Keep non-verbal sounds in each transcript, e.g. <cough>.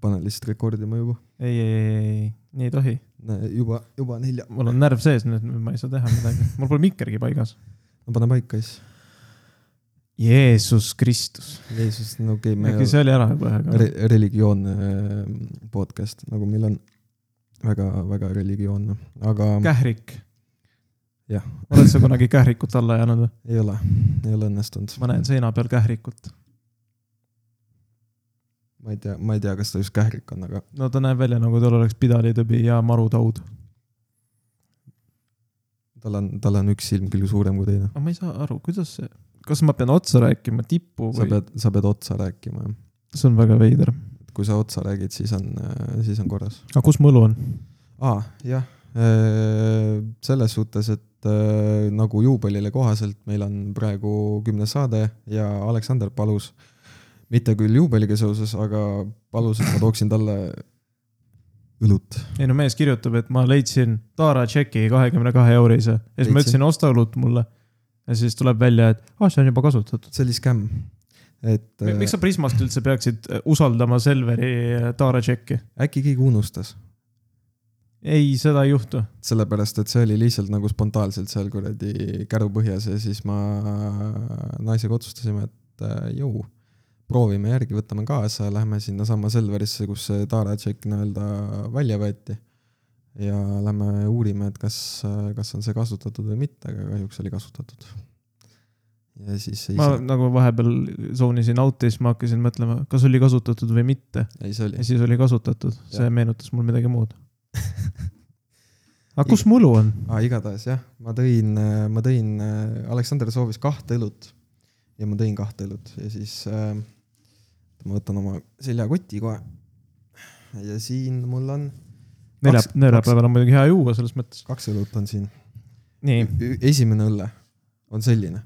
panen lihtsalt rekordima juba . ei , ei , ei , ei , ei , nii ei tohi . juba , juba nelja . mul on närv sees , nüüd ma ei saa teha midagi . mul pole mikkergi paigas . no pane paika siis . Jeesus Kristus . Jeesus , no okei okay, , me äkki see oli ära juba ühe korra re, . religioonne äh, podcast , nagu meil on väga-väga religioonne , aga kährik . jah , oled sa kunagi kährikut alla ajanud või ? ei ole , ei ole õnnestunud . ma näen seina peal kährikut . ma ei tea , ma ei tea , kas ta just kährik on , aga no ta näeb välja nagu tal oleks pidalitõbi ja marutaud . tal on , tal on üks silm küll suurem kui teine . aga ma ei saa aru , kuidas see , kas ma pean otsa rääkima tippu sa või ? pead , sa pead otsa rääkima , jah . see on väga veider . kui sa otsa räägid , siis on , siis on korras . aga kus mõlu on ? aa , jah . selles suhtes , et äh, nagu juubelile kohaselt meil on praegu kümnes saade ja Aleksander palus , mitte küll juubeliga seoses , aga palus , et ma tooksin talle õlut . ei no mees kirjutab , et ma leidsin Tara tšeki kahekümne kahe eurise ja siis ma Leidsin. ütlesin , osta õlut mulle . ja siis tuleb välja , et aa , see on juba kasutatud . see oli skämm , et äh, miks sa Prismast üldse peaksid äh, usaldama Selveri äh, Tara tšeki ? äkki keegi unustas , ei , seda ei juhtu . sellepärast et see oli lihtsalt nagu spontaanselt seal kuradi käru põhjas ja siis ma naisega otsustasime , et äh, jõu , proovime järgi , võtame kaasa , lähme sinnasamma Selverisse , kus see Tara tšekk nii-öelda välja võeti . ja lähme uurime , et kas , kas on see kasutatud või mitte , aga kahjuks oli kasutatud . ja siis ei ma see , nagu vahepeal zoonisin out'i , siis ma hakkasin mõtlema , kas oli kasutatud või mitte . ei see ja oli , siis oli kasutatud , see Jah. meenutas mul midagi muud . <laughs> aga kus mõlu on ? aa igatahes jah , ma tõin , ma tõin , Aleksander soovis kahte õlut ja ma tõin kahte õlut ja siis äh, ma võtan oma seljakoti kohe . ja siin mul on , nelja Kaks- , neljapäeval on muidugi hea juua selles mõttes . kaks õlut on siin . nii , esimene õlle on selline ,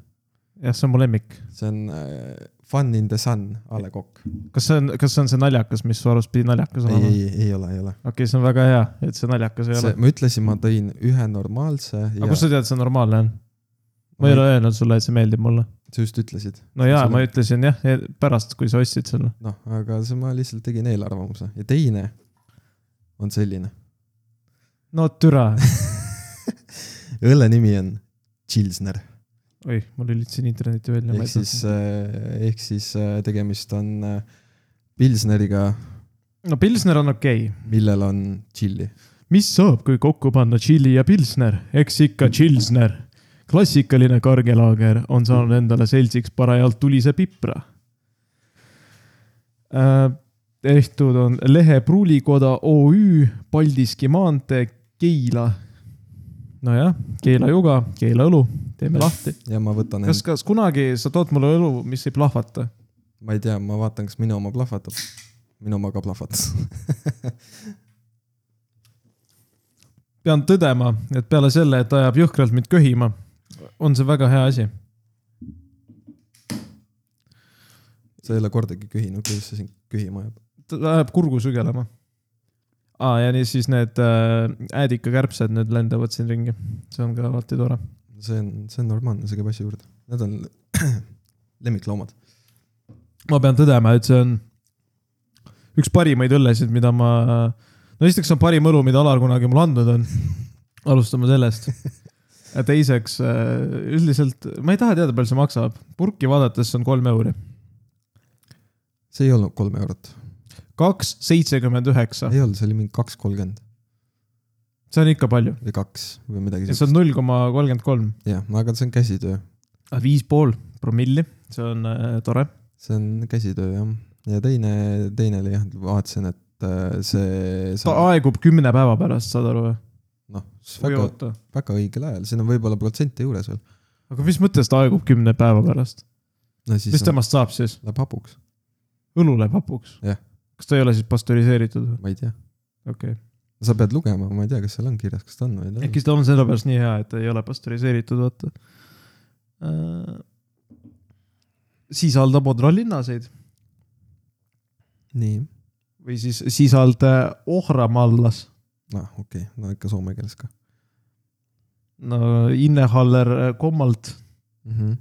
jah , see on mu lemmik . see on äh, Fun in the sun A Le Coq . kas see on , kas see on see naljakas , mis su arust pidi naljakas ei , olema ? ei , ei ole , ei ole . okei , see on väga hea , et see naljakas ei see ole ., ma ütlesin , ma tõin ühe normaalse aga ja kust sa tead , see normaalne on ? ma ei ole öelnud sulle , et see meeldib mulle . sa just ütlesid . no jaa , ma ütlesin jah , pärast , kui sa ostsid selle . noh , aga see ma lihtsalt tegin eelarvamuse ja teine on selline . no türa . õlle nimi on Chilsner oi , ma lülitasin interneti välja . ehk siis , ehk siis äh, tegemist on äh, pilsneriga , no Pilsner on okei okay. . millel on tšilli . mis saab , kui kokku panna tšilli ja Pilsner ? eks ikka Chilsner . klassikaline kargelaager on saanud endale seltsiks parajalt tulise pipra Äh, tehtud on Lehe Pruulikoda OÜ , Paldiski maantee , Keila . nojah , Keila juga , Keila õlu , teeme lahti . ja ma võtan kas end ,, kas kunagi sa tood mulle õlu , mis ei plahvata ? ma ei tea , ma vaatan , kas minu oma plahvatab . minu oma ka plahvatas . <laughs> pean tõdema , et peale selle , et ta ajab jõhkralt mind köhima , on see väga hea asi . sa ei ole kordagi köhinud , kuidas see sind köhima ajab . ta ajab kurgu sügelema . aa , ja nii siis need äh, äädikakärbsed , need lendavad siin ringi . see on ka alati tore . see on , see on normaalne , see käib asja juurde . Need on <clears throat> lemmikloomad . ma pean tõdema , et see on üks parimaid õllesid , mida ma , no esiteks see on parim õlu , mida Alar kunagi mulle andnud on . alustame sellest . ja teiseks äh, üldiselt ma ei taha teada , palju see maksab . purki vaadates see on kolm euri . see ei olnud kolm eurot , kaks seitsekümmend üheksa , ei olnud , see oli mingi kaks kolmkümmend see on ikka palju . või kaks või midagi see sellist . on null koma kolmkümmend kolm , jah , aga see on käsitöö , Ah, viis pool promilli , see on äh, tore . see on käsitöö jah . ja teine , teine oli jah , vaatasin , et äh, see . ta aegub kümne päeva pärast , saad aru või ? noh , siis või väga , oota , väga õigel ajal , siin on võib-olla protsente juures veel . aga mis mõttes ta aegub kümne päeva pärast ? no siis mis on, temast saab siis ? läheb hapuks , õlu läheb hapuks Jah. ? kas ta ei ole siis pastöriseeritud või ? ma ei tea . okei okay. , sa pead lugema , ma ei tea , kas seal on kirjas , kas ta on või ei ole . äkki ta on sellepärast nii hea , et ta ei ole pastöriseeritud , vaata äh, . sisaldab odralinnaseid nii , või siis sisaldab ohramallas . noh , okei okay. , no ikka soome keeles ka no Innehaller äh, kommalt , mm . -hmm.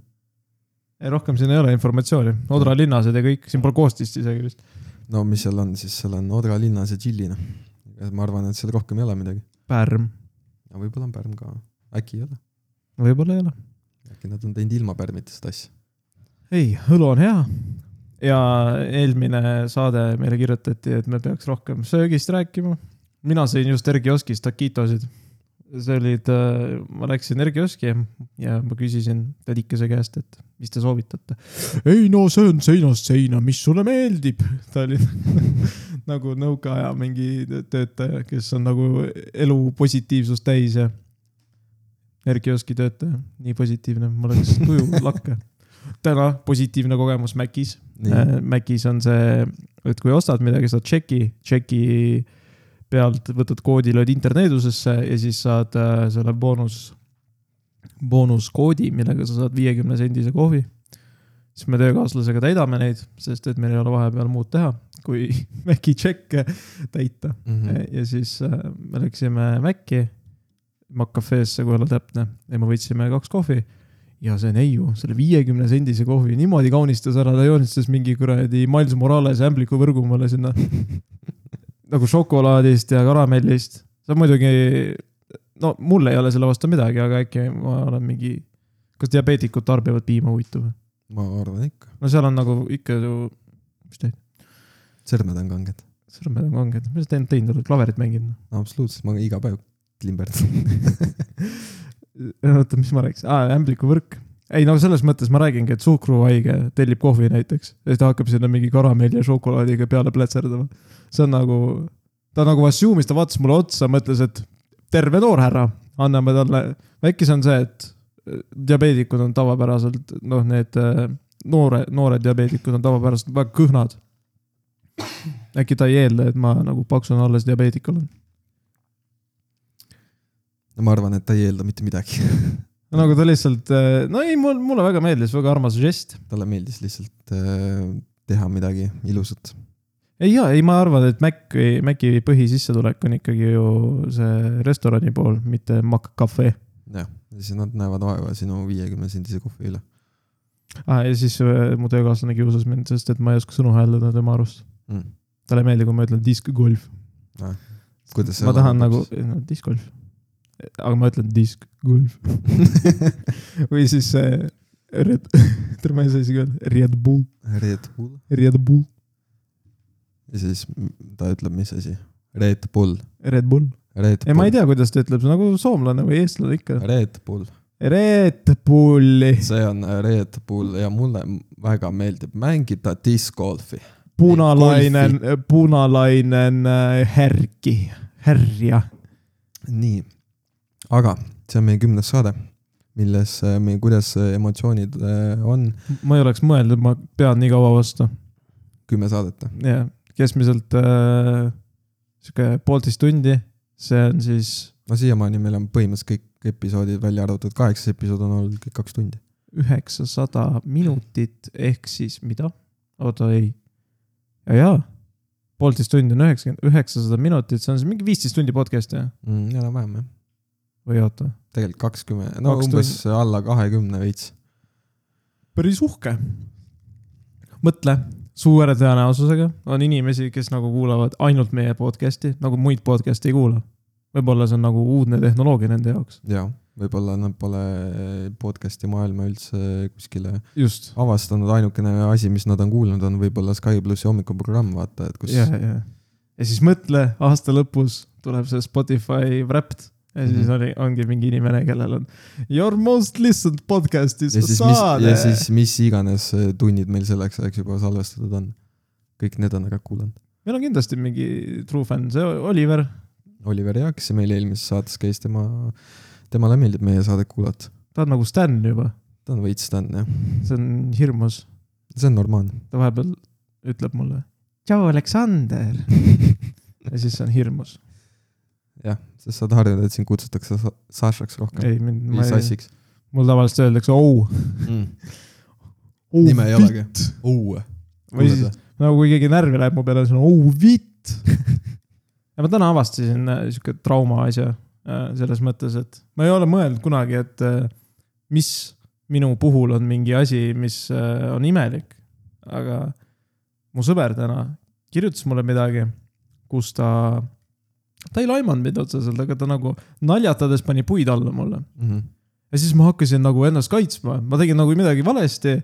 ei rohkem siin ei ole informatsiooni , odralinnased ja kõik , siin pole koostist isegi vist . no mis seal on siis , seal on Odra linnas ja Tšillina . ma arvan , et seal rohkem ei ole midagi . Pärm , aga võib-olla on Pärn ka , äkki ei ole , võib-olla ei ole . äkki nad on teinud ilma Pärnita seda asja . ei , õlu on hea . ja eelmine saade meile kirjutati , et me peaks rohkem söögist rääkima . mina sõin just Ergioskis takitosid . see olid , ma läksin Ergioski ja ma küsisin tädikese käest , et mis te soovitate . ei no see on seinast seina , mis sulle meeldib . ta oli <laughs> nagu nõukaaja mingi töötaja , kes on nagu elu positiivsust täis ja . Ergioski töötaja , nii positiivne , mul läks tuju lakke . täna positiivne kogemus Macis . nii , Macis on see , et kui ostad midagi , saad tšeki , tšeki pealt võtad koodi , lööd interneedusesse ja siis saad äh, selle boonus , boonuskoodi , millega sa saad viiekümne sendise kohvi . siis me töökaaslasega täidame neid , sest et meil ei ole vahepeal muud teha , kui <laughs> Maci tšekke täita . Mm. Mhm. ja siis äh, me läksime Maci , Maccafe'sse , kui olla täpne , ja me võtsime kaks kohvi . ja see neiu , selle viiekümne sendise kohvi niimoodi kaunistas ära , ta joonistas mingi kuradi Miles Morales ämbliku võrgu mulle sinna nagu šokolaadist ja karamellist . see on muidugi , no mul ei ole selle vastu midagi , aga äkki ma olen mingi , kas diabeetikud tarbivad piima huvitav ? ma arvan ikka , no seal on nagu ikka ju , mis te , sõrmed on kanged , sõrmed on kanged , mis te teinud olete , klaverit mänginud ? absoluutselt , ma iga päev klimberdan . oota , mis ma rääkisin ah, , ämblikuvõrk . ei no selles mõttes ma räägingi , et suhkruhaige tellib kohvi näiteks ja siis ta hakkab sinna mingi karamelli ja šokolaadiga peale plätserdama . see on nagu , ta nagu assume'is , ta vaatas mulle otsa , mõtles , et terve noorhärra , anname talle . äkki see on see , et diabeedikud on tavapäraselt noh , need äh, noore , noored diabeedikud on tavapäraselt väga kõhnad . äkki ta ei eelda , et ma nagu paksuna alles diabeetik olen . ma arvan , et ta ei eelda mitte midagi , nagu ta lihtsalt , no ei , mul , mulle väga meeldis , väga armas žest . talle meeldis lihtsalt äh, teha midagi ilusat . ei ja , ei , ma arvan , et Mac , Maci põhisissetulek on ikkagi ju see restorani pool , mitte Mac Cafe jah , ja siis nad näevad vaeva sinu viiekümne sendise kohvi üle ah, . ja siis äh, mu töökaaslane kiusas mind , sest et ma ei oska sõnu hääldada tema arust . mm. . talle ei meeldi , kui ma ütlen disc golf . kuidas see ma tahan nagu , no disc golf . aga ma ütlen disc golf . <laughs> või siis see Red , <laughs> tere , ma ei saa isegi öelda , Red Bull , Red Bull Red Bull , ja siis m- ta ütleb , mis asi , Red Bull , Red Bull . Red ei , ma ei Bull , tea , kuidas ta ütleb , nagu soomlane või eestlane ikka . Red Bull , Red Bulli , see on Red Bull ja mulle m- väga meeldib mängida discgolfi . punalainen , punalainen äh, härki , härja . nii , aga see on meie kümnes saade , milles äh, meie , kuidas äh, emotsioonid äh, on , ma ei oleks mõelnud , et ma pean nii kaua vastu kümme saadet . ja keskmiselt äh, sihuke poolteist tundi , see on siis no siiamaani meil on põhimõtteliselt kõik episoodid välja arvatud , kaheksas episood on olnud kõik kaks tundi . üheksasada minutit , ehk siis mida ? oota , ei . jaa , poolteist tundi on üheksakümmend , üheksasada minutit , see on siis mingi viisteist tundi podcast'i jah? enam-vähem jah , või oota ? tegelikult kakskümmend , no Kaks umbes alla kahekümne veits . päris uhke . mõtle , suure tõenäosusega on inimesi , kes nagu kuulavad ainult meie podcast'i , nagu muid podcast'e ei kuula . võib-olla see on nagu uudne tehnoloogia nende jaoks . jaa , võib-olla nad pole podcast'i maailma üldse kuskile just . avastanud , ainukene asi , mis nad on kuulnud , on võib-olla Sky plussi hommikuprogramm , vaata , et kus ja , ja , ja siis mõtle , aasta lõpus tuleb see Spotify Wrapped ja siis Mhm. oli , ongi mingi inimene , kellel on your most listened podcast is ja siis mis , Asane ja . siis mis iganes tunnid meil selleks ajaks juba salvestatud on . kõik need on ära kuulanud . meil on kindlasti mingi true fan , see Oliver , Oliver Jaaks meil eelmises saates käis tema , temale meeldib meie saadet kuulata . ta on nagu Stan juba , ta on veits Sten jah , see on hirmus . see on normaalne . ta vahepeal ütleb mulle tšau , Aleksander . <laughs> ja siis see on hirmus . jah , sest sa oled harjunud , et sind kutsutakse sa- Sašaks rohkem . ei , mind , ma või ei , Sassiks mul tavaliselt öeldakse ou . mm. . nime ei olegi . Uue . või siis nagu kui keegi närvi läheb mu peale , siis on ou vitt . ja ma täna avastasin äh, sihuke trauma asja äh, selles mõttes , et ma ei ole mõelnud kunagi , et äh, mis minu puhul on mingi asi , mis äh, on imelik . aga mu sõber täna kirjutas mulle midagi , kus ta , ta ei laimanud mind otseselt , aga ta nagu naljatades pani puid alla mulle . mm . ja siis ma hakkasin nagu ennast kaitsma , ma tegin nagu midagi valesti ,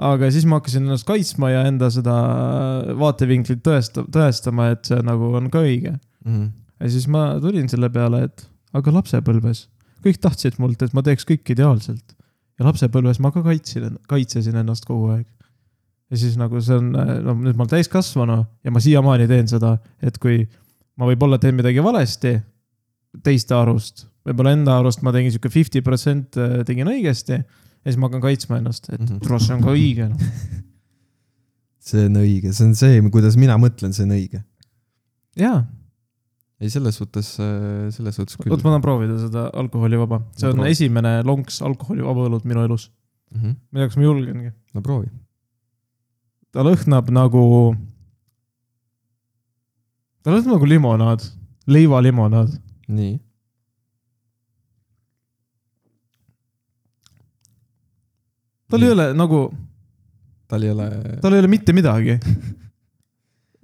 aga siis ma hakkasin ennast kaitsma ja enda seda vaatevinklit tõesta- , tõestama , et see nagu on ka õige . -hmm. ja siis ma tulin selle peale , et aga lapsepõlves , kõik tahtsid mult , et ma teeks kõik ideaalselt . ja lapsepõlves ma ka kaitsin , kaitsesin ennast kogu aeg . ja siis nagu see on , no nüüd ma olen täiskasvanu ja ma siiamaani teen seda , et kui ma võib-olla teen midagi valesti teiste arust , võib-olla enda arust ma tegin sihuke fifty protsent tegin õigesti ja siis ma hakkan kaitsma ennast , et Mhm. tule , see on ka õige noh . see on õige , see on see , kuidas mina mõtlen , see on õige . jaa , ei , selles suhtes , selles suhtes küll . vot ma tahan proovida seda alkoholivaba , see on Proovi. esimene lonks alkoholivaba õlut minu elus . mm . -hmm. ma ei tea , kas ma julgengi . no proovi . ta lõhnab nagu , ta lõhnab nagu limonaad , leivalimonaad . nii . tal ei ole nagu , tal ei ole . tal ei ole mitte midagi .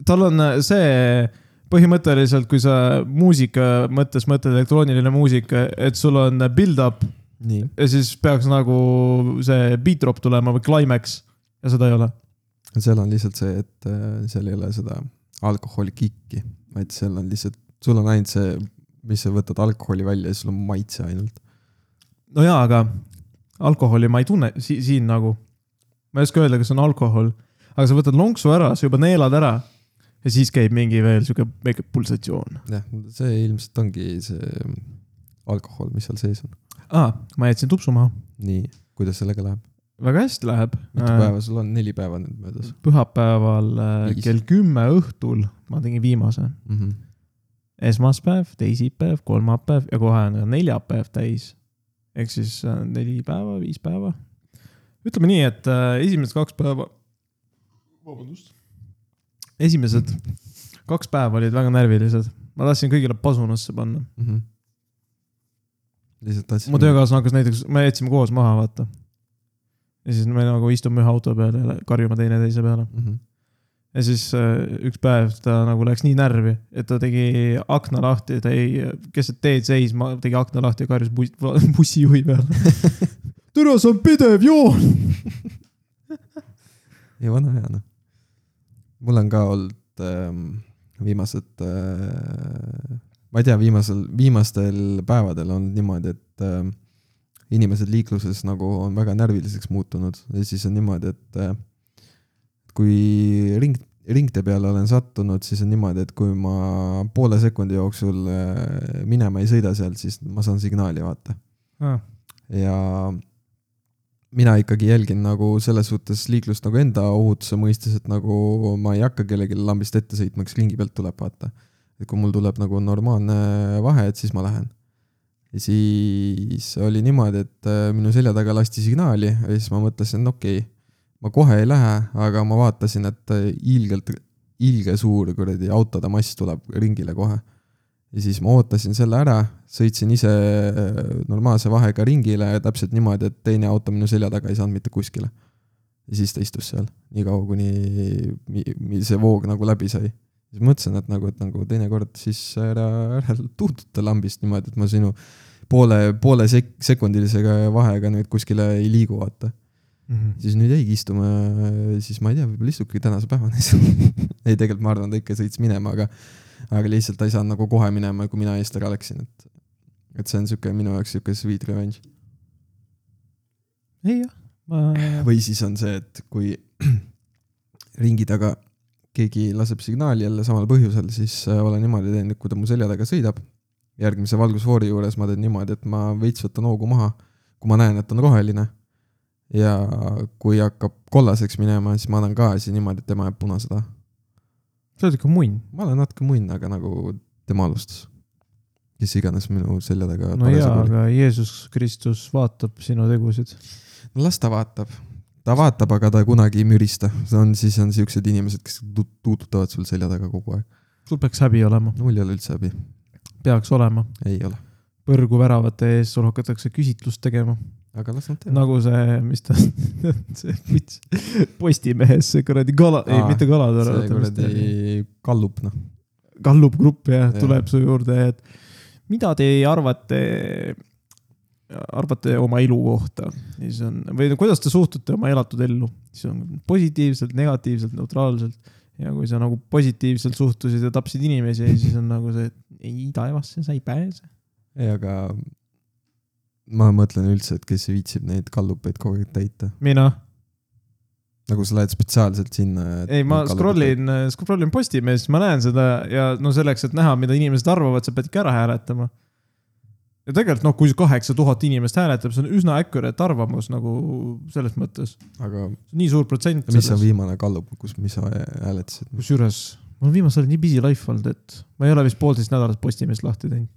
tal on äh, see põhimõtteliselt , kui sa muusika mõttes mõtled elektrooniline muusika , et sul on build-up nii , ja siis peaks nagu see beat drop tulema või climax ja seda ei ole . seal on lihtsalt see , et äh, seal ei ole seda alkoholikikki , vaid seal on lihtsalt , sul on ainult see , mis sa võtad alkoholi välja ja sul on maitse ainult . no jaa , aga alkoholi ma ei tunne si siin nagu . ma ei oska öelda , kas on alkohol , aga sa võtad lonksu ära , sa juba neelad ära ja siis käib mingi veel sihuke väike pulsatsioon . jah , see ilmselt ongi see alkohol , mis seal sees on . aa , ma jätsin tupsu maha . nii , kuidas sellega läheb ? väga hästi läheb . mitu päeva sul on , neli päeva nüüd möödas pühapäeval äh, Viis. kell kümme õhtul ma tegin viimase . mm ? -hmm. esmaspäev , teisipäev , kolmapäev ja kohe on ka neljapäev täis . ehk siis äh, neli päeva , viis päeva . ütleme nii , et äh, esimesed kaks päeva . vabandust . esimesed kaks päeva olid väga närvilised . ma tahtsin kõigile pasunasse panna . Mm -hmm. lihtsalt tahtsin . mu . töökaaslane hakkas näiteks , me jätsime koos maha , vaata . ja siis me nagu istume ühe auto peal ja karjume teineteise peale . Mm -hmm. ja siis äh, üks päev ta nagu läks nii närvi , et ta tegi akna lahti , ta ei , keset teed seisma , tegi akna lahti ja karjus bus, <laughs> bussijuhi peale . tere , see on pidev joon . ei , vana hea noh . mul on ka olnud ähm, viimased äh, , ma ei tea , viimasel , viimastel päevadel on niimoodi , et ähm, inimesed liikluses nagu on väga närviliseks muutunud ja siis on niimoodi , et äh, kui ring , ringtee peale olen sattunud , siis on niimoodi , et kui ma poole sekundi jooksul äh, minema ei sõida sealt , siis ma saan signaali , vaata . ja mina ikkagi jälgin nagu selles suhtes liiklust nagu enda ohutuse mõistes , et nagu ma ei hakka kellelegi lambist ette sõitma , kes ringi pealt tuleb , vaata . et kui mul tuleb nagu normaalne vahe , et siis ma lähen . ja siis oli niimoodi , et äh, minu selja taga lasti signaali ja siis ma mõtlesin , et okei okay, , ma kohe ei lähe , aga ma vaatasin , et äh, ilgelt , ilge suur kuradi autode mass tuleb ringile kohe . ja siis ma ootasin selle ära , sõitsin ise äh, normaalse vahega ringile ja täpselt niimoodi , et teine auto minu selja taga ei saanud mitte kuskile . ja siis ta istus seal nii kaua , kuni mi- mi- see voog nagu läbi sai . siis mõtlesin , et nagu , et nagu teinekord siis ära , ära tuututa lambist niimoodi , et ma sinu poole , poole sek- , sekundilisega vahega nüüd kuskile ei liigu , vaata . Mhm. siis nüüd jäigi istuma , siis ma ei tea , võib-olla istubki tänase päevani seal . <laughs> ei , tegelikult ma arvan , ta ikka sõits minema , aga , aga lihtsalt ta ei saanud nagu kohe minema , kui mina eest ära läksin , et , et see on sihuke minu jaoks sihuke sweet revenge . ei jah , ma , või siis on see , et kui <clears throat> ringi taga keegi laseb signaali jälle samal põhjusel , siis äh, olen niimoodi teinud , et kui ta mu selja taga sõidab , järgmise valgusfoori juures ma teen niimoodi , et ma veits võtan hoogu maha , kui ma näen , et on roheline . ja kui hakkab kollaseks minema , siis ma annan gaasi niimoodi , et tema jääb punase taha . sa oled ikka munn . ma olen natuke munn , aga nagu tema alustas . kes iganes minu selja taga no jaa , aga Jeesus Kristus vaatab sinu tegusid . no las ta vaatab . ta vaatab , aga ta kunagi ei mürista , see on , siis on siuksed inimesed , kes tu- tuututavad sul selja taga kogu aeg . sul peaks häbi olema , mul ei ole üldse abi , peaks olema . ei ole . põrgu väravate ees sul hakatakse küsitlust tegema . aga las nad teevad . nagu see , mis ta , <laughs> see vits , Postimehes see kuradi kala , ei Aa, mitte kalatore , see kuradi kallub , noh . gallup grupp jah Jah. ja. , tuleb su juurde , et mida te arvate , arvate oma elu kohta . ja siis on , või no kuidas te suhtute oma elatud ellu , siis on positiivselt , negatiivselt , neutraalselt . ja kui sa nagu positiivselt suhtusid ja tapsid inimesi , siis on nagu see , et ei taevasse sa ei pääse . ei , aga ma mõtlen üldse , et kes viitsib neid kallupeid kogu aeg täita . mina , nagu sa lähed spetsiaalselt sinna . ei ma . scrollin , scrollin Postimehes , ma näen seda ja no selleks , et näha , mida inimesed arvavad , sa pead ikka ära hääletama ja tegelikult noh , kui kaheksa tuhat inimest hääletab , see on üsna accurate arvamus nagu selles mõttes . aga nii suur protsent . mis on viimane kallup , kus , mis sa hääletasid ? kusjuures mul on viimasel ajal nii busy life olnud , et ma ei ole vist poolteist nädalat Postimeest lahti teinud .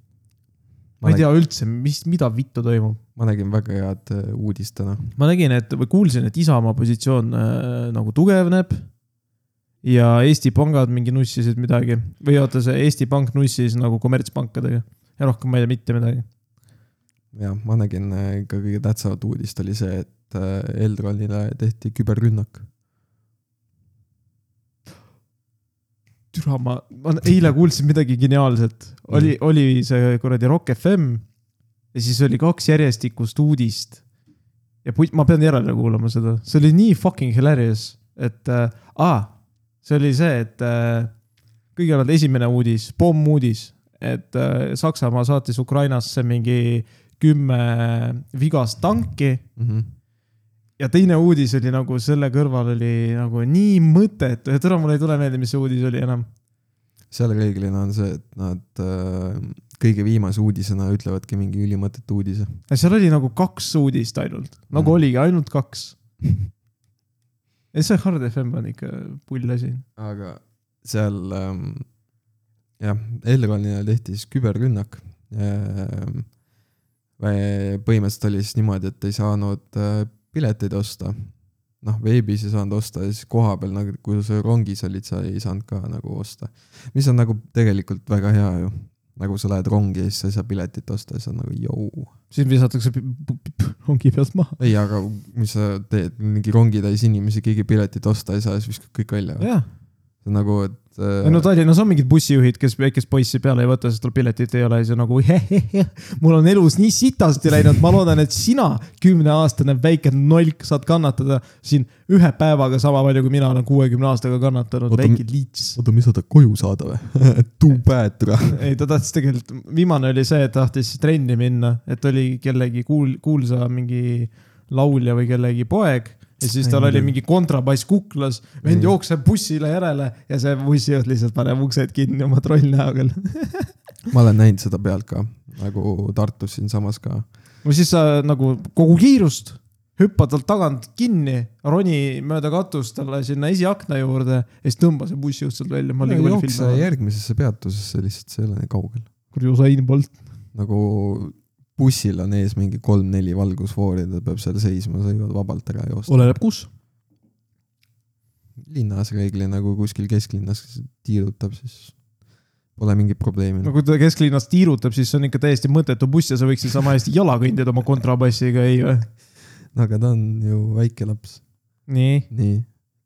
ma ei tea üldse , mis , mida vittu toimub . ma nägin väga head äh, uudist täna . ma nägin , et või kuulsin , et Isamaa positsioon äh, nagu tugevneb . ja Eesti pangad mingi nussisid midagi või oota , see Eesti Pank nussis nagu kommertspankadega ja rohkem ma ei tea mitte midagi . jah , ma nägin äh, ikka kõige tähtsamat uudist oli see , et äh, Eldronile tehti küberrünnak . türa , ma , ma eile kuulsin midagi geniaalset , oli , oli see kuradi Rock FM ja siis oli kaks järjestikust uudist . ja pu- ma pean järele kuulama seda , see oli nii fucking hilarious , et äh, aa, see oli see , et äh, kõigepealt esimene uudis , pommuudis , et äh, Saksamaa saatis Ukrainasse mingi kümme vigast tanki Mm -hmm. ja teine uudis oli nagu selle kõrval oli nagu nii mõttetu , et ära mul ei tule meelde , mis see uudis oli enam . seal reeglina on see , et nad äh, kõige viimase uudisena ütlevadki mingi ülimõttetu uudise . ja seal oli nagu kaks uudist ainult , nagu Mm. mm. oligi ainult kaks . ei see Hard FM on ikka pull asi . aga seal ähm, jah , Elronile tehti siis küberrünnak ähm, . põhimõtteliselt oli siis niimoodi , et ei saanud äh, pileteid osta . noh , veebis ei saanud osta ja siis kohapeal nagu , kui sa rongis olid , sa ei saanud ka nagu osta . mis on nagu tegelikult väga hea ju . nagu sa lähed rongi ja siis sa ei saa piletit osta ja siis on nagu jõu . siis visatakse pi- pi- pi- rongi pealt maha . ei , aga mis sa teed , mingi rongitäis inimesi , keegi piletit osta ei saa ja siis viskad kõik välja . jah , nagu , et äh, no Tallinnas on mingid bussijuhid , kes väikest poissi peale ei võta , sest tal piletit ei ole ja siis on nagu mul on elus nii sitasti läinud , ma loodan , et sina , kümneaastane väike nolk , saad kannatada siin ühe päevaga sama palju , kui mina olen kuuekümne aastaga kannatanud , Oota, väike liits . oota , mis sa tahad koju saada või ? <laughs> Too bad , türa . ei , ta tahtis tegelikult , viimane oli see , et tahtis trenni minna , et oli kellegi kuul- , kuulsa mingi laulja või kellegi poeg . ja siis tal oli mingi kontrabass kuklas , vend Nii. jookseb bussile järele ja see bussijuht lihtsalt paneb uksed kinni oma trollnäoga . ma olen näinud seda pealt ka , nagu Tartus siinsamas ka . no siis sa nagu kogu kiirust , hüppad talt tagant kinni , roni mööda katust talle sinna esiakna juurde ja siis tõmba see bussijuht sealt välja . ma olin ka jookse veel filmi . järgmisesse peatusesse lihtsalt , see ei ole nii kaugel . kuradi Usain Bolt . nagu bussil on ees mingi kolm-neli valgusfoori , ta peab seal seisma , sa jõuad vabalt ära joosta . oleneb kus . linnas reeglina , kui kuskil kesklinnas tiirutab , siis pole mingit probleemi no . kui ta kesklinnas tiirutab , siis see on ikka täiesti mõttetu buss ja sa võiksid sama hästi jala kõndida oma kontrabassiga , ei või ? Nagu- aga ta on ju väike laps , nii , nii .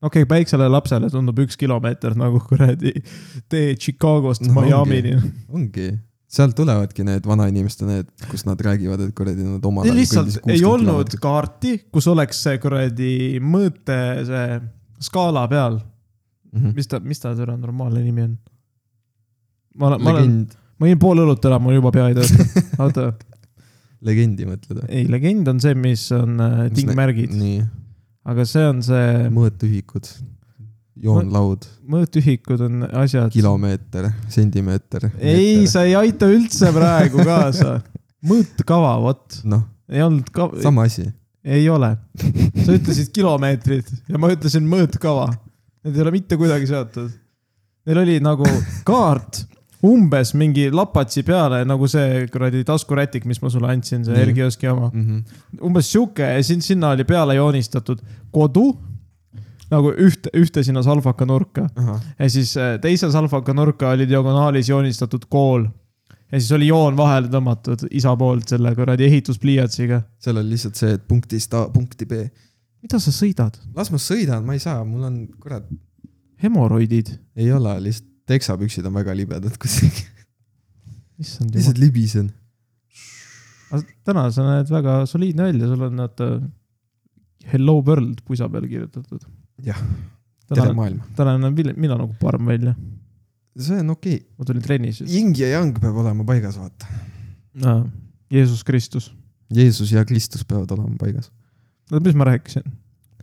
okei okay, , väiksele lapsele tundub üks kilomeeter nagu kuradi tee Chicagost No no, Miami'ni . ongi , sealt tulevadki need vanainimeste need , kus nad räägivad , et kuradi nad omal lihtsalt ei olnud kaarti , kus oleks see kuradi mõõte , see skaala peal . mm . mis ta , mis ta selle normaalne nimi on ? ma olen , ma olen , legend , ma jõin pool õlut ära , mul juba pea ei <laughs> tööta . oota , legendi mõtled või ? ei legend on see , mis on äh, Mis tingmärgid , nii , aga see on see mõõtühikud , joonlaud , mõõtühikud on asjad . kilomeeter , sentimeeter . ei ,. sa ei aita üldse praegu kaasa . mõõtkava , vot , noh , ei olnud ka- , sama asi . ei ole . sa ütlesid kilomeetrid ja ma ütlesin mõõtkava . Need ei ole mitte kuidagi seotud . Neil oli nagu kaart umbes mingi lapatsi peale , nagu see kuradi taskurätik , mis ma sulle andsin , see Nii. Ergioski oma . Mm umbes sihuke ja siin , sinna oli peale joonistatud kodu nagu ühte , ühte sinna salvaka nurka -hmm. ja siis äh, teise salvaka nurka oli diagonaalis joonistatud kool . ja siis oli joon vahele tõmmatud isa poolt selle kuradi ehituspliiatsiga . seal oli lihtsalt see , et punktist A punkti B . mida sa sõidad ? las ma sõidan , ma ei saa , mul on , kurat , hemoroidid ? ei ole , lihtsalt teksapüksid on väga libedad <laughs> kuidagi . issand jumal . lihtsalt libisen . täna sa näed väga soliidne välja , sul on vaata Hello World pusa peal kirjutatud . Jah. tere täna , maailm . täna näen mil- mina nagu parm välja . see on okei okay. . ma tulin trennis ja Ying ja Yang peab olema paigas , vaata . siis . Jeesus Kristus . Jeesus ja Kristus peavad olema paigas . no mis ma rääkisin ?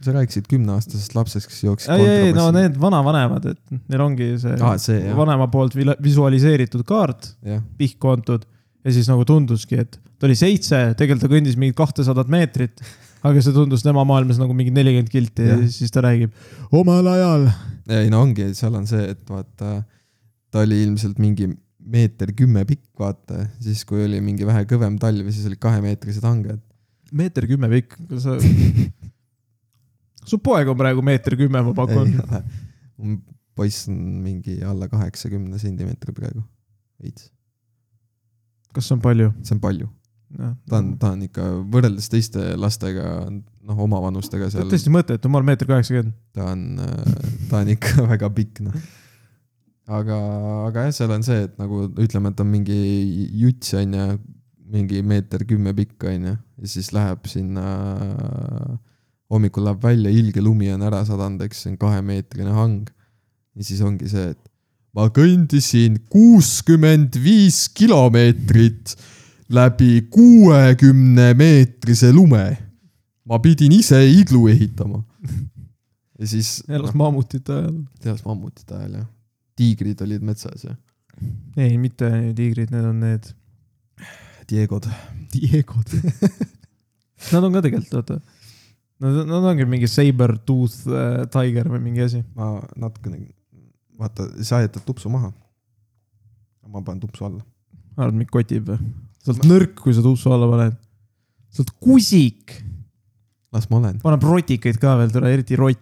sa rääkisid kümneaastasest lapsest , kes jooksis ei , ei , no kontrabassi . need vanavanemad , et neil ongi see aa , Ah, see jah , vanema poolt vila- visualiseeritud kaart jah . pihku antud ja siis nagu tunduski , et ta oli seitse , tegelikult ta kõndis mingi kahtesadat meetrit , aga see tundus tema maailmas nagu mingi nelikümmend kilti ja Jah. siis ta räägib omal ajal . ei no ongi , seal on see , et vaata , ta oli ilmselt mingi meeter kümme pikk , vaata , siis kui oli mingi vähe kõvem talv ja siis olid kahemeetrised hanged . meeter kümme pikk , kas sa <laughs> su poeg on praegu meeter kümme , ma pakun . Um, poiss on mingi alla kaheksakümne sentimeetri praegu , veits , kas see on palju ? see on palju , ta on , ta on ikka võrreldes teiste lastega , noh , omavanustega ta on seal , tõesti mõttetu , ma olen meeter kaheksakümmend . ta on , ta on ikka <laughs> väga pikk , noh . aga , aga jah , seal on see , et nagu ütleme , et on mingi juts , on ju , mingi meeter kümme pikk , on ju , ja siis läheb sinna , hommikul läheb välja , ilge lumi on ära sadanud , eks see on kahemeetrine hang . ja siis ongi see , et ma kõndisin kuuskümmend viis kilomeetrit läbi kuuekümne meetrise lume . ma pidin ise iglu ehitama . ja siis . elas mammutite ajal . teas mammutite ajal jah , tiigrid olid metsas ja ei , mitte tiigrid , need on need <laughs> Diegod . Diegod . Nad on ka tegelikult , oota . Nad , nad ongi mingi saber tooth äh, tiger või mingi asi . ma natukene , vaata , sa jätad tupsu maha . ma panen tupsu alla . arvad , mind kotib või ? sa oled nõrk , kui sa tuussu alla paned . sa oled kusik . las ma olen , paneb rotikaid ka veel , tule eriti rott .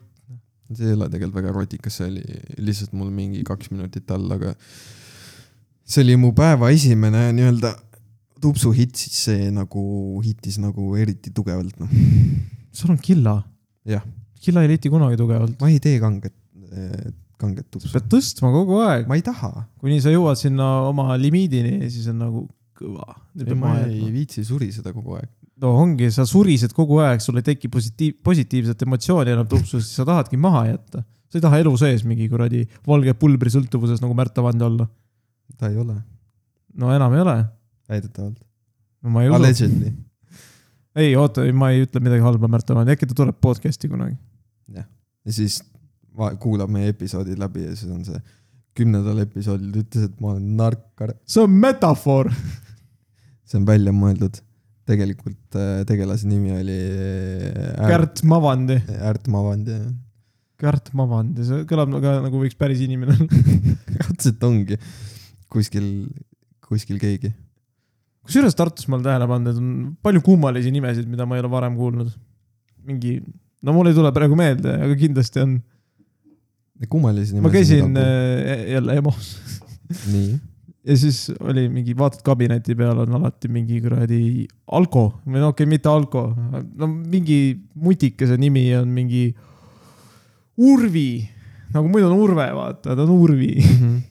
see ei ole tegelikult väga rotikas , see oli lihtsalt mul mingi kaks minutit all , aga see oli mu päeva esimene nii-öelda tupsu hitt , siis see nagu hittis nagu eriti tugevalt , noh . sul on killa . Jah. . killa ei leti kunagi tugevalt . ma ei tee kanget , kanget sa tupsu , pead tõstma kogu aeg , ma ei taha . kuni sa jõuad sinna oma limiidini ja siis on nagu kõva . ma ei viitsi suriseda kogu aeg . no ongi , sa surised kogu aeg , sul ei teki positiiv , positiivset emotsiooni enam tupsust , sa tahadki maha jätta . sa ei taha elu sees mingi kuradi valge pulbri sõltuvuses nagu Märt Avandi olla . ta ei ole , no enam ei ole . väidetavalt . no ma ei usu . Allegedly . ei oota , ma ei ütle midagi halba Märt Avandi , äkki ta tuleb podcast'i kunagi . ja siis va- kuulab meie episoodid läbi ja siis on see kümnendal episoodil ta ütles , et ma olen narkar , see on metafoor . see on välja mõeldud . tegelikult äh, tegelase nimi oli äh, Kärt Mavandi . Ärt Mavand ja Kärt Mavandi , see kõlab ka nagu võiks päris inimene olla . otseselt ongi kuskil , kuskil keegi . kusjuures Tartus ma olen tähele pannud , et on palju kummalisi nimesid , mida ma ei ole varem kuulnud . mingi , no mul ei tule praegu meelde , aga kindlasti on . kummalisi ma nimesid . käisin . äh, jälle EMO-s nii , ja siis oli mingi , vaatad kabineti peal on alati mingi kuradi Alko või no okei okay, , mitte Alko , no mingi mutikese nimi on mingi Urvi , nagu muidu on Urve , vaata , ta on Urvi .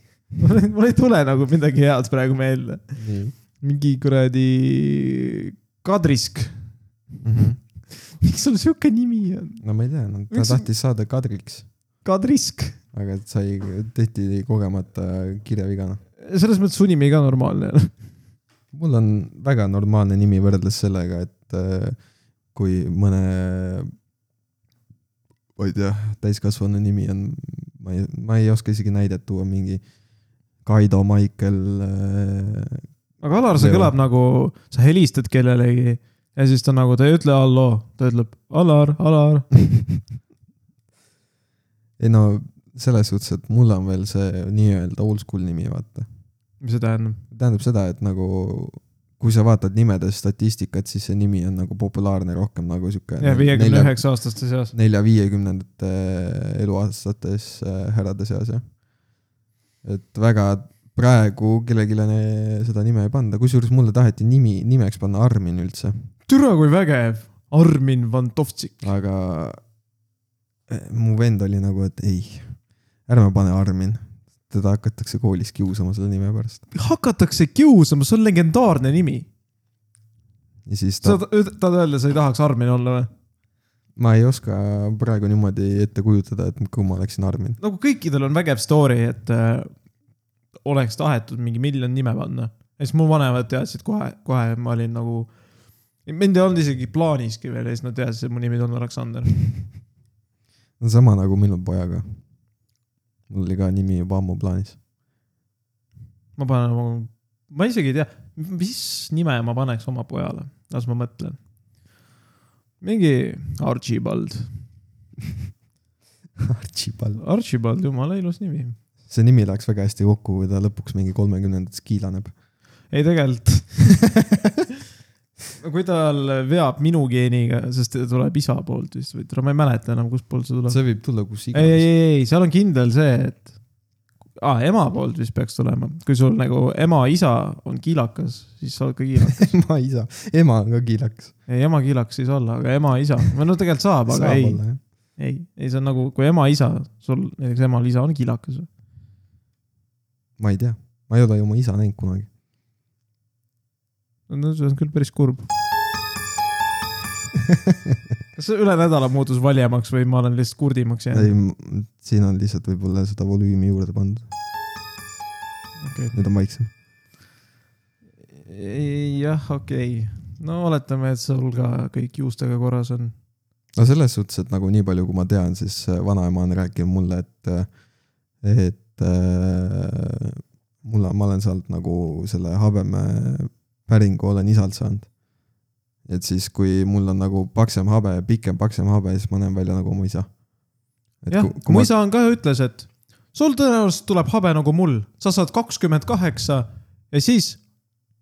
<laughs> mul ei tule nagu midagi head praegu meelde , nii . mingi kuradi Kadrisk , <laughs> miks sul sihuke nimi on ? Mhm. no ma ei tea no, , ta Miks- tahtis saada kadriks , Kadrisk , aga sai , tehti kogemata kirjaviga , noh . selles mõttes su nimi ka normaalne . mul on väga normaalne nimi võrreldes sellega , et äh, kui mõne , ma ei tea , täiskasvanu nimi on , ma ei , ma ei oska isegi näidet tuua , mingi Kaido Maikel äh, , <laughs> aga Alar , see Leo. kõlab nagu sa helistad kellelegi ja siis ta nagu , ta ei ütle halloo , ta ütleb Alar , Alar . ei no selles suhtes , et mul on veel see nii-öelda oldschool nimi , vaata . mis see tähendab ? tähendab seda , et nagu kui sa vaatad nimede statistikat , siis see nimi on nagu populaarne rohkem nagu sihuke . jah , viiekümne üheksa aastaste seas . nelja-viiekümnendate eluaastates äh, härrade seas jah . et väga praegu kellelegi ne- seda nime ei panda , kusjuures mulle taheti nimi , nimeks panna Armin üldse , türa kui vägev , Armin Vantovtsik . aga äh, mu vend oli nagu , et ei , ärme pane Armin , teda hakatakse koolis kiusama selle nime pärast . hakatakse kiusama , see on legendaarne nimi . ja siis ta sa , tahad öelda , sa ei tahaks Armin olla või ? ma ei oska praegu niimoodi ette kujutada , et kui ma oleksin Armin . nagu kõikidel on vägev story , et äh, oleks tahetud mingi miljon nime panna . ja siis mu vanemad teadsid kohe , kohe ma olin nagu , mind ei olnud isegi plaaniski veel ja siis nad teadsid , et mu nimi on Aleksander . no sama nagu minu pojaga . mul oli ka nimi juba ammu plaanis . ma panen oma , ma isegi ei tea , mis nime ma paneks oma pojale , las ma mõtlen . mingi Archibald , Archibald . Archibald , jumala ilus nimi . see nimi läks väga hästi kokku , kui ta lõpuks mingi kolmekümnendates kiilaneb . ei , tegelikult <laughs> kui tal veab minu geeniga , sest ta tuleb isa poolt vist või ma ei mäleta enam , kustpoolt see tuleb . see võib tulla kus ei , ei , iganes . ei , ei , seal on kindel see , et ah, ema poolt vist peaks tulema , kui sul nagu ema-isa on kiilakas , siis sa oled ka kiilakas . ema , isa , ema on ka kiilakas . ei , ema kiilakas ei saa olla , aga ema-isa , või no tegelikult saab , aga saab ei , ei , ei , see on nagu , kui ema-isa , sul näiteks emal-isa on kiilakas . ma ei tea , ma ei ole ju oma isa näinud kunagi . no see on küll päris <laughs> kurb . kas see üle nädala muutus valjemaks või ma olen lihtsalt kurdimaks jäänud ? ei , siin on lihtsalt võib-olla seda volüümi juurde pandud , okei nüüd on vaiksem . Ei, jah , okei okay. . no oletame , et sul ka kõik juustega korras on . no selles suhtes , et nagu nii palju , kui ma tean , siis äh, vanaema on rääkinud mulle , et , et äh, mul on , ma olen sealt nagu selle habeme päringu olen isalt saanud . et siis , kui mul on nagu paksem habe , pikem paksem habe , siis ma näen välja nagu oma isa . et jah kui , kui mu ma isa on ka , ütles , et sul tõenäoliselt tuleb habe nagu mul , sa saad kakskümmend kaheksa ja siis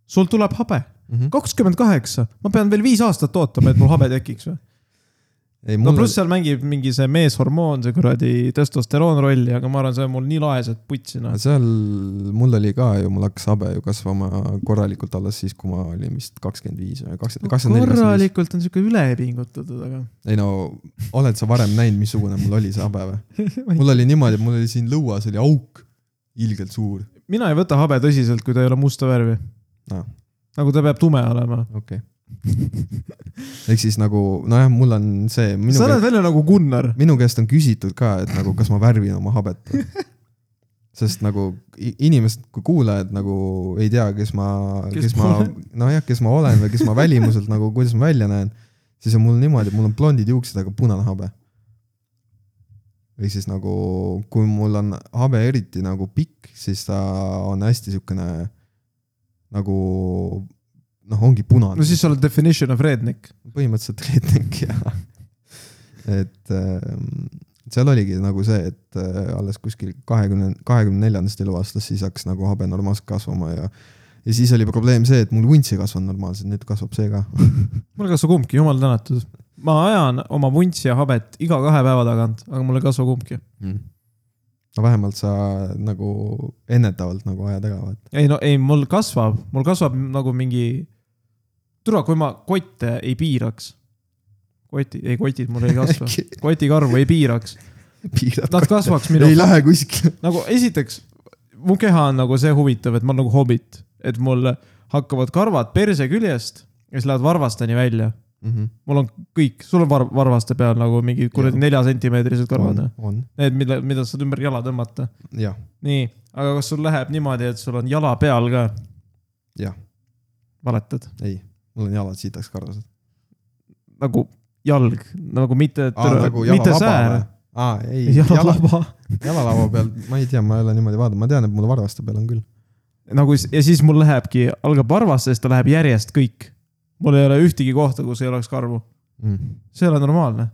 sul tuleb habe . Mhm. kakskümmend kaheksa , ma pean veel viis aastat ootama , et mul habe tekiks või ? ei no mul pluss seal mängib mingi see meeshormoon , see kuradi testosteroon rolli , aga ma arvan , see on mul nii laes , et putsi noh oli , . seal mul oli ka ju , mul hakkas habe ju kasvama korralikult alles siis , kui ma olin vist kakskümmend viis või kakskümmend , kakskümmend neli , kakskümmend viis . korralikult on sihuke üle pingutatud , aga . ei no , oled sa varem näinud , missugune mul oli see habe või ? <laughs> mul oli niimoodi , et mul oli siin lõuas oli auk , ilgelt suur . mina ei võta habe tõsiselt , kui ta ei ole musta värvi Aa. . nagu ta peab tume olema . okei okay. . ehk siis nagu , nojah , mul on see , minu sa käest , oled välja nagu Gunnar . minu käest on küsitud ka , et nagu , kas ma värvin oma habet <laughs> või . sest nagu i- inimesed , kui kuulajad nagu ei tea , kes ma , Kes kes ma ma olen. , <laughs> nojah , kes ma olen või kes ma välimuselt nagu , kuidas ma välja näen , siis on mul niimoodi , et mul on blondid juuksed , aga punane habe . ehk siis nagu , kui mul on habe eriti nagu pikk , siis ta on hästi siukene nagu noh , ongi punane . no siis sa oled definition of redneck . põhimõtteliselt <laughs> reetnik ja et ähm, seal oligi nagu see , et äh, alles kuskil kahekümne , kahekümne neljandast eluaastast siis hakkas nagu habe normaalselt kasvama ja ja siis oli probleem see , et mul vuntsi ei kasvanud normaalselt , nüüd kasvab see ka . mul ei kasva kumbki , jumal tänatud . ma ajan oma vuntsi ja habet iga kahe päeva tagant , aga mul ei kasva kumbki . no vähemalt sa nagu ennetavalt nagu ajad ära , vaata . ei no ei , mul kasvab , mul kasvab nagu mingi . türa , kui ma kotte ei piiraks . kotid , ei kotid mul ei <laughs> kasva . kotikarvu ei piiraks . piirad Nad kasvaks minu ei lähe kuskile . nagu esiteks , mu keha on nagu see huvitav , et ma olen nagu hobbit , et mul hakkavad karvad perse küljest ja siis lähevad varvasteni välja . mul on kõik , sul on var- , varvaste peal nagu mingid kuradi nelja sentimeetrised karvad , on , on , need , mida , mida saad ümber jala tõmmata . jah , nii , aga kas sul läheb niimoodi , et sul on jala peal ka ? Jah. . valetad , ei , mul on jalad sitaks karvased . nagu jalg , nagu mitte , aa , nagu mitte jalalaba säär või ?? aa , ei , jala , jalalaba , jalalava peal , ma ei tea , ma ei ole niimoodi vaadanud , ma tean , et mul varvaste peal on küll . nagu s- ja siis mul lähebki , algab varvastest , ta läheb järjest kõik . mul ei ole ühtegi kohta , kus ei oleks karvu . mm. . see ei ole normaalne .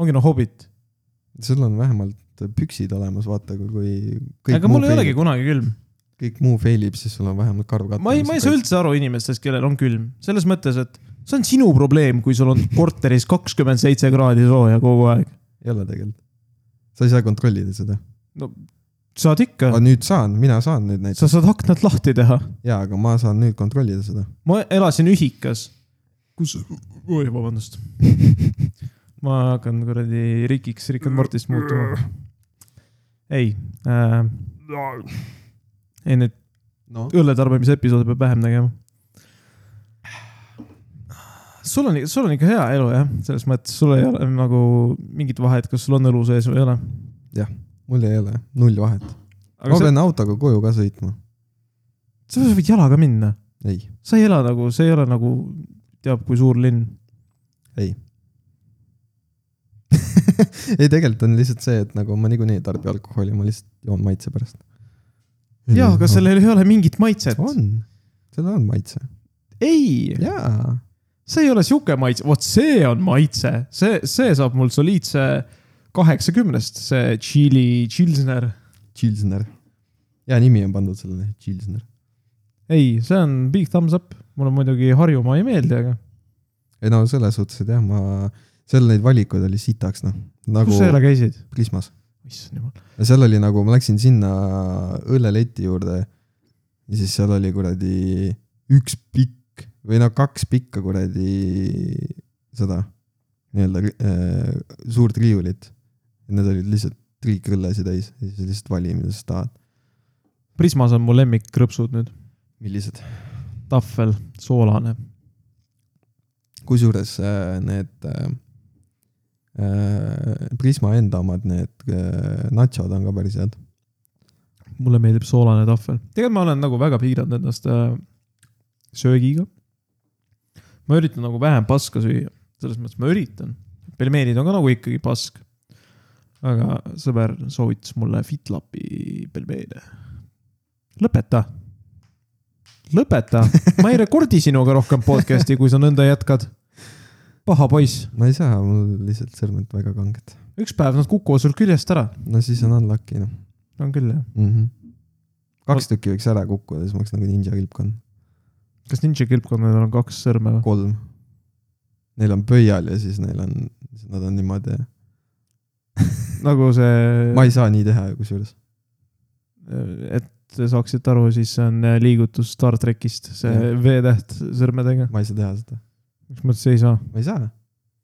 ongi noh , hobit . sul on vähemalt püksid olemas , vaata , kui , kui kõik aga mul muu ei olegi failib , kunagi külm . kõik muu failib , siis sul on vähemalt karv katta . ma ei , ma ei saa . üldse aru inimestest , kellel on külm . selles mõttes , et see on sinu probleem , kui sul on korteris kakskümmend seitse kraadi sooja kogu aeg . ei ole tegelikult . sa ei saa kontrollida seda . no saad ikka , aga nüüd saan , mina saan nüüd näiteks sa saad aknad lahti teha . jaa , aga ma saan nüüd kontrollida seda . ma elasin ühikas , kus , oi vabandust . <laughs> ma hakkan kuradi rikiks , Rick and Mortist muutuma . ei äh, , ei neid no õlletarbimise episoode peab vähem tegema . sul on , sul on ikka hea elu jah , selles mõttes sul ei ole nagu mingit vahet , kas sul on õlu sees või ei ole . mul ei ole null vahet . ma aga sa, pean autoga koju ka sõitma . sa võid jalaga minna , ei , sa ei ela nagu , see ei ole nagu teab kui suur linn . ei . ei , tegelikult on lihtsalt see , et nagu ma niikuinii ei tarbi alkoholi , ma lihtsalt joon maitse pärast . jah , aga . sellel ei ole mingit maitset . on , sellel on maitse . ei , jaa , see ei ole sihuke maitse , vot see on maitse , see , see saab mul soliidse kaheksakümnest , see tšiili , tšilsner . Chilsner . hea nimi on pandud sellele , Chilsner . ei , see on big thumbs up , mulle muidugi Harjumaa ei meeldi , aga ei no selles suhtes , et jah , ma , seal neid valikuid oli sitaks , noh , nagu kus sa jälle käisid ? Prismas . issand jumal . ja seal oli nagu , ma läksin sinna õlleleti juurde ja siis seal oli kuradi üks pikk või no kaks pikka kuradi seda nii-öelda äh, suurt riiulit . Need olid lihtsalt triikõllesi täis ja siis lihtsalt vali , mida sa tahad . Prismas on mu lemmikkrõpsud nüüd , millised ? tahvel , soolane . kusjuures äh, need äh, äh, Prisma enda omad , need äh, nachod on ka päris head . mulle meeldib soolane tahvel . tegelikult ma olen nagu väga piiranud ennast äh, söögiga . ma üritan nagu vähem paska süüa , selles mõttes ma üritan . pelmeenid on ka nagu ikkagi pask . aga sõber soovitas mulle Fitlapi pelmeene . lõpeta . lõpeta , ma ei rekordi sinuga rohkem podcast'i , kui sa nõnda jätkad . paha poiss , ma ei saa , mul lihtsalt sõrmed väga kanged . üks päev nad kukuvad sul küljest ära . no siis on unlucky noh . on küll jah . mm . -hmm. kaks tükki võiks ära kukkuda , siis ma oleks nagu ninja kilpkonn . kas ninja kilpkonnadel on kaks sõrme või ? kolm . Neil on pöial ja siis neil on , nad on niimoodi . nagu see . ma ei saa nii teha kusjuures . Äh, et te saaksite aru , siis see on äh, liigutus Star trackist , see Jah. V-täht sõrmedega . ma ei saa teha seda . mis mõttes ei saa ? ma ei saa .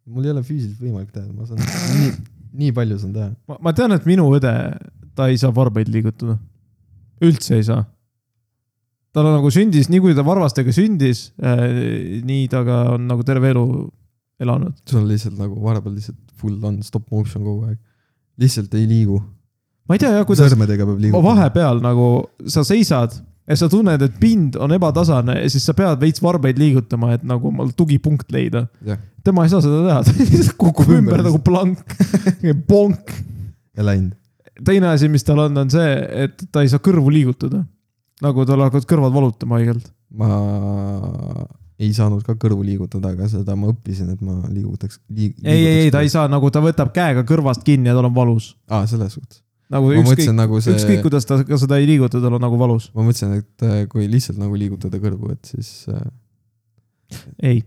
mul ei ole füüsiliselt võimalik teha , ma saan nii , nii palju saan teha . ma , ma tean , et minu õde , ta ei saa varbaid liigutada . üldse ei saa . ta nagu sündis , nii kui ta varvastega sündis äh, , nii ta ka on nagu terve elu elanud . sul on lihtsalt nagu vahepeal lihtsalt full on stop motion kogu aeg . lihtsalt ei liigu . ma ei tea jah , kuidas sõrmedega peab Ma liigutama . vahepeal nagu sa seisad ja sa tunned , et pind on ebatasane ja siis sa pead veits varbaid liigutama , et nagu omal tugipunkt leida . Jah. tema ei saa seda teha , ta <laughs> lihtsalt kukub Kukub ümber ümber nagu <laughs> plank , ponk . ja läinud . teine asi , mis tal on , on see , et ta ei saa kõrvu liigutada . nagu tal hakkavad kõrvad valutama haigelt . ma ei saanud ka kõrvu liigutada , aga seda ma õppisin , et ma liigutaks liig, . ei , ei , ei , ta ei saa , nagu ta võtab käega kõrvast kinni ja tal on valus . aa , selles suhtes . nagu ma ükskõik , mõtlesin nagu see . ükskõik kuidas ta ka seda ei liiguta , tal on nagu valus . ma mõtlesin , et äh, kui lihtsalt nagu liigutada kõrvu , et siis , äh, ei ,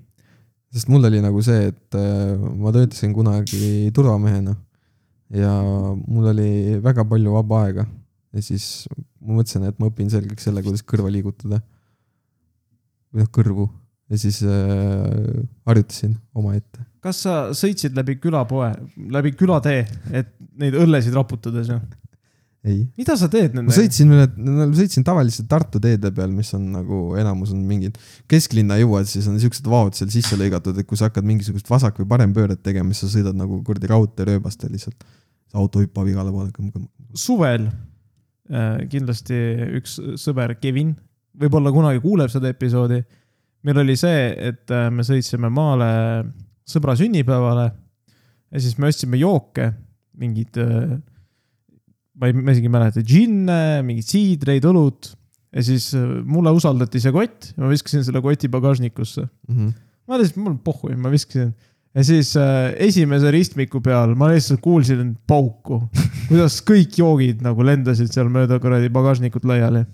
sest mul oli nagu see , et äh, ma töötasin kunagi turvamehena ja mul oli väga palju vaba aega ja siis ma mõtlesin , et ma õpin selgeks selle , kuidas kõrva liigutada . või noh , kõrvu ja siis äh, harjutasin omaette . kas sa sõitsid läbi külapoe , läbi külatee , et neid õllesid raputades ja ? ei , mida sa teed ma nendega ? sõitsin üle , sõitsin tavaliselt Tartu teede peal , mis on nagu enamus on mingid kesklinna jõuad , siis on siuksed vaod seal sisse lõigatud , et kui sa hakkad mingisugust vasak või parempööret tegema , siis sa sõidad nagu kuradi raudteerööbastel lihtsalt . auto hüppab igale poole . suvel äh, kindlasti üks sõber , Kevin , võib-olla kunagi kuuleb seda episoodi . meil oli see , et äh, me sõitsime maale sõbra sünnipäevale ja siis me ostsime jooke , mingid , ma ei , ma isegi ei mäleta , džinne , mingeid siidreid , õlut ja siis äh, mulle usaldati see kott ja ma viskasin selle koti pagasnikusse . Mm -hmm. ma lihtsalt , mul pohhu ja ma viskasin . ja siis äh, esimese ristmiku peal ma lihtsalt kuulsin pauku , <laughs> kuidas kõik joogid nagu lendasid seal mööda kuradi pagasnikut laiali .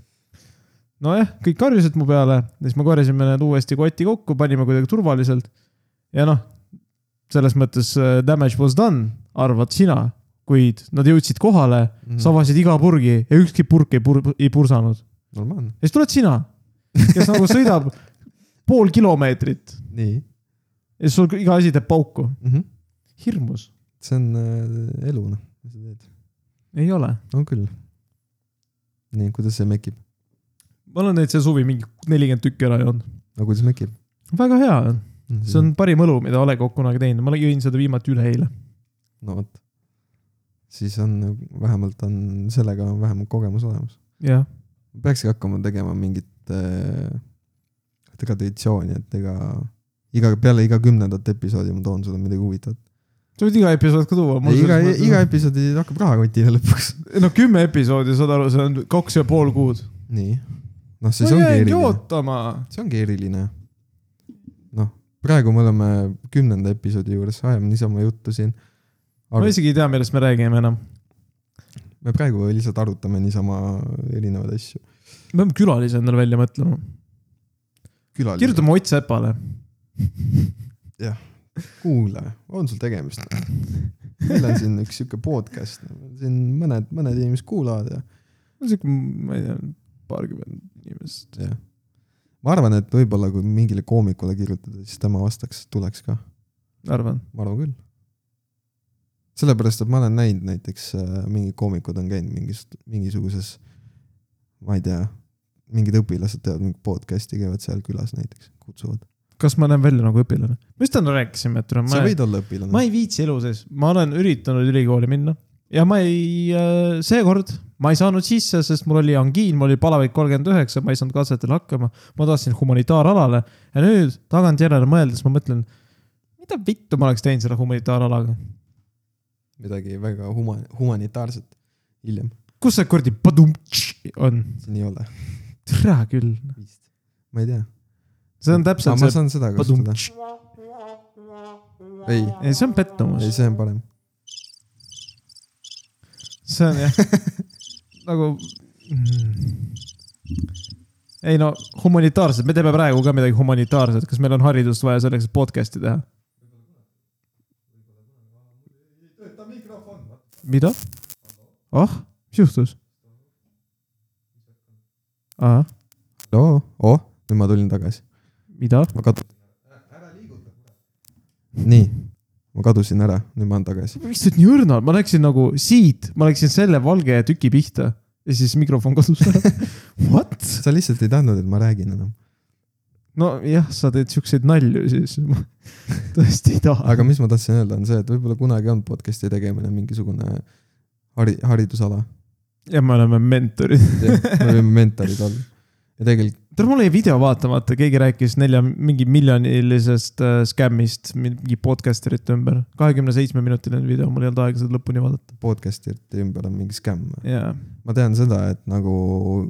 nojah , kõik karjusid mu peale , siis me korjasime need uuesti kotti kokku , panime kuidagi turvaliselt . ja noh , selles mõttes äh, damage was done , arvad sina . kuid nad jõudsid kohale mm , Mhm. -hmm. sa avasid iga purgi ja ükski purk ei, pur ei pursanud . normaalne , ja siis tuled sina , kes nagu sõidab <laughs> pool kilomeetrit nii ja siis sul iga asi teeb pauku . mm . -hmm. hirmus , see on äh, elu , noh , mis sa teed . ei ole . on küll . nii , kuidas see mekib ? ma olen neid see suvi mingi nelikümmend tükki ära joonud . no kuidas mekib ? väga hea on , Mhm. see on . parim õlu , mida A Le Coq kunagi teinud , ma jõin seda viimati üleeile . no vot . siis on , vähemalt on , sellega on vähemalt kogemus olemas . jah , peakski hakkama tegema mingit äh, , ega traditsiooni , et ega iga , peale iga kümnendat episoodi ma toon sulle midagi huvitavat . sa võid iga episood ka tuua . iga , iga episoodi hakkab rahakotile lõpuks . no kümme episoodi , saad aru , see on kaks ja pool kuud . nii . noh , siis ma ongi jäingi eriline . ootama . see ongi eriline . noh , praegu me oleme kümnenda episoodi juures , ajame niisama juttu siin . ma isegi ei tea , millest me räägime enam . me praegu lihtsalt arutame niisama erinevaid asju . me peame külalise endale välja mõtlema . kirjutame Ott Sepale . kuule , on sul tegemist ? meil on siin üks sihuke podcast , siin mõned , mõned inimesed kuulavad ja , sihuke , ma ei tea , paarkümmend inimest . ja . ma arvan , et võib-olla kui mingile koomikule kirjutada , siis tema vastaks , tuleks ka , arvan . ma arvan küll . sellepärast , et ma olen näinud näiteks äh, mingid koomikud on käinud mingis , mingisuguses , ma ei tea , mingid õpilased teevad mingit podcast'i , käivad seal külas näiteks , kutsuvad . kas ma näen välja nagu õpilane ? me just täna rääkisime , et ma sa ei , võid olla ma õpilane . ei viitsi elu sees , ma olen üritanud ülikooli minna ja ma ei , seekord ma ei saanud sisse , sest mul oli angiin , mul oli palavik kolmkümmend üheksa , ma ei saanud katsetel hakkama . ma tahtsin humanitaaralale ja nüüd tagantjärele mõeldes ma mõtlen , mida vittu ma oleks teinud selle humanitaaralaga . midagi väga huma- , humanitaarset hiljem , kus see kuradi padumtš on ? siin ei ole . tere küll , ma ei tea . see on aa , täpselt ma see saan seda kasutada . padumtš . ei , ei , see on pettumus ei ,. see on parem . see on jah nagu mm. . ei no humanitaarselt , me teeme praegu ka midagi humanitaarset , kas meil on haridust vaja selleks , et podcast'i teha ? mida ? ah , mis juhtus ? Ah, ahah , oo , oh , nüüd ma tulin tagasi , mida ? ma kadusin . nii , ma kadusin ära , nüüd ma olen tagasi . miks sa oled nii õrnalt , ma läksin nagu siit , ma läksin selle valge tüki pihta ja siis mikrofon kadus ära . What ? sa lihtsalt ei tahtnud , et ma räägin enam , nojah , sa teed siukseid nalju siis , <laughs> ma tõesti ei taha . aga mis ma tahtsin öelda , on see , et võib-olla kunagi on podcast'i tegemine mingisugune hari- , haridusala . ja me oleme mentorid . <laughs> me võime mentorid olla . ja tegelikult tead , mul jäi video vaatamata , keegi rääkis nelja mingi miljonilisest äh, skämmist mingi podcasterite ümber . kahekümne seitsme minutiline video , mul ei olnud aega seda lõpuni vaadata . podcast'ite ümber on mingi skämm . jaa , ma tean seda , et nagu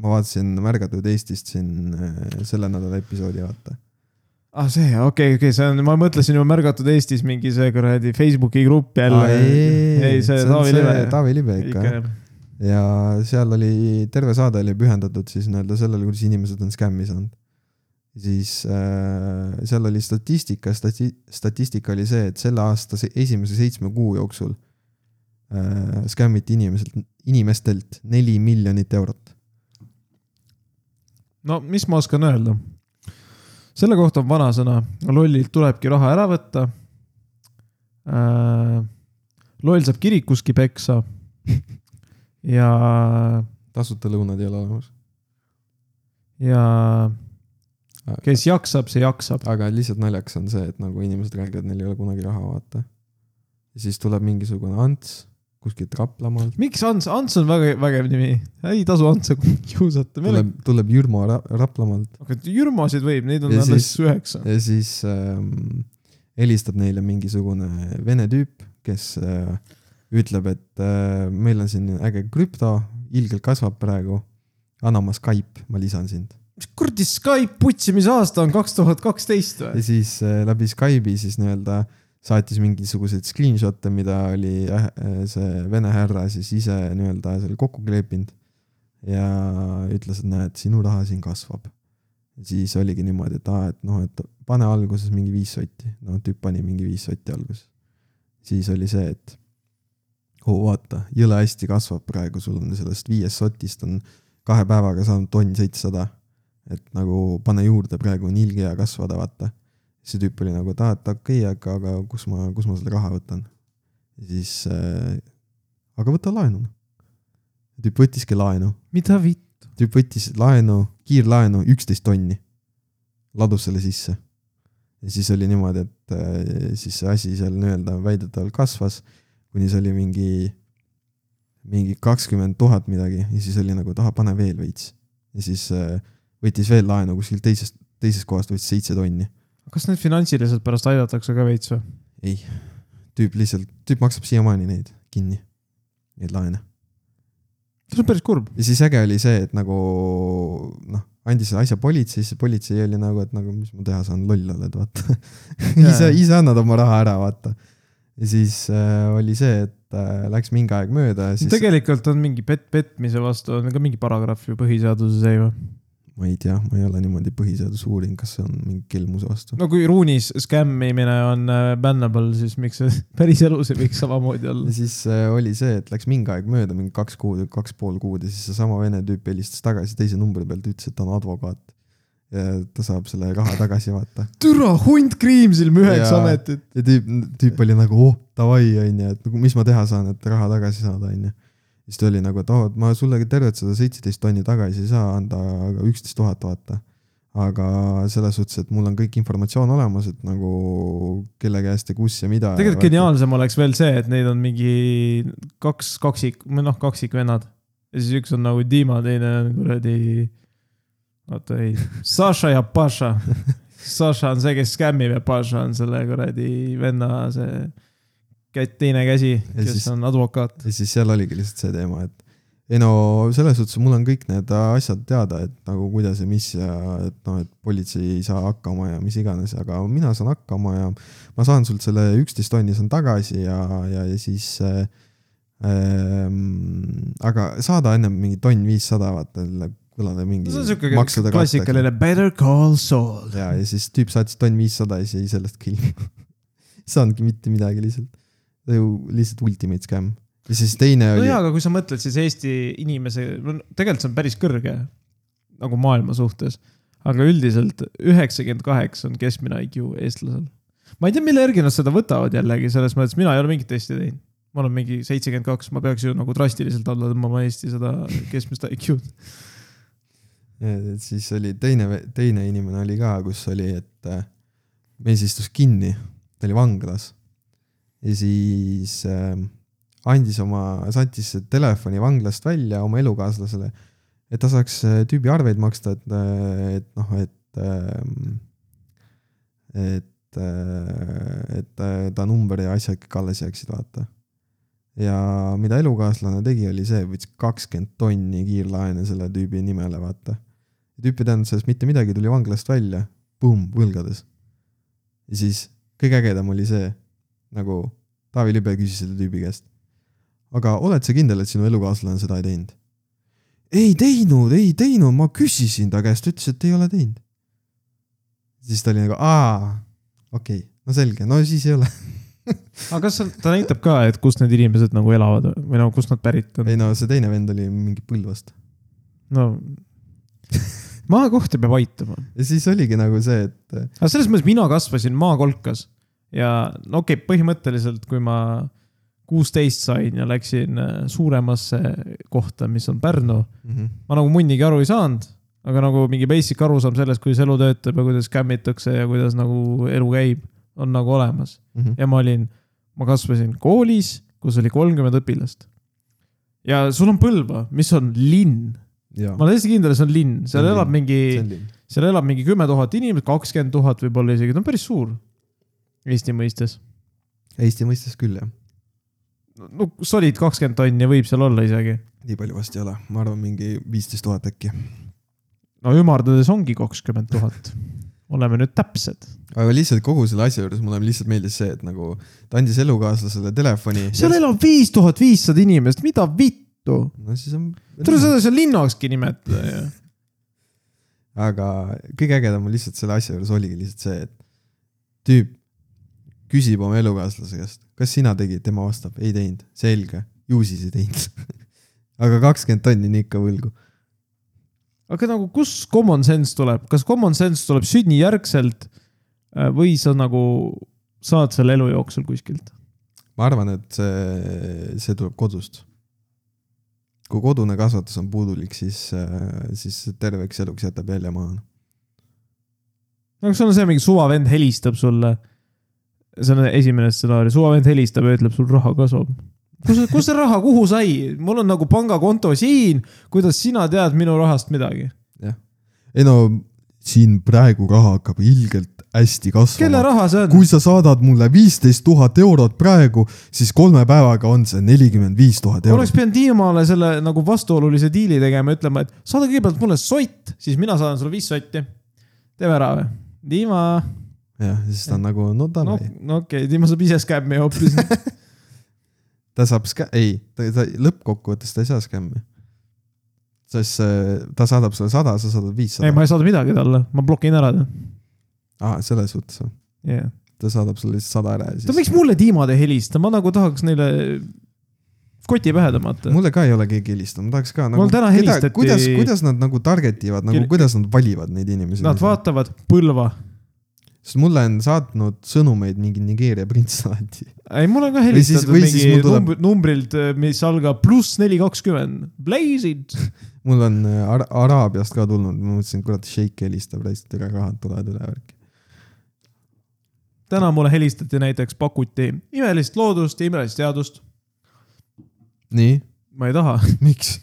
ma vaatasin Märgatud Eestist siin äh, selle nädala episoodi , vaata . ah see , okei okay, , okei okay, , see on , ma mõtlesin juba märgatud Eestis mingi see kuradi Facebooki grupp jälle . ei , see Taavi Live . Taavi Libe ikka , jah . ja seal oli , terve saade oli pühendatud siis nii-öelda sellele , kuidas inimesed on skämmi saanud . siis äh, seal oli statistika stati, , statistika oli see , et selle aasta se- esimese seitsme kuu jooksul äh, skämmiti inimeselt , inimestelt neli miljonit eurot . no mis ma oskan öelda ? selle kohta on vanasõna , lollilt tulebki raha ära võtta . loll saab kirikuski peksa . ja , tasuta lõunad ei ole olemas . ja kes jaksab , see jaksab . Äh, aga lihtsalt naljakas on see , et nagu inimesed räägivad , neil ei ole kunagi raha , vaata . ja siis tuleb mingisugune Ants kuskilt Raplamaalt , miks Ants , Ants on väga vägev nimi , ei tasu Antsa kiusata , meil on , tuleb , tuleb Jürmo Ra- Raplamaalt . aga Jürmasid võib , neid on Ja alles siis- üheksa . ja siis ähm, helistab neile mingisugune vene tüüp , kes äh, ütleb , et äh, meil on siin äge krüpto , ilgelt kasvab praegu . anna oma Skype , ma lisan sind . mis kuradi Skype putsi , mis aasta on , kaks tuhat kaksteist ja või ? siis äh, läbi Skype'i siis nii-öelda saatis mingisuguseid screenshot'e , mida oli äh, äh, see vene härra siis ise nii-öelda seal kokku kleepinud . ja ütles , et näed , sinu raha siin kasvab . siis oligi niimoodi , et aa , et noh , et pane alguses mingi viis sotti , no tüüp pani mingi viis sotti alguses . siis oli see , et oo vaata , jõle hästi kasvab praegu , sul on sellest viiest sotist on kahe päevaga saanud tonn seitsesada . et nagu pane juurde , praegu on ilge ja kasvada , vaata . see tüüp oli nagu , et aa , et okei okay, , aga , aga kus ma , kus ma selle raha võtan . siis äh, , aga võta laenu . tüüp võttiski laenu , mida vitt ? tüüp võttis laenu , kiirlaenu üksteist tonni . ladus selle sisse . ja siis oli niimoodi , et äh, siis see asi seal nii-öelda väidetavalt kasvas , kuni see oli mingi , mingi kakskümmend tuhat midagi ja siis oli nagu , et ahah , pane veel veits . ja siis äh, võttis veel laenu kuskilt teisest , teisest kohast võttis seitse tonni . kas neid finantsiliselt pärast aidatakse ka veits või ? ei , tüüp lihtsalt , tüüp maksab siiamaani neid kinni , neid laene . see on päris kurb . ja siis äge oli see , et nagu noh , andis asja politseisse , politsei oli nagu , et nagu mis ma teha saan , loll oled , vaata . <laughs> ise , ise annad oma raha ära , vaata . ja siis äh, oli see , et äh, läks mingi aeg mööda ja siis Tegel... tegelikult on mingi pet- , petmise vastu on ka mingi paragrahv ju põhiseaduses , ei või ? ma ei tea , ma ei ole niimoodi põhiseaduse uurinud , kas see on mingi kelmuse vastu no. . no kui ruunis skämmimine on äh, bannable , siis miks see <laughs> päriselus ei võiks samamoodi olla ja ? siis äh, oli see , et läks mingi aeg mööda , mingi kaks kuud , kaks pool kuud ja siis seesama vene tüüp helistas tagasi teise numbri pealt , ütles , et ta on advokaat . ta saab selle raha tagasi , <laughs> vaata . türa hunt kriimsilm üheksa Jaa. ametit . ja tüüp , tüüp oli nagu oh davai onju , et nagu mis ma teha saan , et raha tagasi saada onju . siis ta oli nagu , et oh , et ma sulle tervet seda seitseteist tonni tagasi ei saa anda , aga üksteist tuhat vaata . aga selles suhtes , et mul on kõik informatsioon olemas , et nagu kelle käest ja kus ja mida . tegelikult . geniaalsem oleks veel see , et neid on mingi kaks kaksik , või noh , kaksikvennad . ja siis üks on nagu Dima , teine on kuradi , oota ei , Saša ja Paša . Saša on see , kes skämmib ja Paša on selle kuradi venna see kä- teine käsi , Ja kes siis- on advokaat . ja siis seal oligi lihtsalt see teema , et ei no selles suhtes mul on kõik need asjad teada , et nagu kuidas ja mis ja et noh , et politsei ei saa hakkama ja mis iganes , aga mina saan hakkama ja ma saan sult selle üksteist tonni saan tagasi ja , ja , ja siis äh, . Ähm, aga saada ennem mingi tonn viissada , vaata , kõlada mingi . see on siuke klassikaline Better Call Saul . ja , ja siis tüüp saatis tonn viissada ja siis jäi sellest ka ilma . <laughs> ei saanudki mitte midagi lihtsalt . ta ju lihtsalt ultimate scam . ja siis teine oli nojaa , aga kui sa mõtled , siis Eesti inimese , tegelikult see on päris kõrge nagu maailma suhtes . aga üldiselt üheksakümmend kaheksa on keskmine IQ eestlasel . ma ei tea , mille järgi nad seda võtavad jällegi , selles mõttes , mina ei ole mingit testi teinud . ma olen mingi seitsekümmend kaks , ma peaks ju nagu drastiliselt alla tõmbama Eesti seda keskmist IQ-d . Ja siis oli teine , teine inimene oli ka , kus oli , et äh, mees istus kinni , ta oli vanglas . ja siis äh, andis oma , saatis telefoni vanglast välja oma elukaaslasele , et ta saaks äh, tüübi arveid maksta , et , et noh , et äh, et , et äh, ta number ja asjad kõik alles jääksid , vaata . ja mida elukaaslane tegi , oli see , võttis kakskümmend tonni kiirlaene selle tüübi nimele , vaata . tüüp ei teadnud sellest mitte midagi , tuli vanglast välja , pumm , võlgades . ja siis kõige ägedam oli see , nagu Taavi Libe küsis selle tüübi käest . aga oled sa kindel , et sinu elukaaslane seda ei teinud ? ei teinud , ei teinud , ma küsisin ta käest , ütles , et ei ole teinud . siis ta oli nagu , aa , okei okay. , no selge , no siis ei ole . <laughs> aga kas sa- ta näitab ka , et kust need inimesed nagu elavad või no kust nad pärit on ? ei no see teine vend oli mingi Põlvast . no maakohti peab aitama . ja siis oligi nagu see , et aga selles mõttes mina kasvasin maakolkas ja no okei okay, , põhimõtteliselt , kui ma kuusteist sain ja läksin äh, suuremasse kohta , mis on Pärnu , mm . -hmm. ma nagu munnigi aru ei saanud , aga nagu mingi basic arusaam sellest , kuidas elu töötab ja kuidas skämmitakse ja kuidas nagu elu käib , on nagu olemas . Mm -hmm. ja ma olin , ma kasvasin koolis , kus oli kolmkümmend õpilast . ja sul on Põlva , mis on linn , ja ma olen täiesti kindel , et see on linn , Mm. seal See on elab linn. mingi selline . seal elab mingi kümme tuhat inimest , kakskümmend tuhat võib-olla isegi , ta on päris suur Eesti mõistes . Eesti mõistes küll jah , no solid kakskümmend tonni võib seal olla isegi . nii palju vast ei ole , ma arvan , mingi viisteist tuhat äkki . no ümardades ongi kakskümmend tuhat . oleme nüüd täpsed . aga lihtsalt kogu selle asja juures mulle lihtsalt meeldis see , et nagu ta andis elukaaslasele telefoni . seal elab viis tuhat viissada inimest , mida vittu ? no siis on . tule seda seal linnakski nimetada ju . aga kõige ägedam lihtsalt selle asja juures oligi lihtsalt see , et tüüp küsib oma elukaaslase käest , kas sina tegid , tema vastab , ei teinud , selge , ju siis ei teinud . <laughs> aga kakskümmend tonni on ikka võlgu . aga nagu , kus common sense tuleb , kas common sense tuleb sünnijärgselt äh, või sa nagu saad selle elu jooksul kuskilt ? ma arvan , et see , see tuleb kodust . kui kodune kasvatus on puudulik , siis , siis terveks eluks jätab jälje maha . no kas sul on see mingi suvavend helistab sulle ? see on esimene stsenaarium , suvavend helistab ja ütleb , sul raha kasvab . kus , kus see raha , kuhu sai ? mul on nagu pangakonto siin , kuidas sina tead minu rahast midagi ? ei no siin praegu raha hakkab ilgelt hästi kelle kasvama . raha see on ? kui sa saadad mulle viisteist tuhat eurot praegu , siis kolme päevaga on see nelikümmend viis tuhat oleks eurot . pidanud Diimale selle nagu vastuolulise diili tegema , ütlema , et saada kõigepealt mulle sott , siis mina saadan sulle viis sotti . teeme ära või ? Diima , jah , siis ta on nagu , no no, davai , no okei okay. , Diima saab ise skämmi hoopis . ta saab skä- , ei , ta, ta lõppkokkuvõttes ta ei saa skämmi . sest see- ta saadab sulle sada , sa saadad ei , viissada . ma ei saada midagi talle , ma blokin ära ta aa , selles suhtes , yeah. . ta saadab sulle lihtsalt sada ära ja ta siis . võiks mulle Diimad ei helista , ma nagu tahaks neile koti pähe tõmmata . mulle ka ei ole keegi helistanud , ma tahaks ka nagu . Mul täna helistati- kuidas , kuidas nad nagu target ivad , nagu Kir- kuidas nad valivad neid inimesi ? Nad vaatavad Põlva . sest mulle on saatnud sõnumeid mingi Nigeeria prints alati . ei , mul on ka Või siis- helistatud või siis mingi mul tuleb- tuleb... numbrilt , mis algab pluss neli kakskümmend . Blazed . mul on äh, Ara- Araabiast ka tulnud , ma mõtlesin , kurat , šeik helistab , lihtsalt ega rahad tulevad üle värki . täna mulle helistati näiteks , pakuti imelist loodust ja imelist teadust . nii , <laughs> ma ei taha , miks ?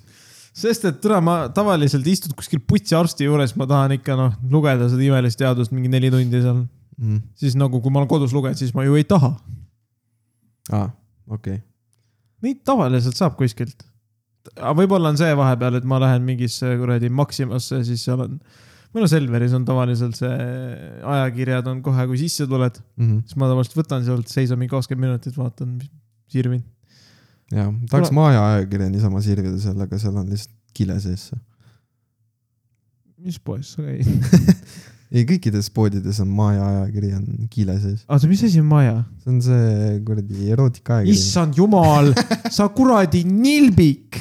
sest et täna ma tavaliselt istud kuskil putsiarsti juures , ma tahan ikka noh , lugeda seda imelist teadust mingi neli tundi seal . Mhm. siis nagu , kui ma olen kodus lugenud , siis ma ju ei taha . aa , Ah, okei , Neid tavaliselt saab kuskilt . aga võib-olla on see vahepeal , et ma lähen mingisse kuradi Maximasse , siis seal on , või no Selveris on tavaliselt see , ajakirjad on kohe , kui sisse tuled , Mhm. siis ma tavaliselt võtan sealt , seisan mingi kakskümmend minutit , vaatan , sirvin . jaa , tahaks Kuule- Maaja ajakirja niisama sirvida seal , aga seal on lihtsalt kile sees . mis poes sa käid ? <laughs> ei , kõikides poodides on Maaja ajakiri on kile sees . oota , mis asi on maja ? see on see kuradi erootika ajakiri . issand jumal , sa kuradi nilbik .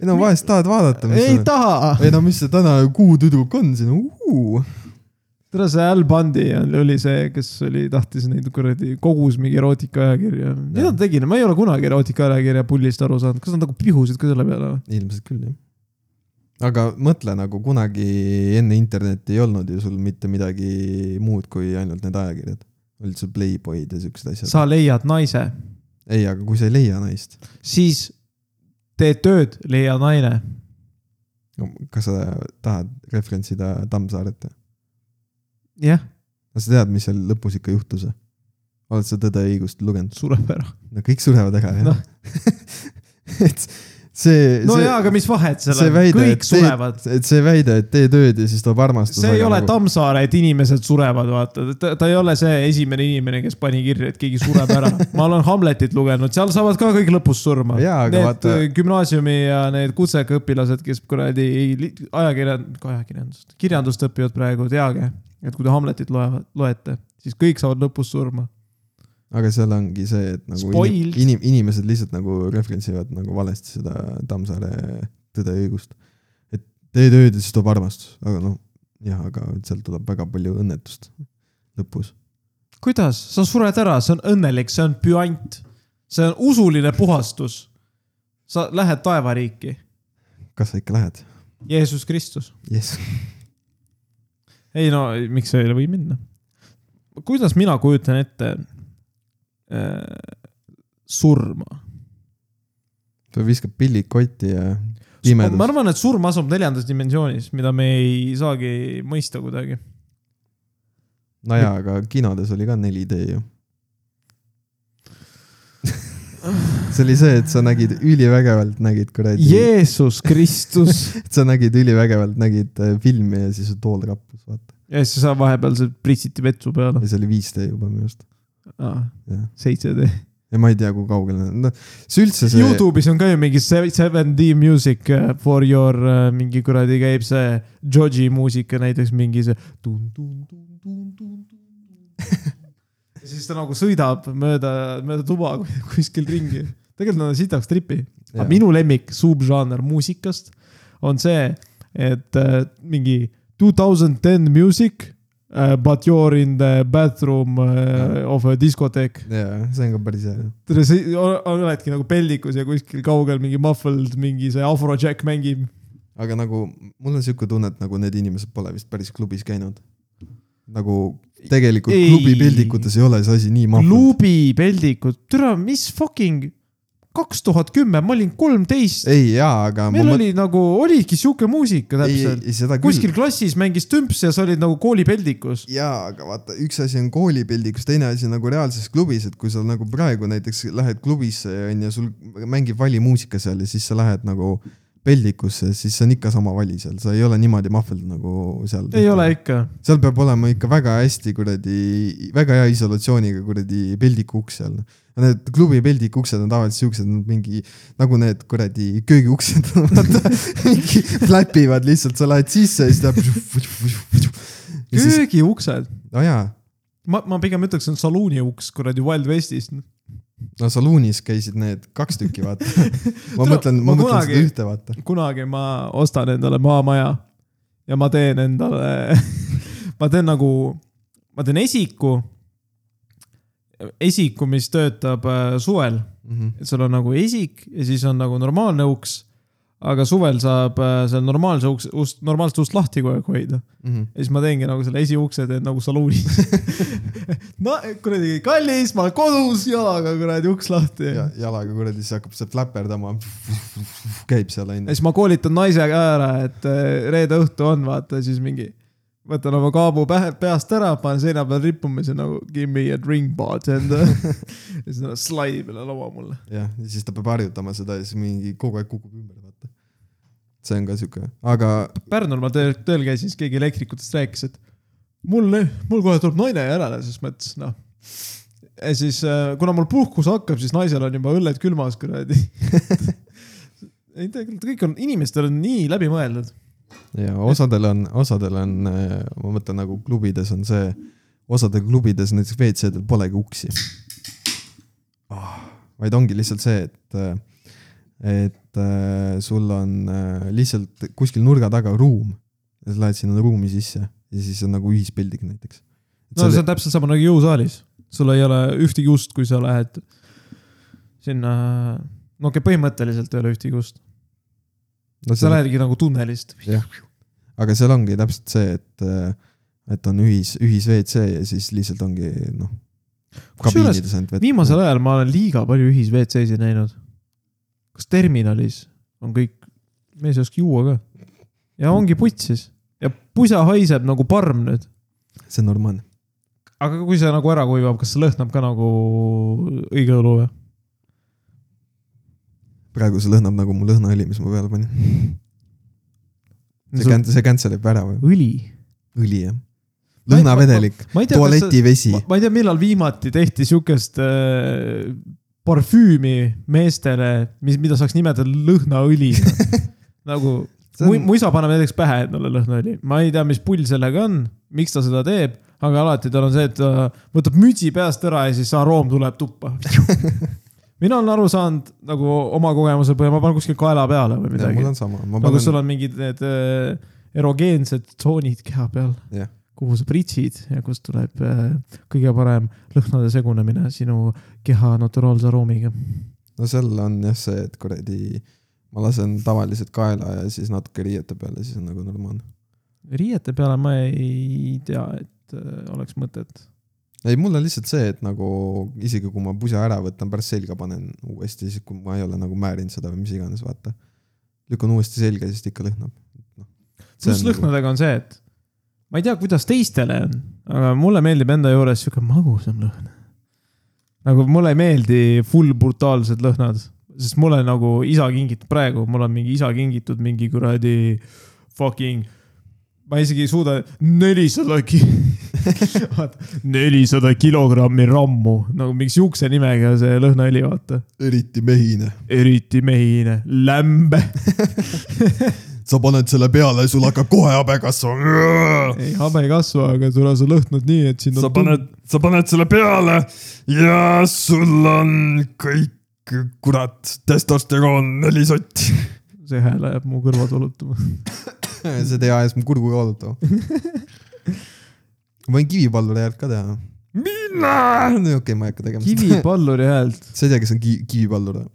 ei no vahest tahad vaadata , mis ei seal on . taha . ei no mis see täna kuu tüdruk on siin , tere , see Al Bundy on- oli see , kes oli , tahtis neid kuradi , kogus mingi erootikaajakirja . mida ta tegi , ma ei ole kunagi erootikaajakirja pullist aru saanud , kas nad nagu pihusid ka selle peale või ? ilmselt küll jah . aga mõtle nagu kunagi enne internetti ei olnud ju sul mitte midagi muud kui ainult need ajakirjad . olid sul Playboy'd ja siuksed asjad Sa . sa leiad naise , ei , aga kui sa ei leia naist , siis teed tööd , leia naine . kas sa tahad referentsida Tammsaaret ? jah , sa tead , mis seal lõpus ikka juhtus ? oled sa Tõde ja õigust lugenud ? sureb ära . no kõik surevad ära jah no. Noh. <laughs> et see . no jaa , aga mis vahet see seal on , väide , kõik et tee surevad ., et see väide , et tee tööd ja siis nagu- tuleb armastus . see ei ole Tammsaare , et inimesed surevad , vaata , ta , ta ei ole see esimene inimene , kes pani kirja , et keegi sureb <laughs> ära . ma olen Hamletit lugenud , seal saavad ka kõik lõpus surma . Jaa, aga Need vaata- äh, gümnaasiumi ja need kutsekaõpilased , kes kuradi li- ajakirjand- , ajakirjandust , kirjandust õpivad praegu , teage , et kui te Hamletit loevad , loete , siis kõik saavad lõpus surma . aga seal ongi see , et nagu inim, Spoiled. inim, inimesed lihtsalt nagu referentsivad nagu valesti seda Tammsaare Tõde ja õigust . et tee tööd ja siis tuleb armastus , aga noh , jah , aga sealt tuleb väga palju õnnetust lõpus . kuidas , sa sured ära , see on õnnelik , see on püant , see on usuline puhastus . sa lähed taevariiki , kas sa ikka lähed ? Jeesus Kristus . <laughs> jess . ei no miks sa ei või minna ? kuidas mina kujutan ette äh, surma ? ta viskab pillid kotti ja ma pimedus . arvan , et surm asub neljandas dimensioonis , mida me ei saagi mõista kuidagi . no jaa , aga kinodes oli ka 4D ju . <laughs> see oli see , et sa nägid ülivägevalt nägid kuradi yeah. , Jeesus Kristus . <laughs> sa nägid ülivägevalt nägid äh, filmi ja siis su tool rappus , vaata . ja siis sa vahepeal see pritsiti vetsu peale ja see oli 5D juba minu arust , ah, . jah seitse D . ja ma ei tea , kui kaugel nad on , noh , see üldse see . Youtube'is on ka ju mingi se- 7D music äh, for your äh, mingi kuradi käib see Joji muusika näiteks mingi see . ja siis ta nagu sõidab mööda , mööda tuba kuskil ringi . tegelikult nad on sitaks tripi . aga minu lemmik subžanr muusikast on see , et äh, mingi two thousand ten music uh, . But you are in the bathroom uh, of a discotheque . jaa , see on ka päris hea . oledki nagu peldikus ja kuskil kaugel mingi muffled , mingi see afrojack mängib . aga nagu mul on sihuke tunne , et nagu need inimesed pole vist päris klubis käinud . nagu tegelikult Ei. ei. klubi pildikutes ei ole see asi nii mahvalt . klubi peldikud , türa , mis fucking kaks tuhat kümme , ma olin kolmteist . ei jaa , aga meil oli nagu , oligi sihuke muusika ei , täpselt . ei seda küll . kuskil klassis mängis tümps ja sa olid nagu koolipeldikus . jaa , aga vaata , üks asi on koolipildikus , teine asi nagu reaalses klubis , et kui sa nagu praegu näiteks lähed klubisse ja onju , sul mängib vali muusika seal ja siis sa lähed nagu peldikusse , siis see on ikka sama vali seal , sa ei ole niimoodi mahveld nagu seal . ei ole . ikka . seal peab olema ikka väga hästi kuradi , väga hea isolatsiooniga kuradi peldiku uks seal . Need klubi peldiku uksed on tavaliselt siuksed , mingi nagu need kuradi köögiuksed , <laughs> vaata , mingi flapivad lihtsalt , sa lähed sisse ja siis <laughs> läheb . ja siis , köögiuksed , no jaa , ma , ma pigem ütleks , see on saluuni uks kuradi Wild Westis . no saluunis käisid need kaks tükki , <laughs> vaata . ma Tule- mõtlen , ma ma mõtlen kunagi- seda ühte , vaata . kunagi ma ostan endale maamaja ja ma teen endale , <laughs> ma teen nagu , ma teen esiku . esiku , mis töötab äh, suvel Mhm, et sul on nagu esik ja siis on nagu normaalne uks . aga suvel saab äh, seal normaalse uks , ust , normaalset ust lahti kogu aeg hoida . mhm. ja siis ma teengi nagu selle esiukse teen nagu saluunis . no kuradi kallis , ma olen kodus jalaga kuradi uks lahti . ja ja jalaga kuradi , siis hakkab see flaperdama , käib seal onju . siis ma koolitan naise ka ära , et äh, reede õhtu on vaata siis mingi võtan oma kaabu pähe , peast ära , panen seina peal rippumise nagu give me a drink bot and <laughs> ja siis nagu ta slaidib üle laua mulle . jah , ja siis ta peab harjutama seda ja siis mingi kogu aeg kukub ümber , vaata . see on ka siuke , aga Pärnul ma tööl , tööl käisin , siis keegi elektrikutest rääkis , et mul , mul kohe tuleb naine järele , siis ma ütlesin , noh . ja siis , kuna mul puhkus hakkab , siis naisel on juba õlled külmas , kuradi . <laughs> ei tegelikult kõik on , inimestel on nii läbimõeldud . ja osadel on , osadel on , ma mõtlen nagu klubides on see , osadel klubides näiteks WC-del polegi uksi oh, . vaid ongi lihtsalt see , et , et äh, sul on äh, lihtsalt kuskil nurga taga ruum . ja sa lähed sinna ruumi sisse ja siis on nagu ühispildik näiteks . no see on täpselt sama nagu jõusaalis . sul ei ole ühtegi ust , kui sa lähed sinna , no okei okay, , põhimõtteliselt ei ole ühtegi ust . no, sa lähedki nagu tunnelist . aga seal ongi täpselt see , et , et on ühis , ühis WC ja siis lihtsalt ongi noh . Kusjuures kabiinides ainult viimasel ajal ma olen liiga palju ühis WC-sid näinud . kas terminalis on kõik , mees ei oska juua ka . ja ongi putsis ja pusa haiseb nagu parm nüüd . see on normaalne . aga kui see nagu ära kuivab , kas see lõhnab ka nagu õige õlu või ? praegu see lõhnab nagu mu lõhnaõli , mis ma peale <laughs> panin . see can- , see cancel ib ära või ? õli . õli jah . lõhnavedelik , ma ei tea , kas see , tualetivesi ma , ma ei tea , millal viimati tehti sihukest äh, parfüümi meestele , mis , mida saaks nimetada lõhnaõliga nagu See on- on... . mu isa paneb näiteks pähe endale lõhnaõli , ma ei tea , mis pull sellega on , miks ta seda teeb , aga alati tal on see , et ta võtab mütsi peast ära ja siis aroom <laughs> tuleb tuppa . mina olen aru saanud nagu oma kogemuse põhjal , ma panen kuskil kaela peale või mul midagi . on sama , ma no kus panen , sul on mingid need äh, erogeensed tsoonid keha peal Jah. kuhu sa pritsid ja kust tuleb äh, kõige parem lõhnade segunemine sinu keha naturaalse aroomiga . no seal on jah see , et kuradi , ma lasen tavaliselt kaela ja siis natuke riiete peale , siis on nagu normaalne . riiete peale ma ei tea , et äh, oleks mõtet . ei , mul on lihtsalt see , et nagu isegi kui ma pusa ära võtan , pärast selga panen uuesti , siis kui ma ei ole nagu määrinud seda või mis iganes , vaata . lükkan uuesti selga , siis ta ikka lõhnab . noh . pluss lõhnadega on see , et ma ei tea , kuidas teistele on , aga mulle meeldib enda juures sihuke magusam lõhn . nagu mulle ei meeldi full brutaalsed lõhnad , sest mulle nagu isa kingitud praegu , mul on mingi isa kingitud mingi kuradi fucking , ma isegi ei suuda , nelisada ki- , <laughs> nelisada kilogrammi rammu , nagu mingi sihukese nimega see lõhnaõli , vaata . eriti mehine . eriti mehine , lämbe . sa paned selle peale ja sul hakkab kohe habe <laughs> kasvama . ei , habe ei kasva , aga sul on see lõhnud nii , et sind on sa paned , sa paned selle peale ja sul on kõik , kurat , testosteroon neli sotti . tund- see hääl ajab mu kõrvad valutama . <laughs> see teie ajas mu kurgu kaalutav . <laughs> ma võin kivipalluri häält ka teha . mina . okei okay, , ma ei hakka tegema seda . kivipalluri häält , <laughs> sa ei tea , kes on ki- kivipallur või ?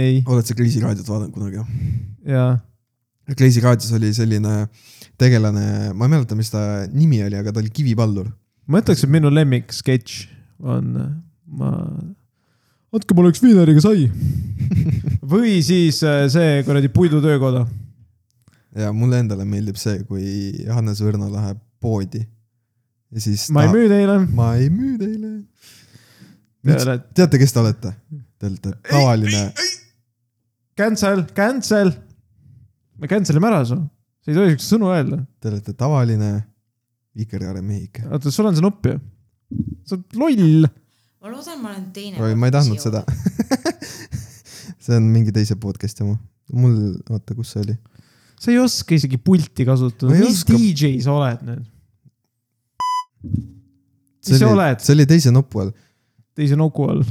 ei , oled sa Kreisi raadiot vaadanud kunagi ? jaa . Kreisi raadios oli selline tegelane , ma ei mäleta , mis ta nimi oli , aga ta oli kivipallur . ma ütleks , et minu lemmik sketš on , ma , andke mulle üks viineriga sai . või siis äh, see kuradi puidutöökoda . ja mulle endale meeldib see , kui Hannes Võrno läheb poodi . ja siis ma ei ta... müü teile . ma ei müü teile . Te Miks- olete teate , kes te olete ? Te olete tavaline , cancel , cancel . me cancel ime ära su , sa ei tohi siukseid sõnu öelda . te olete tavaline vikerkaare mehike . oota , sul on see nupp ju . sa oled loll . ma loodan , ma olen teine . oi , ma ei tahtnud seda . <laughs> see on mingi teise podcast'i oma . mul , oota , kus see oli ? sa ei oska isegi pulti kasutada Ma . ei mis oska. DJ sa oled nüüd ? mis see sa oli , oled see oli teise nupu all . <laughs> teise nuku all ?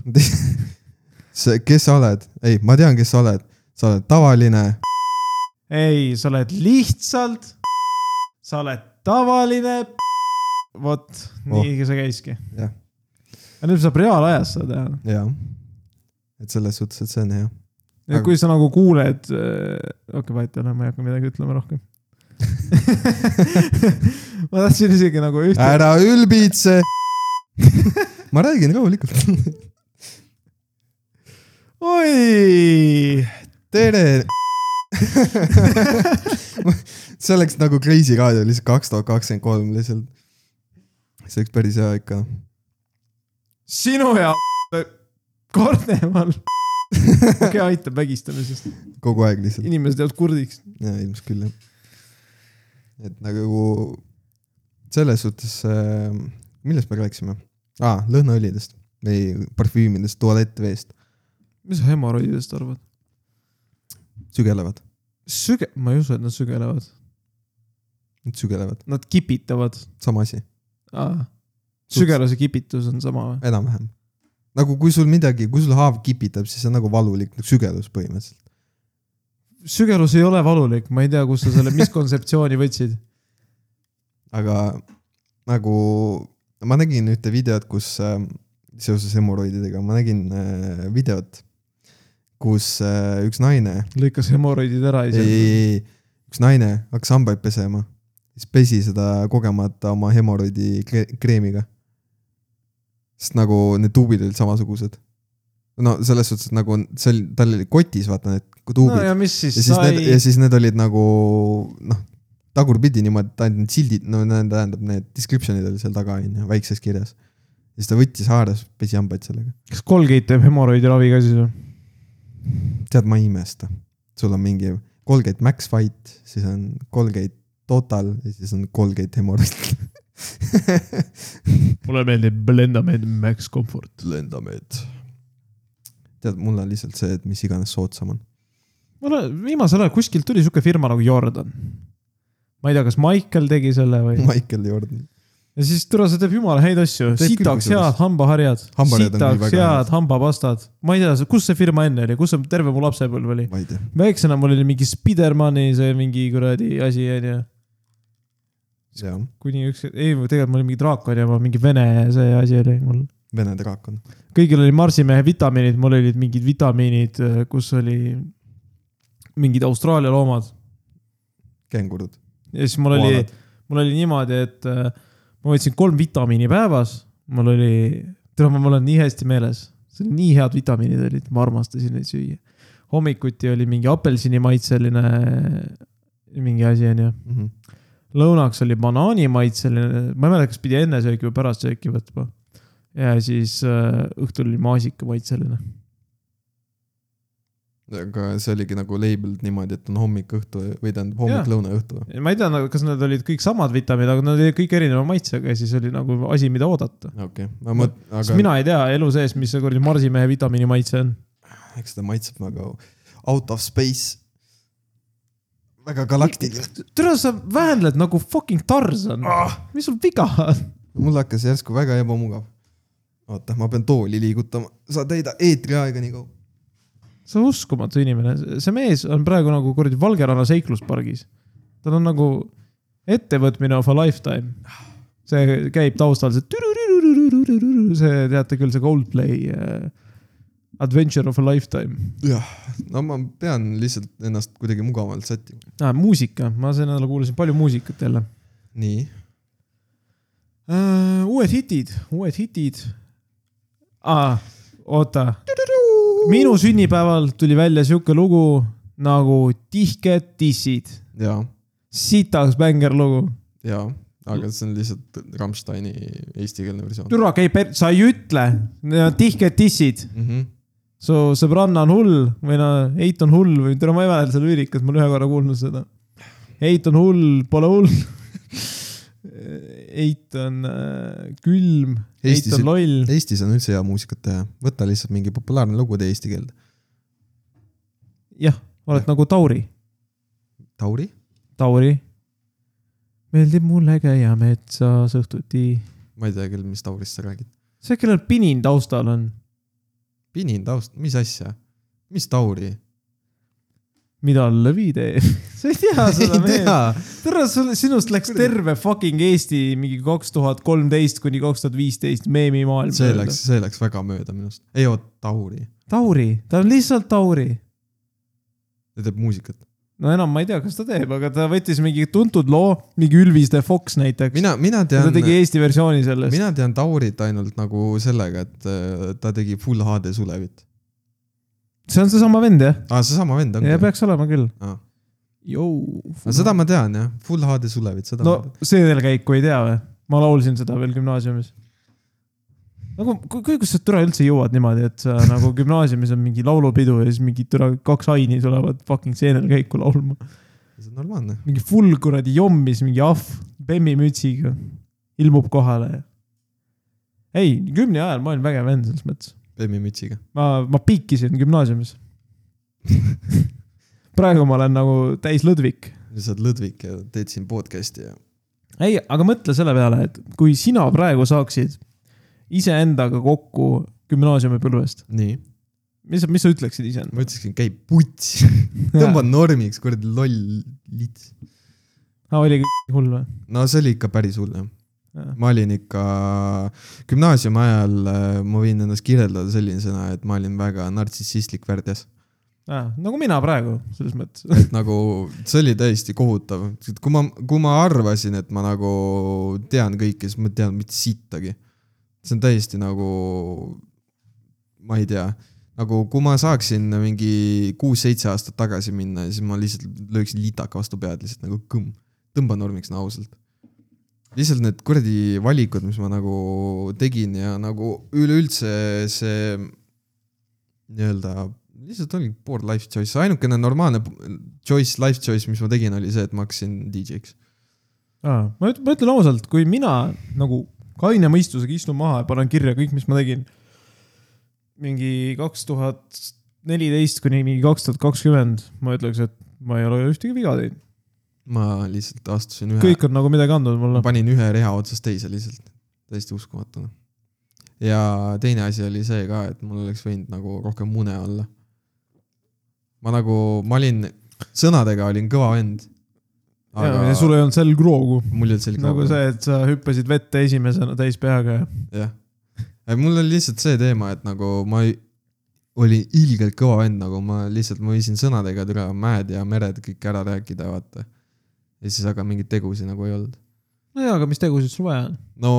see , kes sa oled ? ei , ma tean , kes sa oled . sa oled tavaline , ei , sa oled lihtsalt , sa oled tavaline . <laughs> vot , Oh. nii see käiski . Jah. aga nüüd saab reaalajas seda teha . jaa . et selles suhtes , et see on hea . ja Aga- kui sa nagu kuuled , okei , vahet ei ole , ma ei hakka midagi ütlema <laughs> rohkem . ma tahtsin isegi nagu ühte , ära ülbitse . <laughs> ma räägin <laughs> rahulikult . oi , tere . <laughs> see oleks nagu Kreisi raadio lihtsalt kaks tuhat kakskümmend kolm lihtsalt . see oleks päris hea ikka . sinu ja <laughs> Kornemal . okei , aitab vägistamisest , <laughs> kogu aeg lihtsalt . inimesed jäävad kurdiks . jaa , ilmselt küll jah . et nagu selles suhtes , millest me rääkisime ah, ? lõhnaõlidest või parfüümidest , tualettveest , mis sa hemoroididest arvad ? sügelevad , süge- , ma ei usu , et nad sügelevad , nad sügelevad , nad kipitavad sama asi , ah, . sügelase kipitus on sama või ? enam-vähem . nagu kui sul midagi , kui sul haav kipitab , siis see on nagu valulik nagu sügelus põhimõtteliselt . sügelus ei ole valulik , ma ei tea , kust sa <laughs> selle miskontseptsiooni võtsid . aga nagu ma nägin ühte videot , kus äh, seoses hemoroididega ma nägin äh, videot , kus äh, üks naine , lõikas hemoroidid ära ei , ise . ei , ei , üks naine hakkas hambaid pesema , siis pesi seda kogemata oma hemoroidi kre- kreemiga . sest nagu need tuubid olid samasugused . no selles suhtes , et nagu see oli , tal oli kotis , vaata need tuubid no ja mis siis ja siis sai need , ja siis need olid nagu noh , tagurpidi niimoodi , et ainult need sildid , no need- tähendab , need description'id olid seal taga onju , väikses kirjas . ja siis ta võttis , haaras , pesi hambaid sellega . kas Colgate teeb hemoroidi ravi ka siis või ? tead , ma ei imesta . sul on mingi Colgate Max Fight , siis on Colgate Total ja siis on Colgate Hemoroid . mulle meeldib Blendamed Max Comfort . lendameid . tead , mul on lihtsalt see , et mis iganes soodsam on . mul on , viimasel ajal kuskilt tuli sihuke firma nagu Jordan . ma ei tea , kas Michael tegi selle või ? Michael Jordan . ja siis tule , see teeb jumala häid asju , Teeb küll, sitaks kusjuures. head hambaharjad , Hambaharjad on küll sitaks väga head hambapastad . ma ei tea , kus see firma enne oli , kus see terve mu lapsepõlv oli ? ma ei tea , väiksena mul oli mingi Spidermani see mingi kuradi asi onju , jah , kuni üks , ei tegelikult mul oli mingi draakon ja ma mingi vene see asi oli mul . Vene draakon . kõigil oli Marsimehe vitamiinid , mul olid mingid vitamiinid , kus oli mingid Austraalia loomad kängurud . ja siis mul oli , mul oli niimoodi , et äh, ma võtsin kolm vitamiini päevas , mul oli , tead , mul on nii hästi meeles , see on nii head vitamiinid olid , ma armastasin neid süüa . hommikuti oli mingi apelsinimaitseline mingi asi onju , Mhm. lõunaks oli banaanimaitseline , ma ei mäleta , kas pidi enne sööki või pärast sööki võtma . ja siis äh, õhtul oli maasikamaitseline , aga see oligi nagu label'd niimoodi , et on hommik , õhtu või tähendab hommik , Jaa. lõuna , õhtu . ma ei tea , kas need olid kõik samad vitamiinid , aga nad olid kõik erineva maitsega ja siis oli nagu asi , mida oodata . okei okay. , ma mõt- , sest aga mina... mina ei tea elu sees , mis see kuradi marsimehe vitamiini maitse on . eks ta maitseb nagu out of space . väga galaktiline . türa , sa väänled nagu fucking Tarzan . mis sul viga on ? mul hakkas järsku väga ebamugav . oota , ma pean tooli liigutama , sa täida eetriaega nii kaua . sa uskumatu inimene , see mees on praegu nagu kuradi Valgeranna seikluspargis . tal on nagu ettevõtmine of a lifetime . see käib taustal see türürürürürürürürü- see teate küll , see Coldplay äh, Adventure of a lifetime jah , no ma pean lihtsalt ennast kuidagi mugavalt sättima . ah, . muusika , ma sel nädalal kuulasin palju muusikat jälle nii , uh, . uued hitid , uued hitid ah, . oota , minu sünnipäeval tuli välja sihuke lugu nagu Tihked tissid , ja , sitaks bängerlugu ja , aga see on lihtsalt Rammsteini eestikeelne versioon . türa käib , sa ei ütle , need on tihked tissid . Mm -hmm. su sõbranna on hull või no eit on hull või türa , ma ei mäleta seda lüürikat , ma olen ühe korra kuulnud seda . eit on hull , pole hull . <laughs> eit on äh, külm , eit Eestis on ei- loll . Eestis on üldse hea muusikat teha , võta lihtsalt mingi populaarne lugu tee eesti keelde . jah , oled nagu Tauri , Tauri , Tauri . meeldib mulle käia metsas õhtuti . ma ei tea küll , mis Taurist sa räägid . see , kellel pinin taustal on , pinin taust , mis asja , mis Tauri ? mida lõvi <laughs> teeb . sa ei tea <laughs> seda meelt . tere , sul , sinust läks terve fucking Eesti mingi kaks tuhat kolmteist kuni kaks tuhat viisteist meemimaailm . see läks ,. see läks väga mööda minust . ei oot , Tauri , Tauri , ta on lihtsalt Tauri . ta teeb muusikat . no enam ma ei tea , kas ta teeb , aga ta võttis mingi tuntud loo , mingi Ülviste Fox näiteks . mina , mina ta tean , tegi Eesti versiooni sellest . mina tean Taurit ainult nagu sellega , et äh, ta tegi full HD Sulevit . see on seesama vend jah ? aa , seesama vend on ja . peaks olema küll . Aa. seda seda ma tean jah , full HD Sulevit , seda no ma tean . seedelkäiku ei tea või ? ma laulsin seda veel gümnaasiumis . nagu , kui , kus sa türa üldse jõuad niimoodi , et sa <laughs> nagu gümnaasiumis on mingi laulupidu ja siis mingi türa kaks aini tulevad fucking seedelkäiku laulma . see on normaalne . mingi full kuradi jommis , mingi ahv bemmi mütsiga ilmub kohale ja . ei , gümni ajal ma olin vägev vend selles mõttes . Bemmi mütsiga . ma , ma piikisin gümnaasiumis . praegu ma olen nagu täis Ludvik . sa oled Lõdvik ja teed siin podcast'i ja . ei , aga mõtle selle peale , et kui sina praegu saaksid iseendaga kokku gümnaasiumipõlvest , nii , mis , mis sa ütleksid iseendale ? ma ütlesin , käi putsi . tõmba normiks , kuradi loll lits . aa , Ah, oli kõik hull või ? no see oli ikka päris hull jah . ma olin ikka gümnaasiumi ajal , ma võin ennast kirjeldada sellisena , et ma olin väga nartsissistlik värdjas . nagu mina praegu , selles mõttes . et nagu see oli täiesti kohutav , kui ma , kui ma arvasin , et ma nagu tean kõike , siis ma ei teadnud mitte sittagi . see on täiesti nagu , ma ei tea , nagu kui ma saaksin mingi kuus-seitse aastat tagasi minna , siis ma lihtsalt lööksin litaka vastu pead lihtsalt nagu kõmm , tõmba normiks , no ausalt lihtsalt need kuradi valikud , mis ma nagu tegin ja nagu üleüldse see nii-öelda lihtsalt oli poor life choice , ainukene normaalne choice , life choice , mis ma tegin , oli see , et ma hakkasin DJ-ks . Ah, ma üt- , ma ütlen ausalt , kui mina nagu kaine mõistusega istun maha ja panen kirja kõik , mis ma tegin , mingi kaks tuhat neliteist kuni mingi kaks tuhat kakskümmend , ma ütleks , et ma ei ole ühtegi viga teinud . ma lihtsalt astusin ühe , kõik on nagu midagi andnud mulle . panin ühe reha otsast teise lihtsalt , täiesti uskumatu . ja teine asi oli see ka , et mul oleks võinud nagu rohkem mune olla . ma nagu , ma olin , sõnadega olin kõva vend . aga ja sul ei olnud sel kroogu mul ei olnud selge nagu see , et sa hüppasid vette esimesena täis peaga ja jah . mul oli lihtsalt see teema , et nagu ma ei- olin ilgelt kõva vend , nagu ma lihtsalt , ma võisin sõnadega üle mäed ja mered kõik ära rääkida , vaata . ja siis aga mingeid tegusid nagu ei olnud . nojaa , aga mis tegusid sul vaja on ? no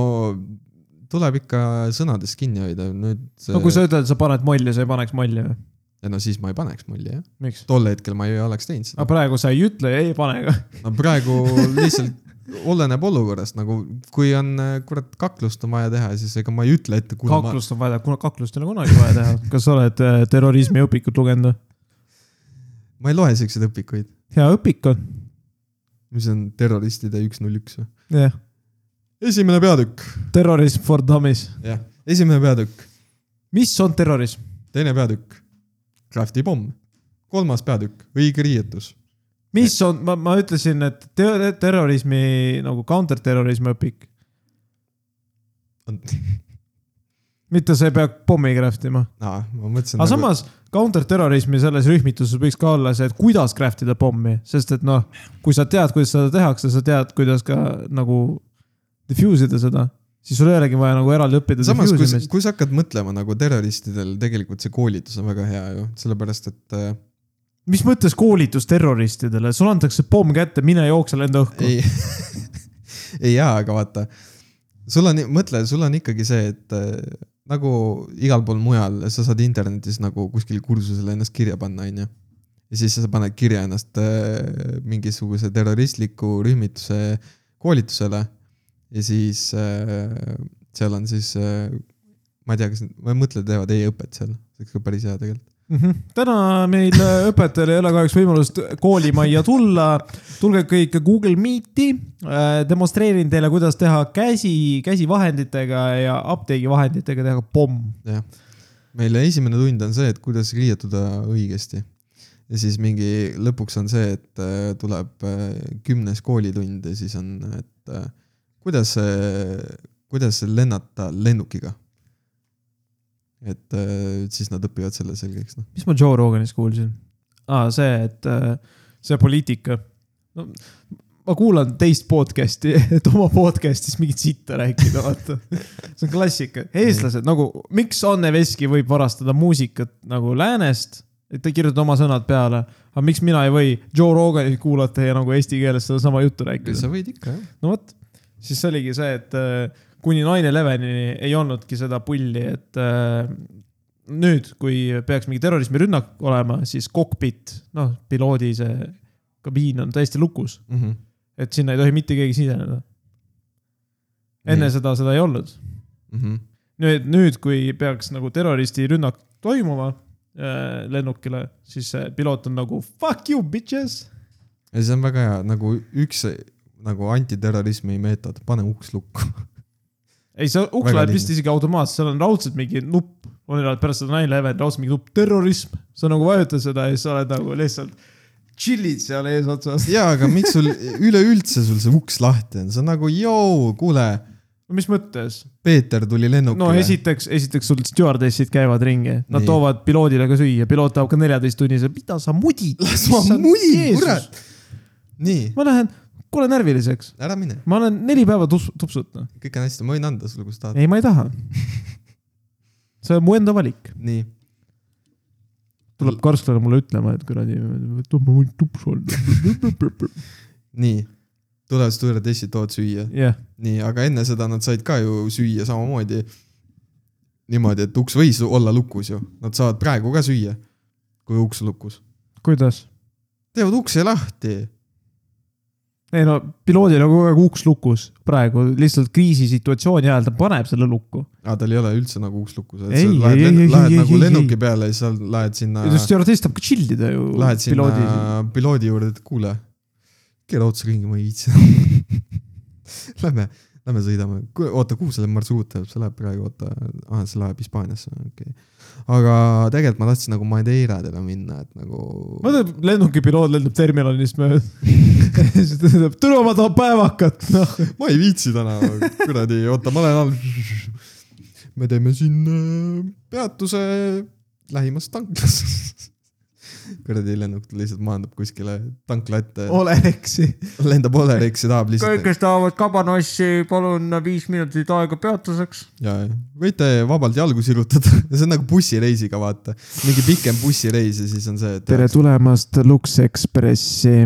tuleb ikka sõnadest kinni hoida , nüüd see... no kui sa ütled , sa paned molli , sa ei paneks molli või ? ja no siis ma ei paneks mulli jah . miks ? tol hetkel ma ei oleks teinud aga seda . praegu sa ei ütle ja ei pane ka . no praegu <laughs> lihtsalt oleneb olukorrast , nagu kui on kurat kaklust on vaja teha , siis ega ma ei ütle , et kuule ma , kaklust on vaja teha , kaklust ei ole kunagi vaja teha . <laughs> kas sa oled äh, terrorismi õpikut lugenud või ? ma ei loe siukseid õpikuid , hea õpik on . mis on terroristide üks null üks või ? jah , esimene peatükk . terrorism for dummies . jah , esimene peatükk , mis on terrorism ? teine peatükk , kraftipomm , kolmas peatükk , õige riietus , mis on , ma , ma ütlesin , et te- terrorismi nagu counterterrorismi õpik , <laughs> mitte sa ei pea pommi craft ima . aa , ma mõtlesin . aga nagu... samas counterterrorismi selles rühmituses võiks ka olla see , et kuidas craft ida pommi , sest et noh , kui sa tead , kuidas seda tehakse , sa tead , kuidas ka nagu diffuse ida seda , siis sul ei olegi vaja nagu eraldi õppida samas , kui sa , diffusemist . kui sa hakkad mõtlema nagu terroristidel , tegelikult see koolitus on väga hea ju , sellepärast et äh, mis mõttes koolitus terroristidele , sulle antakse pomm kätte , mine jookse , lenda õhku . ei , ei <laughs> jaa , aga vaata , sul on , mõtle , sul on ikkagi see , et äh, nagu igal pool mujal , sa saad internetis nagu kuskil kursusel ennast kirja panna , onju . ja siis sa paned kirja ennast äh, mingisuguse terroristliku rühmituse koolitusele ja siis äh, seal on siis äh, ma ei tea , kas , ma ei mõtle , teevad e-õpet seal , see oleks ka päris hea tegelikult . Mhm. täna meil äh, õpetajal ei ole kahjuks võimalust koolimajja tulla . tulge kõik Google Meet'i , demonstreerin teile , kuidas teha käsi , käsivahenditega ja apteegivahenditega teha pomm jah , meil esimene tund on see , et kuidas riietuda õigesti . ja siis mingi lõpuks on see , et äh, tuleb äh, kümnes koolitund ja siis on , et äh, kuidas , kuidas lennata lennukiga . et äh, siis nad õpivad selle selgeks , noh . mis ma Joe Roganist kuulsin ah, ? see , et äh, see poliitika no, . ma kuulan teist podcast'i , <laughs> et oma podcast'is mingit sitta rääkida , vaata . see on klassika , eestlased nagu , miks Anne Veski võib varastada muusikat nagu läänest , et ta kirjutab oma sõnad peale , aga miks mina ei või Joe Roganit kuulata ja nagu eesti keeles sedasama juttu rääkida ? sa võid ikka , jah . no vot , siis see oligi see , et äh, kuni nine elevenini ei olnudki seda pulli , et äh, nüüd , kui peaks mingi terrorismirünnak olema , siis kokpit , noh , piloodi see kabiin on täiesti lukus , Mm -hmm. et sinna ei tohi mitte keegi siseneda . enne Nii. seda seda ei olnud . Mm -hmm. nüüd , nüüd , kui peaks nagu terroristirünnak toimuma äh, lennukile , siis see piloot on nagu fuck you bitches ja see on väga hea , nagu üks nagu antiterrorismi meetod , pane uks lukku . ei , see uks Väga läheb lihtne. vist isegi automaatselt , seal on raudselt mingi nupp , on elanud pärast seda nine eleven , raudselt mingi nupp terrorism , sa nagu vajutad seda ja siis sa oled nagu lihtsalt chill'id seal eesotsas . <laughs> jaa , aga miks sul üleüldse sul see uks lahti on , see on nagu , joo , kuule no mis mõttes ? Peeter tuli lennukile . no esiteks , esiteks sul stjuardessid käivad ringi , nad Nii. Nii. toovad piloodile ka süüa , piloot tahab ka neljateisttunnise , mida sa mudid ? las ma mudin , kurat . nii , ma lähen , kuule närviliseks , ära mine , ma olen neli päeva tups- , tupsuta . kõik on hästi , ma võin anda sulle , kus tahad . ei , ma ei taha . see on mu enda valik , nii , tuleb Karsler mulle ütlema , et kuradi , ma võin tups olla . nii , tulevad stjuardessid , toovad süüa , jah , nii , aga enne seda nad said ka ju süüa samamoodi . niimoodi , et uks võis olla lukus ju , nad saavad praegu ka süüa , kui uks lukus , kuidas ? teevad ukse lahti , ei no piloodil on kogu aeg uks lukus praegu , lihtsalt kriisisituatsiooni ajal ta paneb selle lukku . aga tal ei ole üldse nagu uks lukus , et Ei, sa ei, lähed, ei, ei, lenn- lähed ei, nagu ei, lennuki ei. peale ja siis sa lähed sinna , stjuardess tahab ka chill ida ju . lähed piloodi . sinna piloodi juurde , et kuule , keera otsa ringi , ma ei viitsi . <laughs> Lähme , lähme sõidame , oota , kuhu selle marsruut läheb , see läheb praegu , oota , aa , see läheb Hispaaniasse , okei okay. . aga tegelikult ma tahtsin nagu Madeiradele minna , et nagu . mõtle , lennuki piloot lendab terminalist mööda . <laughs> siis ta ütleb , tule oma too päevakat , noh . <laughs> ma ei viitsi täna , kuradi , oota , ma lähen all . me teeme siin äh, peatuse lähimas tanklas <laughs> kuradi lennuk lihtsalt maandub kuskile tankla ette , Oleneksi . lendab Olerexi tahab lihtsalt . kes tahavad kabanossi , palun viis minutit aega peatuseks . ja , ja võite vabalt jalgu sirutada , <laughs> see on nagu bussireisiga , vaata . mingi pikem bussireis ja siis on see , et . tere tulemast Lux Expressi .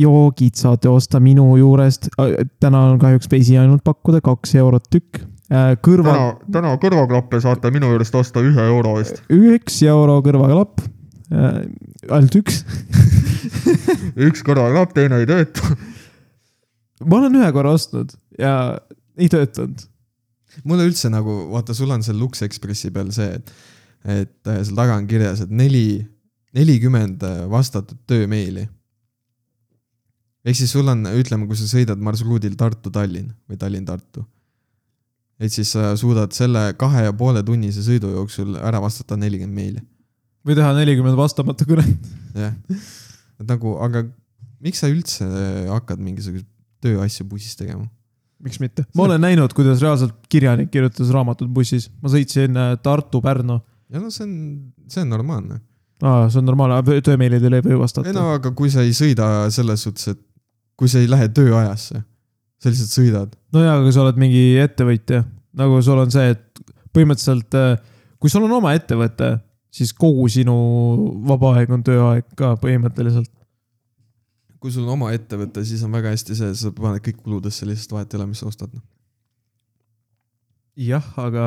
joogid saate osta minu juurest . täna on kahjuks veisi ainult pakkuda kaks eurot tükk . Äh, kõrval . täna kõrvaklappe saate minu juurest osta ühe euro eest . üks euro kõrvaklapp , ainult üks . üks kõrvaklapp , teine ei tööta . ma olen ühe korra ostnud ja ei töötanud . mulle üldse nagu , vaata , sul on seal Lux Expressi peal see , et , et äh, seal taga on kirjas , et neli , nelikümmend äh, vastatud töömeili . ehk siis sul on , ütleme , kui sa sõidad marsruudil Tartu-Tallinn või Tallinn-Tartu . et siis sa suudad selle kahe ja poole tunnise sõidu jooksul ära vastata nelikümmend meili , või teha nelikümmend vastamata kõnet . jah . et nagu , aga miks sa üldse äh, hakkad mingisuguseid tööasju bussis tegema ? <laughs> miks mitte ? ma olen näinud , kuidas reaalselt kirjanik kirjutas raamatut bussis , ma sõitsin äh, Tartu-Pärnu . ja no see on , see on normaalne . aa , see on normaalne , töömeilidele ei või ei vastata . no aga kui sa ei sõida selles suhtes , et kui sa ei lähe tööajasse , sa lihtsalt sõidad . nojaa , aga sa oled mingi ettevõtja , nagu sul on see , et põhimõtteliselt äh, kui sul on oma ettevõte , siis kogu sinu vaba aeg on tööaeg ka põhimõtteliselt . kui sul on oma ettevõte , siis on väga hästi see , sa paned kõik kuludesse lihtsalt vahet ei ole , mis sa ostad . noh. jah , aga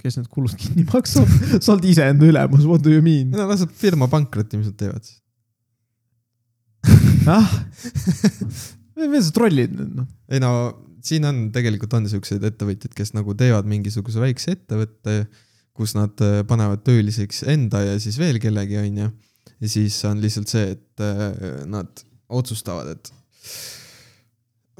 kes need kulud kinni maksab ? <laughs> sa oled iseenda ülemus , what do you mean ? no laseb firma pankrotti , mis nad teevad siis . ah , <laughs> mida sa trollid nüüd noh ? ei no siin on , tegelikult on siukseid ettevõtjaid , kes nagu teevad mingisuguse väikse ettevõtte , kus nad äh, panevad tööliseks enda ja siis veel kellegi , onju . ja siis on lihtsalt see , et äh, nad otsustavad , et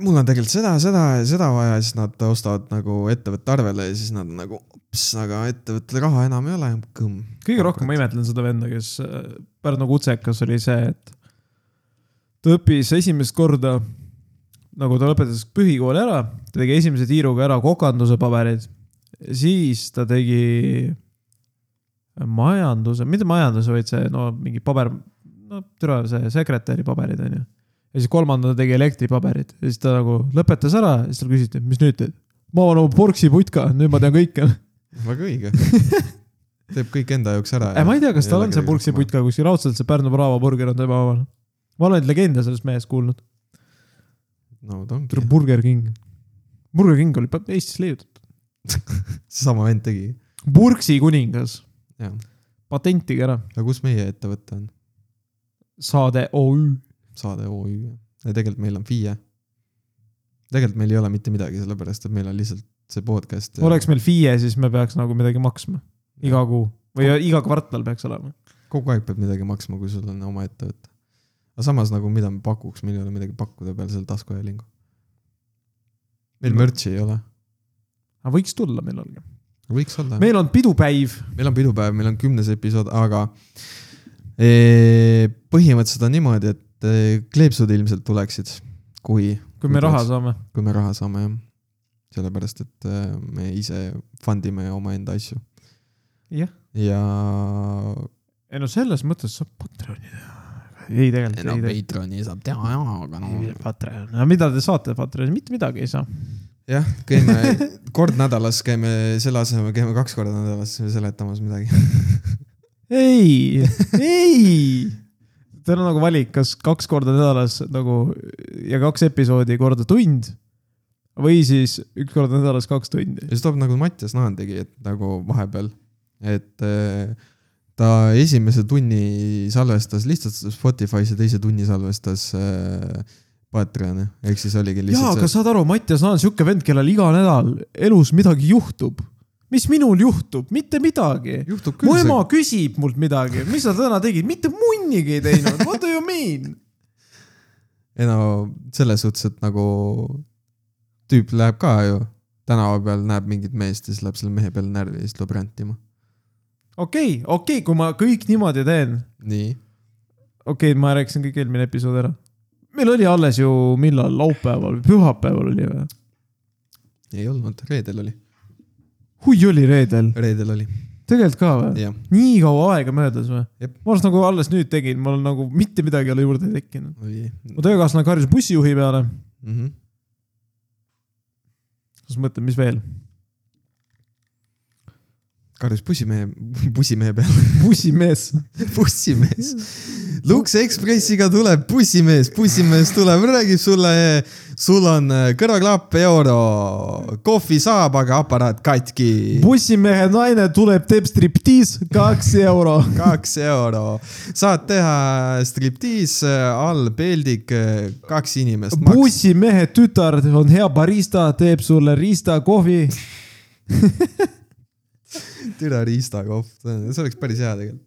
mul on tegelikult seda , seda ja seda vaja , siis nad ostavad nagu ettevõtte arvele ja siis nad on nagu , ups , aga ettevõttel raha enam ei ole , kõmm . kõige rohkem ma imetlen seda venda , kes äh, Pärnu kutsekas oli see , et ta õppis esimest korda , nagu ta lõpetas põhikooli ära , ta tegi esimese tiiruga ära kokanduse paberid , siis ta tegi majanduse , mitte majanduse , vaid see no mingi paber , no türa see sekretäri paberid on ju . ja siis kolmanda ta tegi elektripaberid ja siis ta nagu lõpetas ära ja siis tal küsiti , et mis nüüd teed ? ma olen oma porksi putka , nüüd ma tean kõike väga <laughs> õige teeb kõik enda jaoks ära . ei , Äh, ma ei tea , kas tal on see pulksipuit ka kuskil , raudselt see Pärnu Bravo burger on tema omal . ma olen legende sellest mehest kuulnud , no ta ongi , Burger King . Burger King oli pa- Eestis leiutatud . seesama vend tegi , Burksi kuningas , jah . patentige ära , aga kus meie ettevõte on ? saade OÜ . saade OÜ . ja tegelikult meil on FIE . tegelikult meil ei ole mitte midagi , sellepärast et meil on lihtsalt see podcast . oleks meil FIE , siis me peaks nagu midagi maksma iga kuu või iga kvartal peaks olema . kogu aeg peab midagi maksma , kui sul on oma ettevõte . aga samas nagu , mida me pakuks , meil ei ole midagi pakkuda peale selle taskuhäälingu . meil No. mürtsi ei ole . aga võiks tulla millalgi . võiks olla . meil on pidupäiv , meil on pidupäev , meil on kümnes episood , aga eh, põhimõtteliselt on niimoodi , et eh, kleepsud ilmselt tuleksid , kui , kui me raha saame . kui me raha saame , jah . sellepärast , et eh, me ise fund ime omaenda asju . Jah. . ja , ei no selles mõttes saab Patreoni teha . ei tegelikult no ei tee . Patreoni saab teha jaa , aga no Patreon , no mida te saate Patreonis , mitte midagi ei saa . jah , <laughs> käime kord nädalas , käime selle asemel , käime kaks korda nädalas seletamas midagi . ei , <laughs> ei . Teil on nagu valik , kas kaks korda nädalas nagu ja kaks episoodi korda tund või siis üks kord nädalas kaks tundi . ja see tuleb nagu Mattias Naan tegi , et nagu vahepeal , et eh, ta esimese tunni salvestas lihtsalt Spotify's ja teise tunni salvestas eh, Patreon'i , ehk siis oligi jaa , lihtsalt aga see , saad aru , Mattias Naan on sihuke vend , kellel iga nädal elus midagi juhtub . mis minul juhtub , mitte midagi . juhtub mu küll ema see , küsib mult midagi , mis sa täna tegid , mitte munnigi ei teinud , what do you mean ? ei no selles suhtes , et nagu tüüp läheb ka ju tänava peal näeb mingit meest ja siis läheb selle mehe peale närvi ja siis tuleb rändima . okei , okei , kui ma kõik niimoodi teen , nii , okei okay, , ma rääkisin kõik eelmine episood ära . meil oli alles ju millal , laupäeval või pühapäeval oli või ? ei olnud , reedel oli , hui oli reedel , reedel oli , tegelikult ka või ? jah . nii kaua aega möödas või ? Jep. ma alles nagu alles nüüd tegin , mul nagu mitte midagi ei ole juurde tekkinud . oli mu töökaaslane karjus bussijuhi peale , mm . -hmm. siis mõtlen , mis veel . karjus bussimehe , bussimehe peale . bussimees . <laughs> bussimees . Lux Expressiga tuleb bussimees , bussimees tuleb , räägib sulle , sul on kõrvaklapp euro , kohvi saab , aga aparaat katki . bussimehe naine tuleb , teeb striptiis , kaks euro . kaks euro , saad teha striptiis , all peldik , kaks inimest . bussimehe tütar on hea barista , teeb sulle riistakohvi . türa riistakohv , see oleks päris hea tegelikult .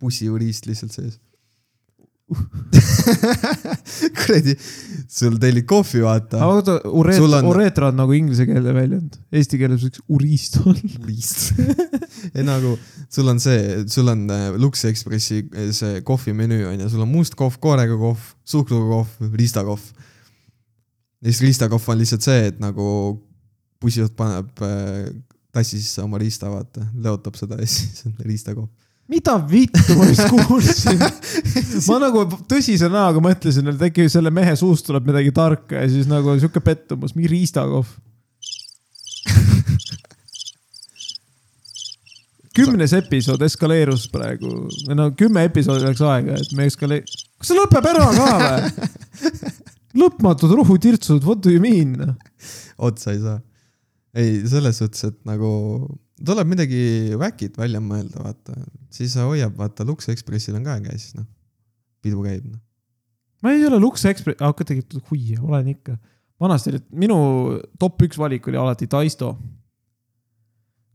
bussijuriist lihtsalt sees . <laughs> kuradi , sul tellid kohvi , vaata . aga oota , Sul ureet- , on- ureetra on nagu inglise keelde väljend , eesti keeles võiks uriiston . <laughs> liist . ei nagu , sul on see , sul on äh, Lux Expressi äh, see kohvimenüü on ju , sul on must kohv , koorega kohv , suhkruga kohv , riistakohv . ja siis riistakohv on lihtsalt see , et nagu bussijuht paneb äh, tassi sisse oma riista , vaata , leotab seda ja <laughs> siis on riistakohv . mida vittu ma just kuulsin ? ma nagu tõsise näoga mõtlesin , et äkki selle mehe suust tuleb midagi tarka ja siis nagu sihuke pettumus , mingi riistakohv . kümnes episood eskaleerus praegu , või no kümme episoodi läks aega , et me eskale- , kas see lõpeb ära ka või ? lõpmatud rohutirtsud , what do you mean ? otsa ei saa . ei , selles suhtes , et nagu tuleb midagi väkit välja mõelda , vaata , siis see hoiab , vaata Lux Expressil on ka käes , noh , pidu käib , noh . ma ei ole Lux Express , aga tegelikult hui , olen ikka . vanasti oli , minu top üks valik oli alati Taisto .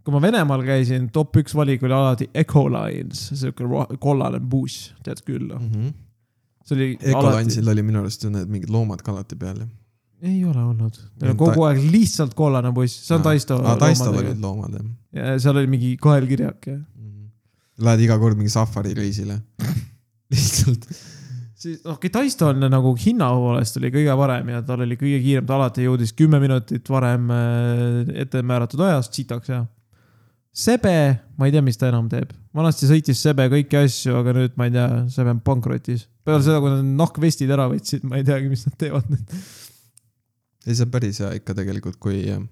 kui ma Venemaal käisin , top üks valik oli alati Ecolines , siuke ro- kollane buss , tead küll . mm . -hmm see oli . Ecolansil oli minu arust ju need mingid loomad kallati peal ju . ei ole olnud , Ei, kogu aeg lihtsalt kollane buss , see on Taisto . aa , Taistol olid . loomad jah seal oli mingi kaelkirjak ja . Mhm. Lähed iga kord mingi safari reisile . <laughs> lihtsalt . siis , okei okay, , Taisto on nagu hinna poolest oli kõige parem ja tal oli kõige kiirem , ta alati jõudis kümme minutit varem äh, ette määratud ajast sitaks ja . Sebe , ma ei tea , mis ta enam teeb , vanasti sõitis Sebe kõiki asju , aga nüüd ma ei tea , Sebe on pankrotis . peale seda , kui nad nahkvestid ära võtsid , ma ei teagi , mis nad teevad nüüd . ei , see on päris hea ikka tegelikult , kui äh,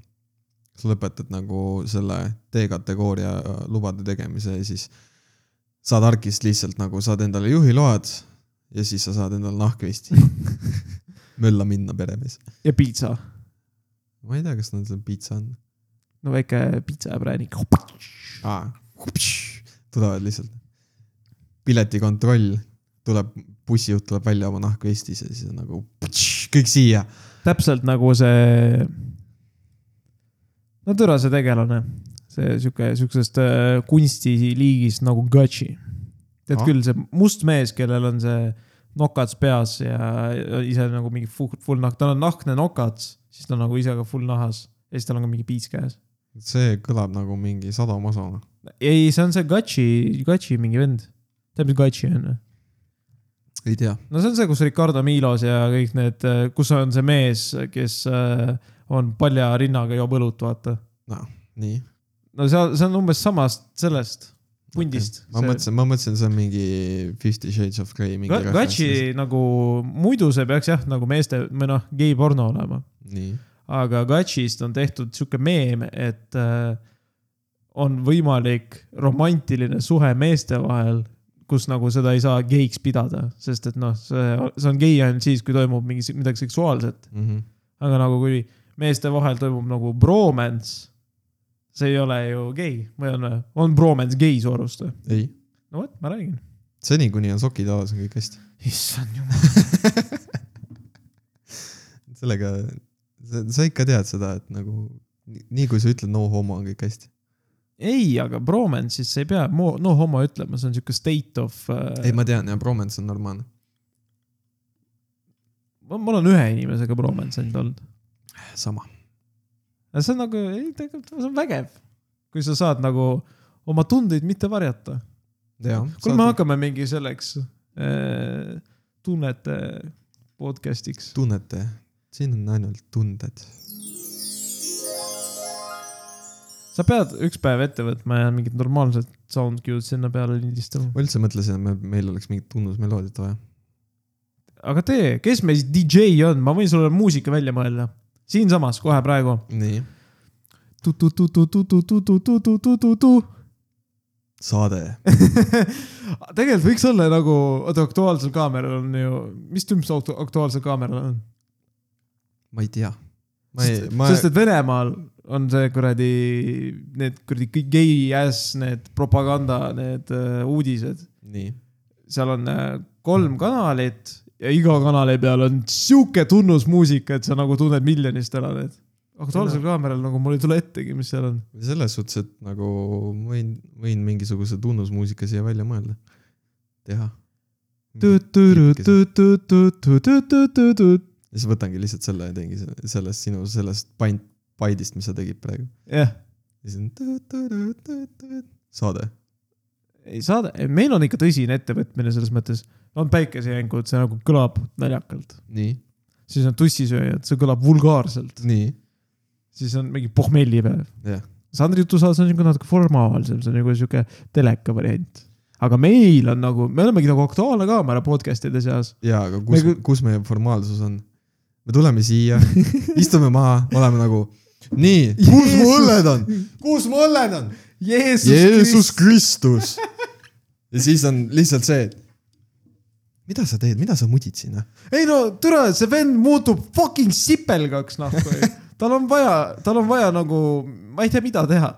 sa lõpetad nagu selle D-kategooria äh, lubade tegemise ja siis saad ARK-ist lihtsalt nagu saad endale juhiload ja siis sa saad endale <laughs> nahkvesti . mölla minna peremees . ja piitsa , ma ei tea , kas nad seal piitsa on . no väike piitsapränik . aa , tulevad lihtsalt . piletikontroll tuleb , bussijuht tuleb välja oma nahku Eestis ja siis on nagu ptš, kõik siia . täpselt nagu see . no türa see tegelane , see sihuke , sihukesest äh, kunstiliigist nagu Gachi . tead Ah. ah. küll , see must mees , kellel on see nokats peas ja ise nagu mingi full, full nahk , tal on nahkne nokats , siis ta on nagu ise ka full nahas ja siis tal on ka mingi piits käes . see kõlab nagu mingi sadamaso . ei , see on see Gachi , Gachi mingi vend . tead , mis Gachi on või ? ei tea . no see on see , kus Ricardo Milos ja kõik need , kus on see mees , kes äh, on palja rinnaga , joob õlut , vaata . nii . no see , see on umbes samast sellest pundist ma okay. . mõtlesin , ma mõtlesin , see on mingi Fifty Shades of Grey mingi referents. Gachi nagu , muidu see peaks jah , nagu meeste või noh , gei porno olema , nii , aga Gachist on tehtud sihuke meem , et äh, on võimalik romantiline suhe meeste vahel , kus nagu seda ei saa geiks pidada , sest et noh , see , see on gei ainult siis , kui toimub mingi si- midagi seksuaalset . mm . -hmm. aga nagu kui meeste vahel toimub nagu bromance , see ei ole ju gei või on , on bromance gei su arust või ? ei , no vot , ma räägin . seni kuni on sokid alles , on kõik hästi . issand jumal . <laughs> sellega , sa ikka tead seda , et nagu nii- nii kui sa ütled no homo on kõik hästi . ei , aga bromance'is sa ei pea noh, mo- , no homo ütlema , see on sihuke state of ei , äh, . ma tean ja bromance on normaalne . mul on ühe inimesega bromance ainult olnud . sama . aga see on nagu , ei tegelikult see on vägev . kui sa saad nagu oma tundeid mitte varjata . kuule , me hakkame mingi selleks äh, tunnete podcast'iks . tunnete , siin on ainult tunded . sa pead üks päev ette võtma ja mingid normaalsed sound cue'd sinna peale lindistama . ma üldse mõtlesin , et me , meil oleks mingit tunnusmeloodiat vaja . aga tee , kes meil siis DJ on , ma võin sulle muusika välja mõelda . siinsamas kohe praegu . nii . tegelikult saade . võiks olla nagu , oota Aktuaalsel kaameral on ju , mis tüüp see Aktu- Aktuaalsel kaameral on ? ma ei tea . ma ei , sest ma , sest et Venemaal on see kuradi , need kuradi kõik gei ass , need propaganda , need äh, uudised . nii . seal on äh, kolm kanalit ja iga kanali peal on sihuke tunnusmuusika , et sa nagu tunned miljonist ära need . aktuaalsel kaameral nagu mul ei tule ettegi , mis seal on . selles suhtes , et nagu võin , võin mingisuguse tunnusmuusika siia välja mõelda . teha . ja siis võtangi lihtsalt selle ja teengi se- sellest sinu sellest pint , paidist , mis sa tegid praegu . jah , ja siis on tõ-tõ-tõ-tõ-tõ. saade . ei saada , meil on ikka tõsine ettevõtmine selles mõttes . on päikesejängud , see nagu kõlab naljakalt , nii , siis on tussisööjad , see kõlab vulgaarselt , nii , siis on mingi pohmellipäev . jah . Sandri jutusaates on niisugune natuke formaalsem , see on nagu sihuke teleka variant . aga meil on nagu , me olemegi nagu Aktuaalne Kaamera podcast'ide seas . ja , aga kus Me kõ- , kus meie formaalsus on ? me tuleme siia , istume maha , oleme nagu nii , kus mu õlled on , kus mu õlled on ? Jeesus, Jeesus . Kristus . ja siis on lihtsalt see , et mida sa teed , mida sa mudid sinna ? ei no türa , see vend muutub fucking sipelgaks nahku . <laughs> tal on vaja , tal on vaja nagu , ma ei tea , mida teha .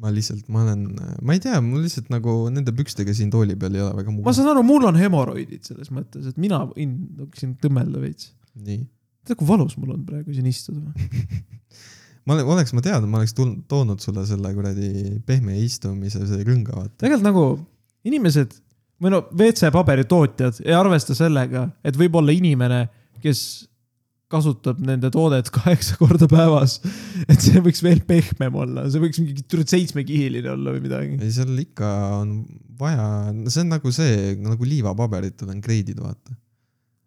ma lihtsalt , ma olen , ma ei tea , mul lihtsalt nagu nende pükstega siin tooli peal ei ole väga ma mugav . saan aru , mul on hemoroidid selles mõttes , et mina võin niisuguseid tõmmelda veits . nii , tead , kui valus mul on praegu siin istuda ? ma ole- oleks ma teadnud , ma oleks tulnud , toonud sulle selle kuradi pehme istumise see rõnga , vaata . tegelikult nagu inimesed või no WC-paberi tootjad ei arvesta sellega , et võib-olla inimene , kes kasutab nende toodet kaheksa korda päevas , et see võiks veel pehmem olla , see võiks mingi tür- seitsmekihiline olla või midagi . ei , seal ikka on vaja , see on nagu see , nagu liivapaberitel on kreidid , vaata .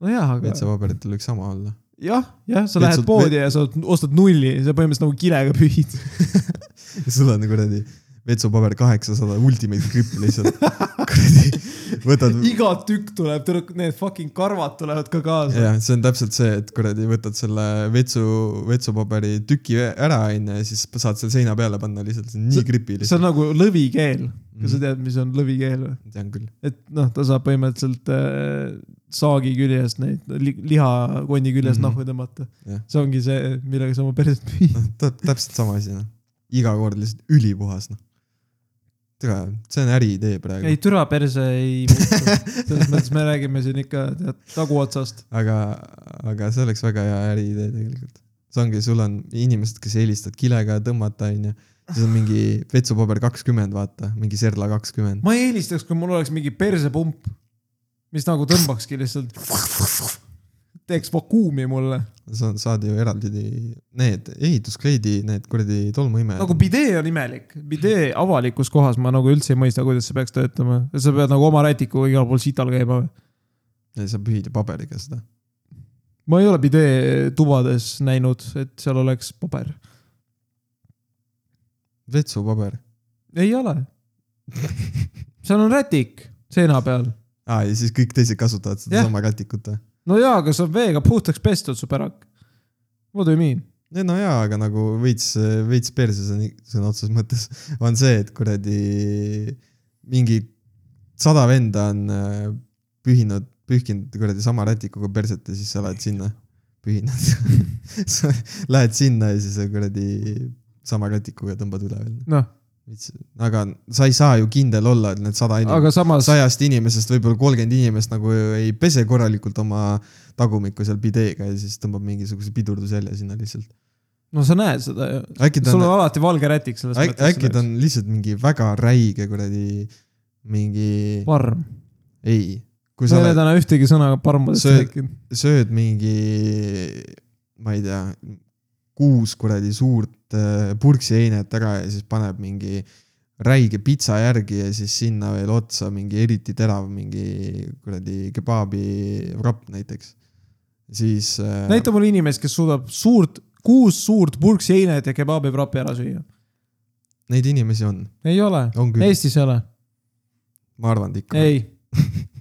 nojah , aga WC-paberitel võiks sama olla . jah , jah , sa Vetsad- lähed poodi ja sa ostad nulli , sa põhimõtteliselt nagu kilega pühid . <laughs> sul on nagu kuradi vetsupaber kaheksasada ultimate grip <laughs> lihtsalt . kuradi , võtad iga tükk tuleb , need fucking karvad tulevad ka kaasa . jah , see on täpselt see , et kuradi võtad selle vetsu , vetsupaberi tüki ära onju ja siis saad selle seina peale panna lihtsalt , see on nii See- gripi see lihtsalt . on nagu lõvikeel , kas sa Mhm. tead , mis on lõvikeel või ? tean küll , et noh , ta saab põhimõtteliselt äh, saagi küljest neid li liha konni küljest Mhm. mm -hmm. nahku tõmmata Jah. yeah. . see ongi see , millega sa oma perset <laughs> püüad . noh tä- täpselt sama asi noh , iga kord lihtsalt ülipuhas noh . tere , see on äriidee praegu , ei , türa perse ei muutu . selles mõttes me räägime siin ikka tead taguotsast . aga , aga see oleks väga hea äriidee tegelikult . see ongi , sul on inimesed , kes eelistavad kilega tõmmata onju , siis on mingi vetsupaber kakskümmend , vaata , mingi Serla kakskümmend . ma ei eelistaks , kui mul oleks mingi persepump , mis nagu tõmbakski lihtsalt , teeks vakuumi mulle . sa saad ju eraldi ti- need ehituskleidi , need kuradi tolmuimejad . nagu bidee on imelik , bidee avalikus kohas ma nagu üldse ei mõista , kuidas see peaks töötama . sa pead nagu oma rätikuga igal pool sital käima või ? ei , sa pühid ju paberiga seda . ma ei ole bidee tubades näinud , et seal oleks paber . vetsupaber . ei ole . <laughs> seal on rätik seina peal . aa , ja siis kõik teised kasutavad Jah. sedasama rätikut või ? no jaa , aga see on veega puhtaks pestud , su pärak . What do you mean ? ei no jaa , aga nagu veits , veits perses on ik- sõna otseses mõttes , <laughs> on see , et kuradi mingi sada venda on äh, pühinud , pühkinud kuradi sama rätikuga perset ja siis sa lähed sinna , pühinud . <laughs> sa lähed sinna ja siis sa kuradi sama rätikuga tõmbad üle veel . noh , aga sa ei saa ju kindel olla , et need sada inimest aga samas , sajast inimesest võib-olla kolmkümmend inimest nagu ei pese korralikult oma tagumikku seal pideega ja siis tõmbab mingisuguse pidurdusjälje sinna lihtsalt . no sa näed seda ju . äkki ta sul on on , alati valge rätik selles äkki, äkki ta on lihtsalt mingi väga räige kuradi , mingi , parm . ei . kui sa sa ei ole oled, täna ühtegi sõna parmadest Sööd- rääkinud . sööd mingi , ma ei tea , kuus kuradi suurt äh, purksiheinet ära ja siis paneb mingi räige pitsa järgi ja siis sinna veel otsa mingi eriti terav mingi kuradi kebaabi wrap näiteks . siis äh, näita mulle inimest , kes suudab suurt , kuus suurt purksi heinet ja kebaabiprapi ära süüa . neid inimesi on , ei ole . on küll , Eestis ei ole . ma arvan , et ikka . ei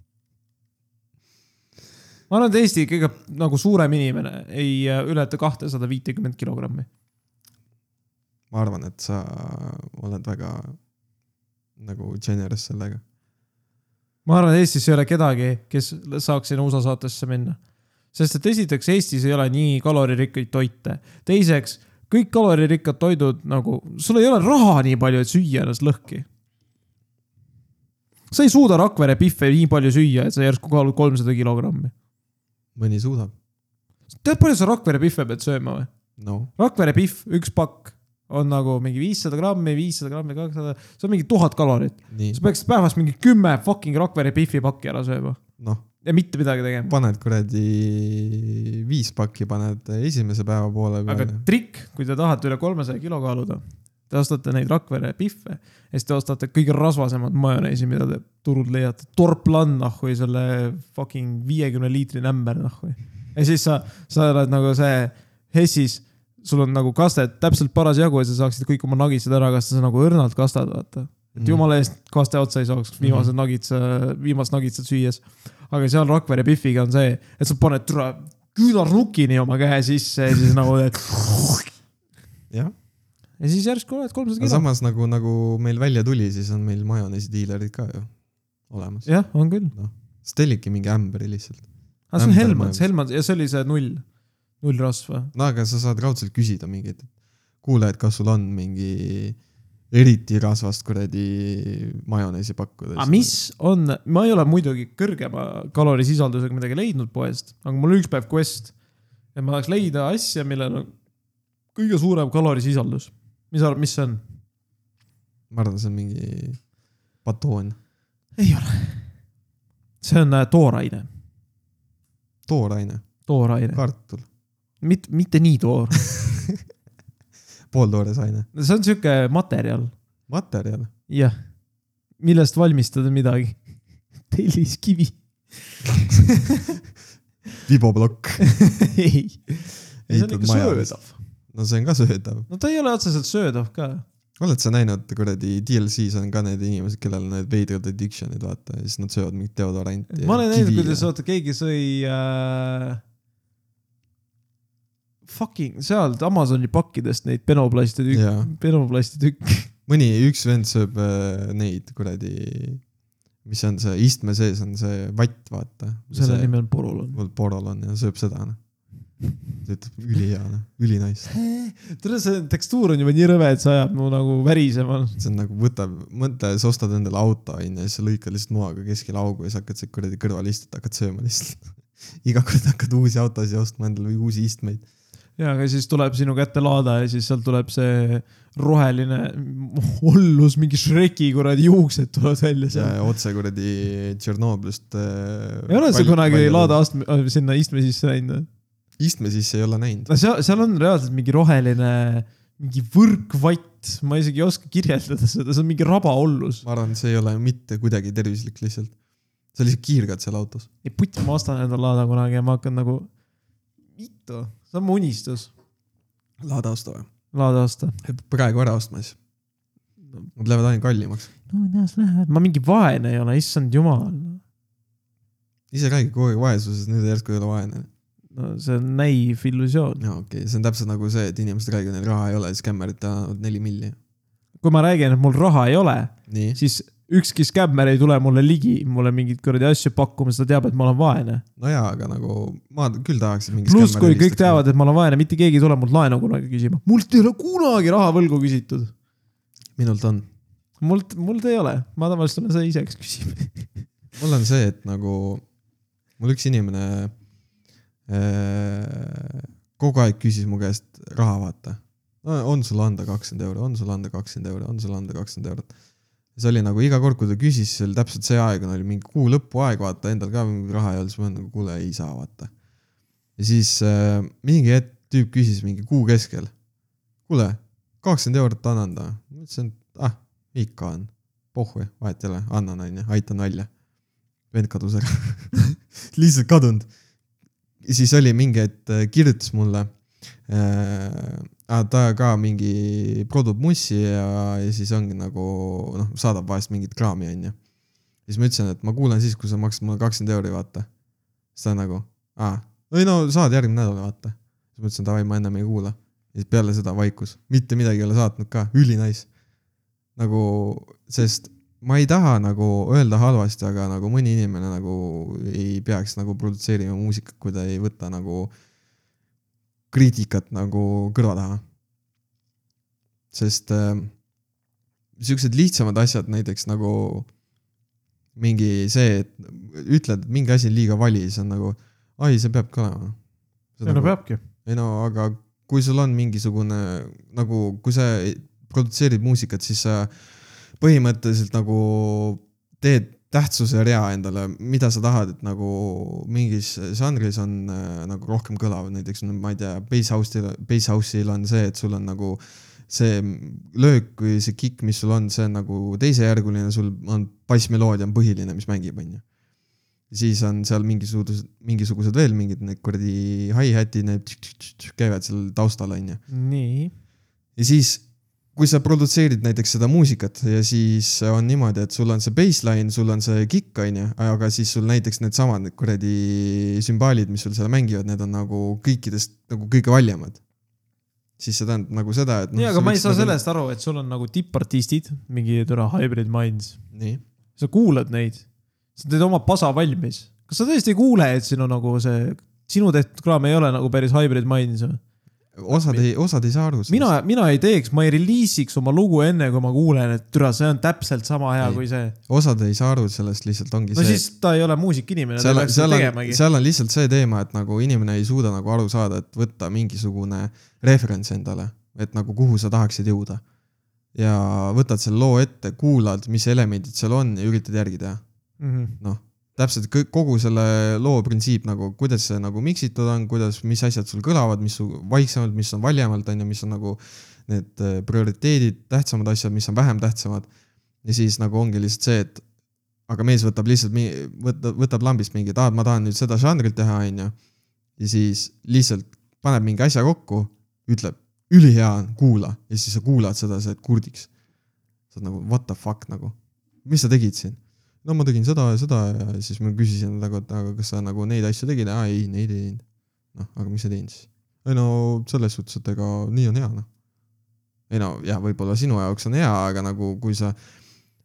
ma arvan , et Eesti kõige nagu suurem inimene ei äh, ületa kahtesada viitekümmet kilogrammi . ma arvan , et sa oled väga nagu generous sellega . ma arvan , et Eestis ei ole kedagi , kes saaks sinna USA saatesse minna . sest et esiteks , Eestis ei ole nii kaloririkkaid toite . teiseks , kõik kaloririkkad toidud nagu , sul ei ole raha nii palju , et süüa ennast lõhki . sa ei suuda Rakvere pihve nii palju süüa , et sa järsku kaalud kolmsada kilogrammi . mõni suudab , tead , palju sa Rakvere pihve pead sööma või ? no Rakvere pihv , üks pakk on nagu mingi viissada grammi , viissada grammi , kakssada , see on mingi tuhat kalorit . nii , sa peaksid päevas mingi kümme fucking Rakvere pihvi pakki ära sööma . noh , ja mitte midagi tegema . paned kuradi viis pakki , paned esimese päeva poole aga peale . trikk , kui te tahate üle kolmesaja kilo kaaluda , te ostate neid Rakvere pihve ja siis te ostate kõige rasvasemat majoneesi , mida te turult leiate . torplan nahhui , selle fucking viiekümne liitrine ämber nahhui . ja siis sa , sa oled nagu see Hessis , sul on nagu kastet täpselt parasjagu ja sa saaksid kõik oma nagitsad ära kasta , sa nagu õrnalt kastad , vaata . Mhm. et jumala eest kaste otsa ei saaks , viimased nagitsa , viimast nagitsat süües . aga seal Rakvere pihviga on see , et sa paned türa küünarnukini oma käe sisse ja siis nagu teed Mm, jah , ja siis järsku oled kolmsada aga kilo . samas nagu , nagu meil välja tuli , siis on meil majoneesi diilerid ka ju olemas . jah , on küll . siis tellidki mingi ämbri lihtsalt . aga see on Ämber Helmans , mõeldes. Helmans ja see oli see null , null rasva . no aga sa saad kaudselt küsida mingit , kuule , et kas sul on mingi eriti rasvast kuradi majoneesi pakkuda . aga Ah, mis ? on , ma ei ole muidugi kõrgema kalorisisaldusega midagi leidnud poest , aga mul oli üks päev quest , et ma tahaks leida asja , millel on kõige suurem kalorisisaldus . mis sa arvad , mis see on ? ma arvan , see on mingi batoon , ei ole . see on äh, tooraine , tooraine , tooraine , kartul , mitte , mitte nii toor . pooltoores aine , see on sihuke materjal , materjal . jah , millest valmistada midagi . <laughs> telliskivi . <laughs> viboplokk ei , see on ehitatud ikka maja . söödav . no see on ka söödav . no ta ei ole otseselt söödav ka . oled sa näinud kuradi DLC-s on ka need inimesed , kellel on need veidrad addiction'id , vaata , ja siis nad söövad mingit deodoranti . ma olen näinud , kuidas vaata keegi sõi äh, . Fucking sealt Amazoni pakkidest neid penoplasti tükk , jaa , penoplasti tükk . mõni , üks vend sööb äh, neid kuradi , mis on see istme sees on see vatt , vaata . selle nimi on Porulon . on . Porol on ja sööb seda noh . ta ütleb ülihea noh , ülinaist . tead , see tekstuur on juba nii rõve , et see ajab mu nagu värisema . see on nagu võtab , mõtle , sa ostad endale auto onju ja siis sa lõikad lihtsalt noaga keskel augu ja siis hakkad siit kuradi kõrval istuma , hakkad sööma lihtsalt . <laughs> iga kord hakkad uusi autosid ostma endale või uusi istmeid . ja , aga siis tuleb sinu kätte laada ja siis sealt tuleb see roheline ollus , mingi Shreki kuradi juuksed tulevad välja ja seal . otse kuradi Tšernobõlist . äh, ei ole sa kunagi laada . astme , sinna istme sisse läinud või ? istme sisse ei ole näinud . no seal , seal on reaalselt mingi roheline , mingi võrkvatt , ma isegi ei oska kirjeldada seda , see on mingi rabaollus . ma arvan , see ei ole mitte kuidagi tervislik lihtsalt . sa lihtsalt kiirgad seal autos . ei puti , ma ostan endale laada kunagi ja ma hakkan nagu , mitu , see on mu unistus , laada osta või ? laada osta . praegu ära ostma siis . Nad lähevad aina kallimaks . no kuidas läheb , ma mingi vaene ei ole , issand jumal . ise räägid kogu aeg vaesuses , nüüd järsku ei ole vaene . no see on näiv illusioon . no okei okay. , see on täpselt nagu see , et inimesed räägivad , neil raha ei ole , siis kämmerid tahavad neli milli . kui ma räägin , et mul raha ei ole , nii , siis ükski skämmer ei tule mulle ligi , mulle mingeid kuradi asju pakkuma , sest ta teab , et ma olen vaene . no jaa , aga nagu ma küll tahaks . pluss , kui kõik teavad , et ma olen vaene , mitte keegi ei tule mult laenu kunagi küsima . mult ei ole kunagi raha võlgu küsitud . minult on . mult , mult ei ole , ma tavaliselt olen seda ise , kes küsib . mul on see , et nagu mul üks inimene äh, kogu aeg küsis mu käest raha , vaata . on sul anda kakskümmend euri , on sul anda kakskümmend euri , on sul anda kakskümmend eurot . see oli nagu iga kord , kui ta küsis , see oli täpselt see aeg , oli mingi kuu lõpuaeg , vaata endal ka mingi raha ei olnud , siis ma olen nagu kuule , ei saa , vaata . ja siis äh, mingi hetk tüüp küsis mingi kuu keskel . kuule , kakskümmend eurot annan ta . ma ütlesin , et ah , ikka on . pohhu , vahet ei ole , annan onju , aitan välja . vend kadus ära . <laughs> lihtsalt kadunud . siis oli mingi , et äh, kirjutas mulle äh, . ta ka mingi produb mussi ja , ja siis ongi nagu noh , saadab vahest mingit kraami , onju . siis ma ütlesin , et ma kuulan siis , kui sa maksad mulle kakskümmend euri , vaata . siis ta nagu , aa , ei no saad järgmine nädal , vaata . siis ma ütlesin , davai , ma ennem ei kuula . ja siis peale seda vaikus , mitte midagi ei ole saatnud ka , ülinais . nagu , sest ma ei taha nagu öelda halvasti , aga nagu mõni inimene nagu ei peaks nagu produtseerima muusikat , kui ta ei võta nagu kriitikat nagu kõrva taha . sest äh, siuksed lihtsamad asjad näiteks nagu mingi see , et ütled , et mingi asi on liiga vali , siis on nagu , ai , see peabki olema . Nagu, peabki . ei no aga kui sul on mingisugune nagu , kui sa produtseerid muusikat , siis sa põhimõtteliselt nagu teed tähtsuse rea endale , mida sa tahad , et nagu mingis žanris on äh, nagu rohkem kõlav , näiteks no ma ei tea , bass house'il , bass house'il on see , et sul on nagu see löök või see kick , mis sul on , see on nagu teisejärguline , sul on bassmeloodia on põhiline , mis mängib , onju . siis on seal mingisugused , mingisugused veel mingid need kuradi hi-hatid , need tš-tš-tš-tš käivad seal taustal , onju . nii . ja siis , kui sa produtseerid näiteks seda muusikat ja siis on niimoodi , et sul on see bassline , sul on see kick , onju , aga siis sul näiteks needsamad need kuradi sümbaalid , mis sul seal mängivad , need on nagu kõikidest nagu kõige valjemad . siis see tähendab nagu seda , et . nii , aga ma ei saa . sellest aru , et sul on nagu tippartistid , mingi türa hybrid minds . nii , sa kuulad neid , sa teed oma pasa valmis . kas sa tõesti ei kuule , et sinu nagu see , sinu tehtud kraam ei ole nagu päris hybrid minds või ? osad ei , osad ei saa aru . mina , mina ei teeks , ma ei reliisiks oma lugu enne , kui ma kuulen , et türa , see on täpselt sama hea Ei. kui see . osad ei saa aru , sellest lihtsalt ongi no see . siis ta ei ole muusikainimene , ta seal on , peaks seal seda on , tegemagi . seal on lihtsalt see teema , et nagu inimene ei suuda nagu aru saada , et võtta mingisugune referents endale , et nagu kuhu sa tahaksid jõuda . ja võtad selle loo ette , kuulad , mis elemendid seal on ja üritad järgi teha . Mhm. noh , täpselt kõik , kogu selle loo printsiip nagu , kuidas see nagu miksitud on , kuidas , mis asjad sul kõlavad , mis su- vaiksemalt , mis on valjemalt , on ju , mis on nagu need eh, prioriteedid , tähtsamad asjad , mis on vähem tähtsamad . ja siis nagu ongi lihtsalt see , et aga mees võtab lihtsalt , võtab , võtab lambist mingi , et aa , ma tahan nüüd seda žanrit teha , on ju . ja siis lihtsalt paneb mingi asja kokku , ütleb , ülihea on , kuula . ja siis sa kuulad seda , sa oled kurdiks . sa oled nagu what the fuck nagu , mis sa tegid siin ? no ma tegin seda ja seda ja siis ma küsisin nagu , et aga kas sa nagu neid asju tegid , aa ei , neid ei teinud . noh , aga mis sa teinud siis ? ei no selles suhtes , et ega nii on hea noh . ei no jaa , võib-olla sinu jaoks on hea , aga nagu kui sa ,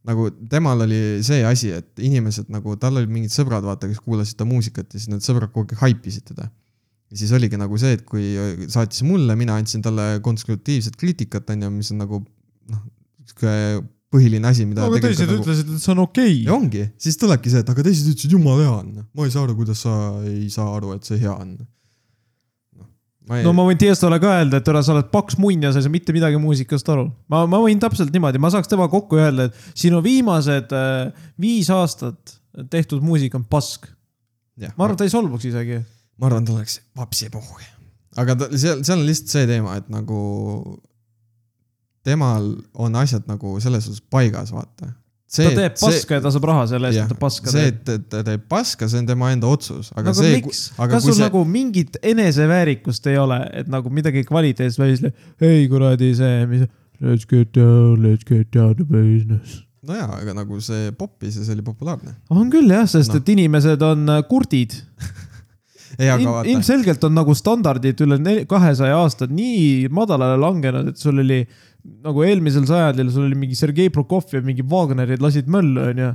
nagu temal oli see asi , et inimesed nagu , tal olid mingid sõbrad , vaata , kes kuulasid ta muusikat ja siis need sõbrad kogu aeg haipisid teda . ja siis oligi nagu see , et kui saatis mulle , mina andsin talle konstruktiivset kriitikat , onju , mis on nagu noh , sihuke põhiline asi , mida aga tegelikult teised nagu- ütlesid , et see on okei ja . ongi , siis tulebki see , et aga teised ütlesid , jumala hea on . ma ei saa aru , kuidas sa ei saa aru , et see hea on . ma ei no, , no ma... ma võin Tiestole ka öelda , et ära , sa oled paks munn ja sa ei saa mitte midagi muusikast aru . ma , ma võin täpselt niimoodi , ma saaks temaga kokku ja öelda , et sinu viimased äh, viis aastat tehtud muusika on pask . jah, ma arvan , ta ei solvuks isegi . ma arvan , ta oleks vapsipuhk . aga ta, seal , seal on lihtsalt see teema , et nagu temal on asjad nagu selles suhtes paigas , vaata . ta teeb paska ja ta saab raha selle eest , jah et ta , paska see , teeb . et et ta teeb paska , see on tema enda otsus , aga aga see , miks , aga kas kui sul see see... , nagu mingit eneseväärikust ei ole , et nagu midagi kvaliteetset välja , ei kuradi see , mis . Let's get down , let's get down to business . nojaa , aga nagu see popis ja see oli populaarne . on küll jah , sest Noh. no. et inimesed on äh, kurdid ei , aga In, vaata , ilmselgelt on nagu standardid üle kahesaja aasta nii madalale langenud , et sul oli nagu eelmisel sajandil sul oli mingi Sergei Prokofjev ja mingi Wagnerid lasid möllu , onju .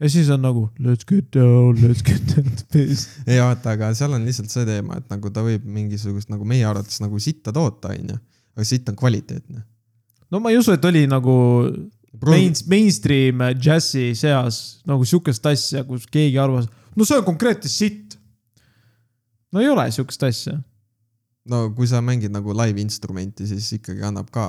ja siis on nagu let's get down , let's get down to business . ei vaata , aga seal on lihtsalt see teema , et nagu ta võib mingisugust nagu meie arvates nagu sitta toota , onju , aga sitt on kvaliteetne . no ma ei usu , et oli nagu main , mainstream džässi seas nagu siukest asja , kus keegi arvas , no see on konkreetne sitt . no ei ole siukest asja . no kui sa mängid nagu live-instrumenti , siis ikkagi annab ka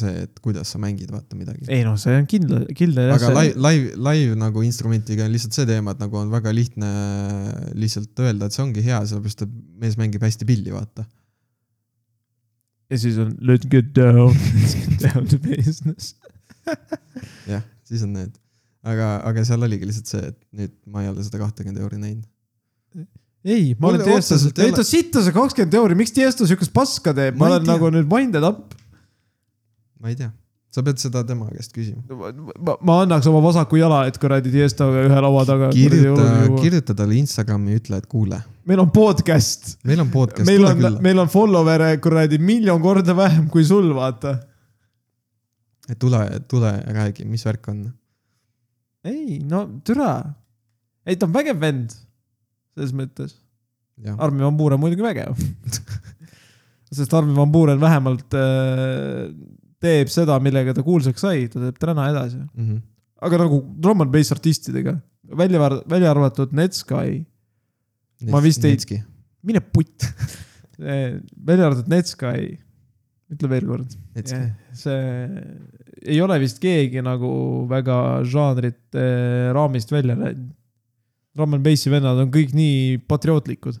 see , et kuidas sa mängid , vaata midagi . ei noh , see on kindla , kindel aga . live , live , live nagu instrumentiga on lihtsalt see teema , et nagu on väga lihtne lihtsalt öelda , et see ongi hea , sellepärast et mees mängib hästi pilli , vaata . ja siis on let's get down , let's get down to business . jah , siis on need . aga , aga seal oligi lihtsalt see , et nüüd ma ei ole seda kahtekümmet euri näinud . ei , ma Mul olen Tiestas , otseselt ei ei ole- ta sitta see kakskümmend euri , miks Tiesto siukest paska teeb , Ma ma ei olen tea. nagu nüüd minded up . ma ei tea , sa pead seda tema käest küsima . ma ma annaks oma vasaku jala , et kuradi Tiestoga ühe laua taga . kirjuta , kirjuta talle Instagrami , ütle , et kuule , meil on podcast , meil on podcast , meil tule on , külla , meil on follower'e kuradi miljon korda vähem kui sul , vaata . tule , tule ja räägi , mis värk on . ei , no türa . ei , ta on vägev vend , selles mõttes . jah , Armin van Buuren muidugi <laughs> vägev . sest Armin van Buuren vähemalt äh, teeb seda , millega ta kuulsaks sai , ta teeb täna edasi . Mhm. aga nagu drum and bass artistidega , välja , välja arvatud Netsky , Ma vist ei- ei . mine putt . <laughs> välja arvatud Netsky , ütle veel kord , see ei ole vist keegi nagu väga žanrite raamist välja läinud . Drum n bassi vennad on kõik nii patriootlikud .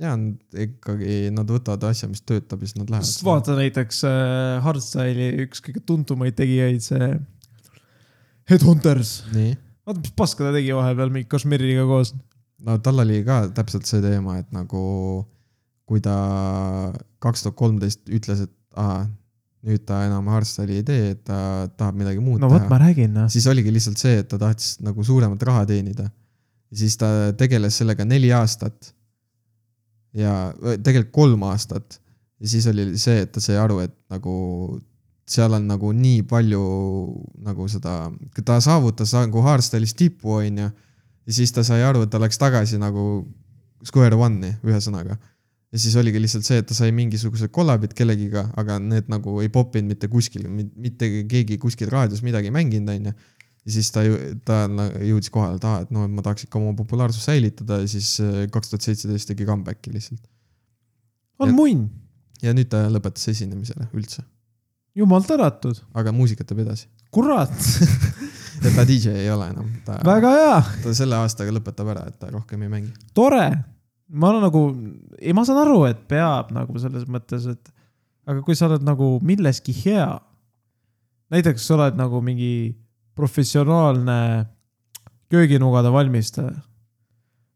ja n- ikkagi nad võtavad asja , mis töötab ja siis nad sest lähevad . vaata näiteks äh, Hardstyle'i üks kõige tuntumaid tegijaid , see Headhunters . nii , vaata , mis paska ta tegi vahepeal mingi Kashmiriga koos . no tal oli ka täpselt see teema , et nagu kui ta kaks tuhat kolmteist ütles , et aa , nüüd ta enam Hardstyle'i ei tee , et ta tahab midagi muud no vot , teha ma . räägin , noh . siis oligi lihtsalt see , et ta tahtis nagu suuremat raha teenida . siis ta tegeles sellega neli aastat . ja või tegelikult kolm aastat . ja siis oli see , et ta sai aru , et nagu seal on nagu nii palju nagu seda , ta saavutas nagu haarstyle'is tipu , onju . ja siis ta sai aru , et ta läks tagasi nagu square one'i , ühesõnaga ja siis oligi lihtsalt see , et ta sai mingisugused kollabid kellegiga , aga need nagu ei popinud mitte kuskil , mitte keegi kuskil raadios midagi ei mänginud , onju . ja siis ta ju , ta na- jõudis kohale , et aa , et no ma tahaks ikka oma populaarsust säilitada ja siis äh, kaks tuhat seitseteist tegi comeback'i lihtsalt . on munn , ja nüüd ta lõpetas esinemise ära üldse , jumal tänatud , aga muusikat teeb edasi . kurat , <laughs> et ta DJ ei ole enam , ta , väga hea , ta selle aastaga lõpetab ära , et ta rohkem ei mängi . tore . ma olen nagu , ei , ma saan aru , et peab nagu selles mõttes , et aga kui sa oled nagu milleski hea , näiteks sa oled nagu mingi professionaalne kööginugade valmistaja .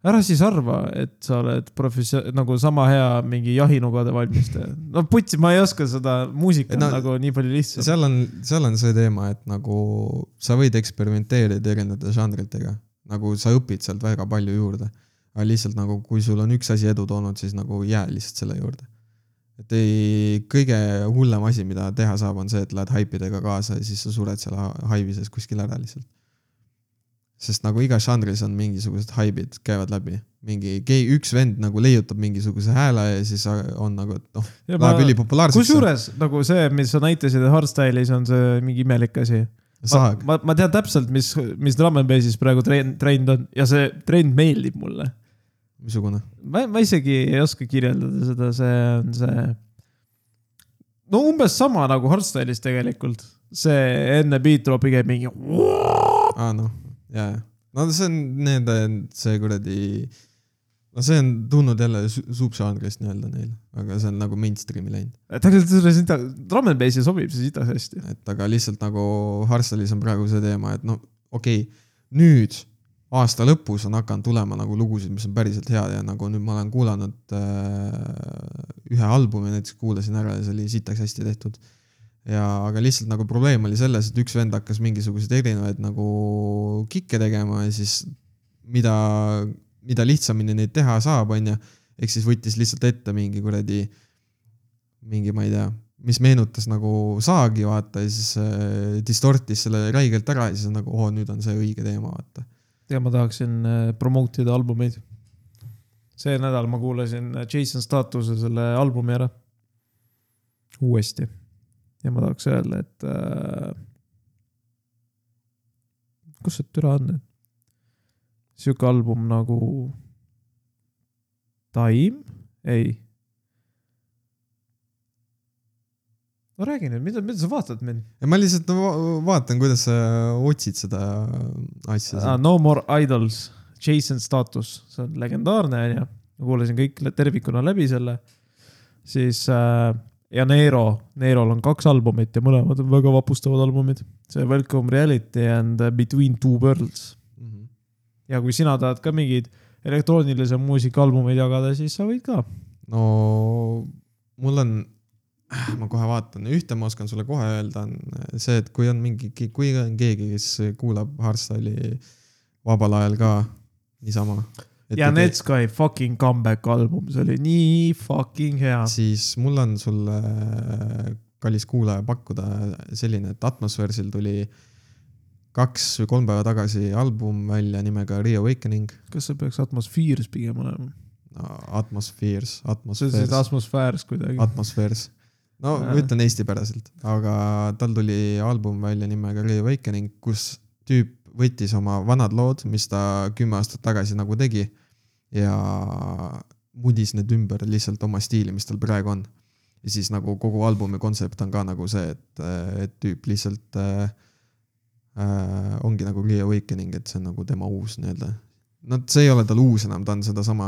ära siis arva , et sa oled professio- , nagu sama hea mingi jahinugade valmistaja . no putsi , ma ei oska seda muusikat No, no, nagu nii palju lihtsalt . seal on , seal on see teema , et nagu sa võid eksperimenteerida erinevate žanritega , nagu sa õpid sealt väga palju juurde . aga lihtsalt nagu , kui sul on üks asi edu toonud , siis nagu jää lihtsalt selle juurde . et ei , kõige hullem asi , mida teha saab , on see , et lähed haipidega kaasa ja siis sa sured seal ha- haivi sees kuskil ära lihtsalt . sest nagu igas žanris on mingisugused haibid , käivad läbi , mingi , üks vend nagu leiutab mingisuguse hääle ja siis on nagu , et noh , Ja ma- läheb ülipopulaarseks . kusjuures nagu see , mis sa näitasid , et hardstyle'is on see mingi imelik asi . ma saag ,, ma, ma tean täpselt , mis , mis Drum n Bassis praegu trend , trend on ja see trend meeldib mulle . missugune ? ma , ma isegi ei oska kirjeldada seda , see on see . no umbes sama nagu hardstyle'is tegelikult , see enne beat drop'i käib mingi . aa noh , jaa , jaa . no see on nende , see kuradi , no see on tulnud jälle su- subžanrist nii-öelda neil , aga see on nagu mainstream'i läinud . tegelikult selle sita , Drum n Bassi sobib see sitas hästi . et aga lihtsalt nagu Harsalis on praegu see teema , et no okei okay, , nüüd aasta lõpus on hakanud tulema nagu lugusid , mis on päriselt head ja nagu nüüd ma olen kuulanud äh, ühe albumi näiteks kuulasin ära ja see oli sitaks hästi tehtud . ja , aga lihtsalt nagu probleem oli selles , et üks vend hakkas mingisuguseid erinevaid nagu kikke tegema ja siis mida , mida lihtsamini neid teha saab , onju , ehk siis võttis lihtsalt ette mingi kuradi mingi , ma ei tea , mis meenutas nagu saagi , vaata , ja siis äh, distortis selle räigelt ära ja siis on nagu , oo , nüüd on see õige teema , vaata . ja ma tahaksin äh, promote ida albumeid . see nädal ma kuulasin äh, Jason Statuse selle albumi ära . uuesti . ja ma tahaks öelda , et äh, . kus see türa on ? sihuke album nagu . Time , ei . no räägi nüüd , mida , mida sa vaatad mind ? ja ma lihtsalt va vaatan , kuidas sa otsid seda asja ah, . ah, . No More Idols , Jason Status , see on legendaarne onju . ma kuulasin kõik lä- tervikuna läbi selle . siis äh, ja Neero , Neerol on kaks albumit ja mõlemad on väga vapustavad albumid . see Welcome Reality and Between Two Worlds . Mm -hmm. ja kui sina tahad ka mingeid elektroonilise muusika albumeid jagada , siis sa võid ka . no mul on , ma kohe vaatan , ühte ma oskan sulle kohe öelda , on see , et kui on mingi , kui on keegi , kes kuulab Hardstyle'i vabal ajal ka niisama . ja Netsky fucking comeback album , see oli nii fucking hea . siis mul on sulle , kallis kuulaja , pakkuda selline , et Atmosfäärsil tuli kaks või kolm päeva tagasi album välja nimega Reawakening . kas see peaks atmosfääris pigem olema ? Atmospheres , see on siis Atmospheres , atmosfääris kuidagi . Atmospheres . no ma Jaa. ütlen eestipäraselt , aga tal tuli album välja nimega Reawakening , kus tüüp võttis oma vanad lood , mis ta kümme aastat tagasi nagu tegi ja mudis need ümber lihtsalt oma stiili , mis tal praegu on . ja siis nagu kogu albumi kontsept on ka nagu see , et , et tüüp lihtsalt äh, äh, ongi nagu Reawakening , et see on nagu tema uus nii-öelda . no see ei ole tal uus enam , ta on sedasama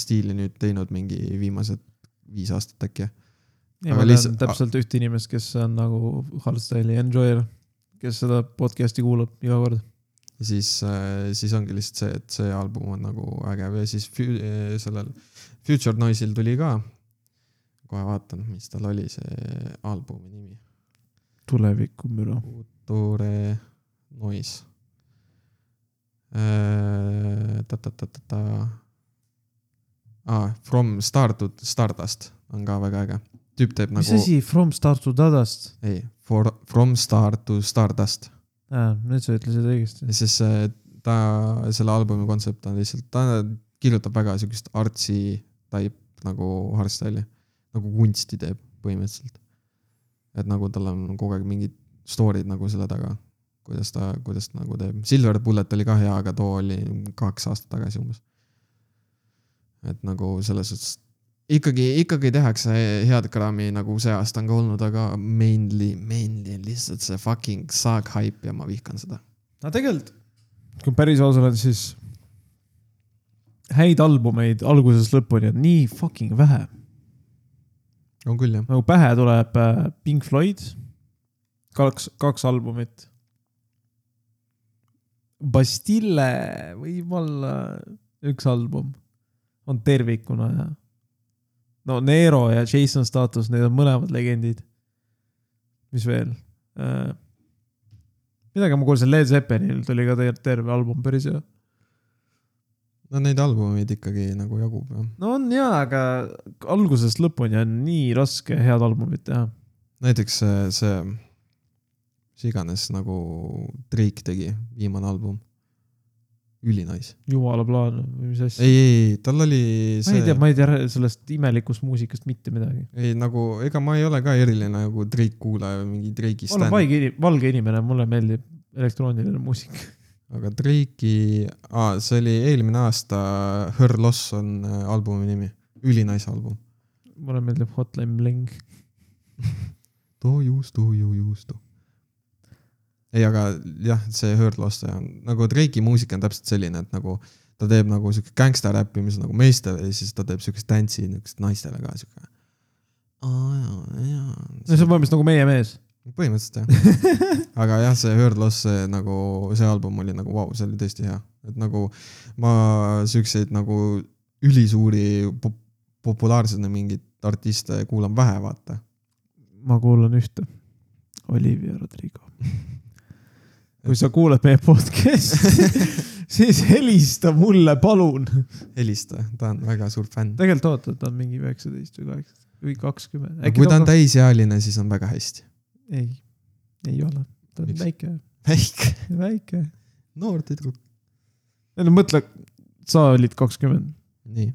stiili nüüd teinud mingi viimased viis aastat äkki . ja Aga ma tean lihtsalt- täpselt ühte inimest , kes on nagu hardstyle'i enjoyer , kes seda podcast'i kuulab iga kord . ja siis , siis ongi lihtsalt see , et see album on nagu ägev ja siis fü- eh, sellel Future Noise'il tuli ka . kohe vaatan , mis tal oli see albumi nimi . tulevikumüra . Future Noise . Äh, ta-ta-ta-ta-ta . Ah, From Star to Stardust on ka väga äge . tüüp teeb mis nagu , asi From Start to Dadast ? ei , For , From Star to Stardust . nüüd sa ütlesid õigesti . ja siis äh, ta , selle albumi kontsept on lihtsalt , ta kirjutab väga siukest artsi type nagu hardstyle'i , nagu kunsti teeb põhimõtteliselt . et nagu tal on kogu aeg mingid story'd nagu selle taga , kuidas ta , kuidas ta nagu teeb . Silver Bullet oli ka hea , aga too oli kaks aastat tagasi umbes . et nagu selles suhtes ikkagi , ikkagi tehakse head kraami , nagu see aasta on ka olnud , aga mainly , mainly on lihtsalt see fucking saag hype ja ma vihkan seda . no tegelikult , kui päris aus olen , siis häid albumeid algusest lõpuni on nii fucking vähe . on küll jah . nagu pähe tuleb äh, Pink Floyd , kaks , kaks albumit . Bastille võib-olla üks album on tervikuna ja no Nero ja Jason Status , need on mõlemad legendid . mis veel äh, ? midagi ma kuulsin , Led Zeppelinil tuli ka tegelikult terve album , päris hea . no neid albumeid ikkagi nagu jagub jah . no on hea , aga algusest lõpuni on nii raske head albumit teha . näiteks see , see , mis iganes nagu Drake tegi , viimane album . ülinais . jumala plaan või mis asja . ei , ei , tal oli ma ei see tea ,, ma ei tea sellest imelikust muusikast mitte midagi . ei nagu , ega ma ei ole ka eriline nagu Drake kuulaja või mingi Drake'i olen stand , vaige , valge inimene , mulle meeldib elektrooniline muusika . aga Drake'i , aa , see oli eelmine aasta , Her Loss on äh, albumi nimi , ülinais album . <laughs> mulle meeldib Hotline Bling . too juustu , ju juustu . ei , aga jah , see Hurt Lost on nagu Drake'i muusika on täpselt selline , et nagu ta teeb nagu siuke gängsta räppi , mis on nagu meestele ja siis ta teeb siukest tantsi niukest naistele ka siuke . no see on põhimõtteliselt nagu Meie mees . põhimõtteliselt jah . aga jah , see Hurt Lost , see nagu see album oli nagu vau , see oli tõesti hea , et nagu ma siukseid nagu ülisuuri pop populaarseid mingeid artiste kuulan vähe , vaata . ma kuulan ühte . Olivia Rodrigo . kui sa kuulad meie <laughs> podcast'i , siis helista mulle , palun . helista , ta on väga suur fänn . tegelikult oota , ta on mingi üheksateist või kaheksateist või kakskümmend . Äkki kui ta on täisealine , siis on väga hästi . ei , ei ole . ta on Miks? väike , väike , väike . noor tüdruk . ei no mõtle , sa olid kakskümmend . nii ,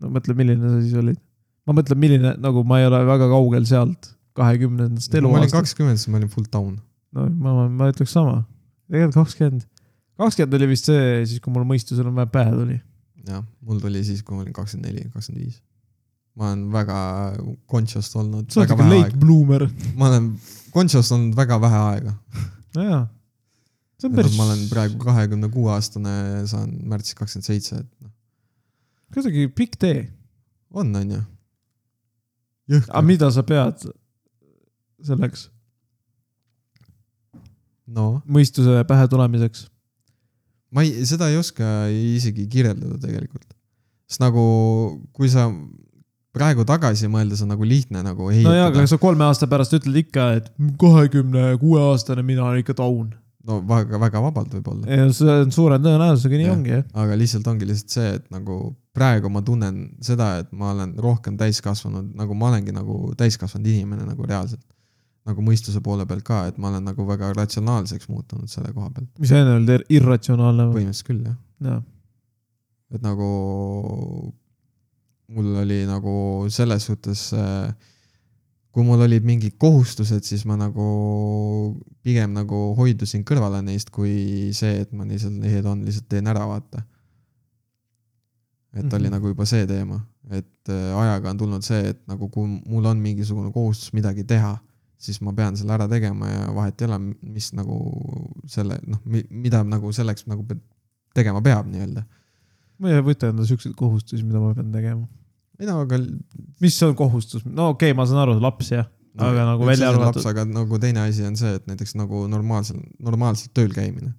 no mõtle , milline sa siis olid . ma mõtlen , milline , nagu ma ei ole väga kaugel sealt kahekümnendast kui ma olin eluaastast . kakskümmend , siis ma olin full down . no ma, ma , ma ütleks sama . tegelikult kakskümmend , kakskümmend oli vist see , siis kui mul mõistus enam-vähem pähe tuli . jah , mul tuli siis , kui ma olin kakskümmend neli , kakskümmend viis . ma olen väga conscious olnud . sa oled ikka late bloomer . ma olen conscious olnud väga vähe aega . nojah . see on päris . ma olen praegu kahekümne kuue aastane , saan märtsis kakskümmend seitse , et noh , kuidagi pikk tee . on , on ju . aga mida sa pead selleks no mõistuse pähe tulemiseks ? ma ei , seda ei oska isegi kirjeldada tegelikult . sest nagu , kui sa praegu tagasi mõelda , see on nagu lihtne nagu nojah , aga heidutada kas sa kolme aasta pärast ütled ikka , et kahekümne kuue aastane mina olen ikka taun ? no väga , väga vabalt võib-olla , see on suure tõenäosusega nii Jah. ongi jah . aga lihtsalt ongi lihtsalt see , et nagu praegu ma tunnen seda , et ma olen rohkem täiskasvanud , nagu ma olengi nagu täiskasvanud inimene nagu reaalselt . nagu mõistuse poole pealt ka , et ma olen nagu väga ratsionaalseks muutunud selle koha pealt , mis enne oli ir- irratsionaalne või ? põhimõtteliselt küll jah . jah , et nagu mul oli nagu selles suhtes , kui mul olid mingid kohustused , siis ma nagu pigem nagu hoidusin kõrvale neist , kui see , et ma lihtsalt need on , lihtsalt teen ära , vaata . et oli Mhm. nagu juba see teema , et äh, ajaga on tulnud see , et nagu kui mul on mingisugune kohustus midagi teha , siis ma pean selle ära tegema ja vahet ei ole , mis nagu selle noh , mida nagu selleks nagu pe- tegema peab nii-öelda . ma ei võta endale siukseid kohustusi , mida ma pean tegema . ei no aga . mis on kohustus , no okei okay, , ma saan aru , laps jah , aga nagu välja arvatud , aga nagu teine asi on see , et näiteks nagu normaalsel , normaalselt tööl käimine .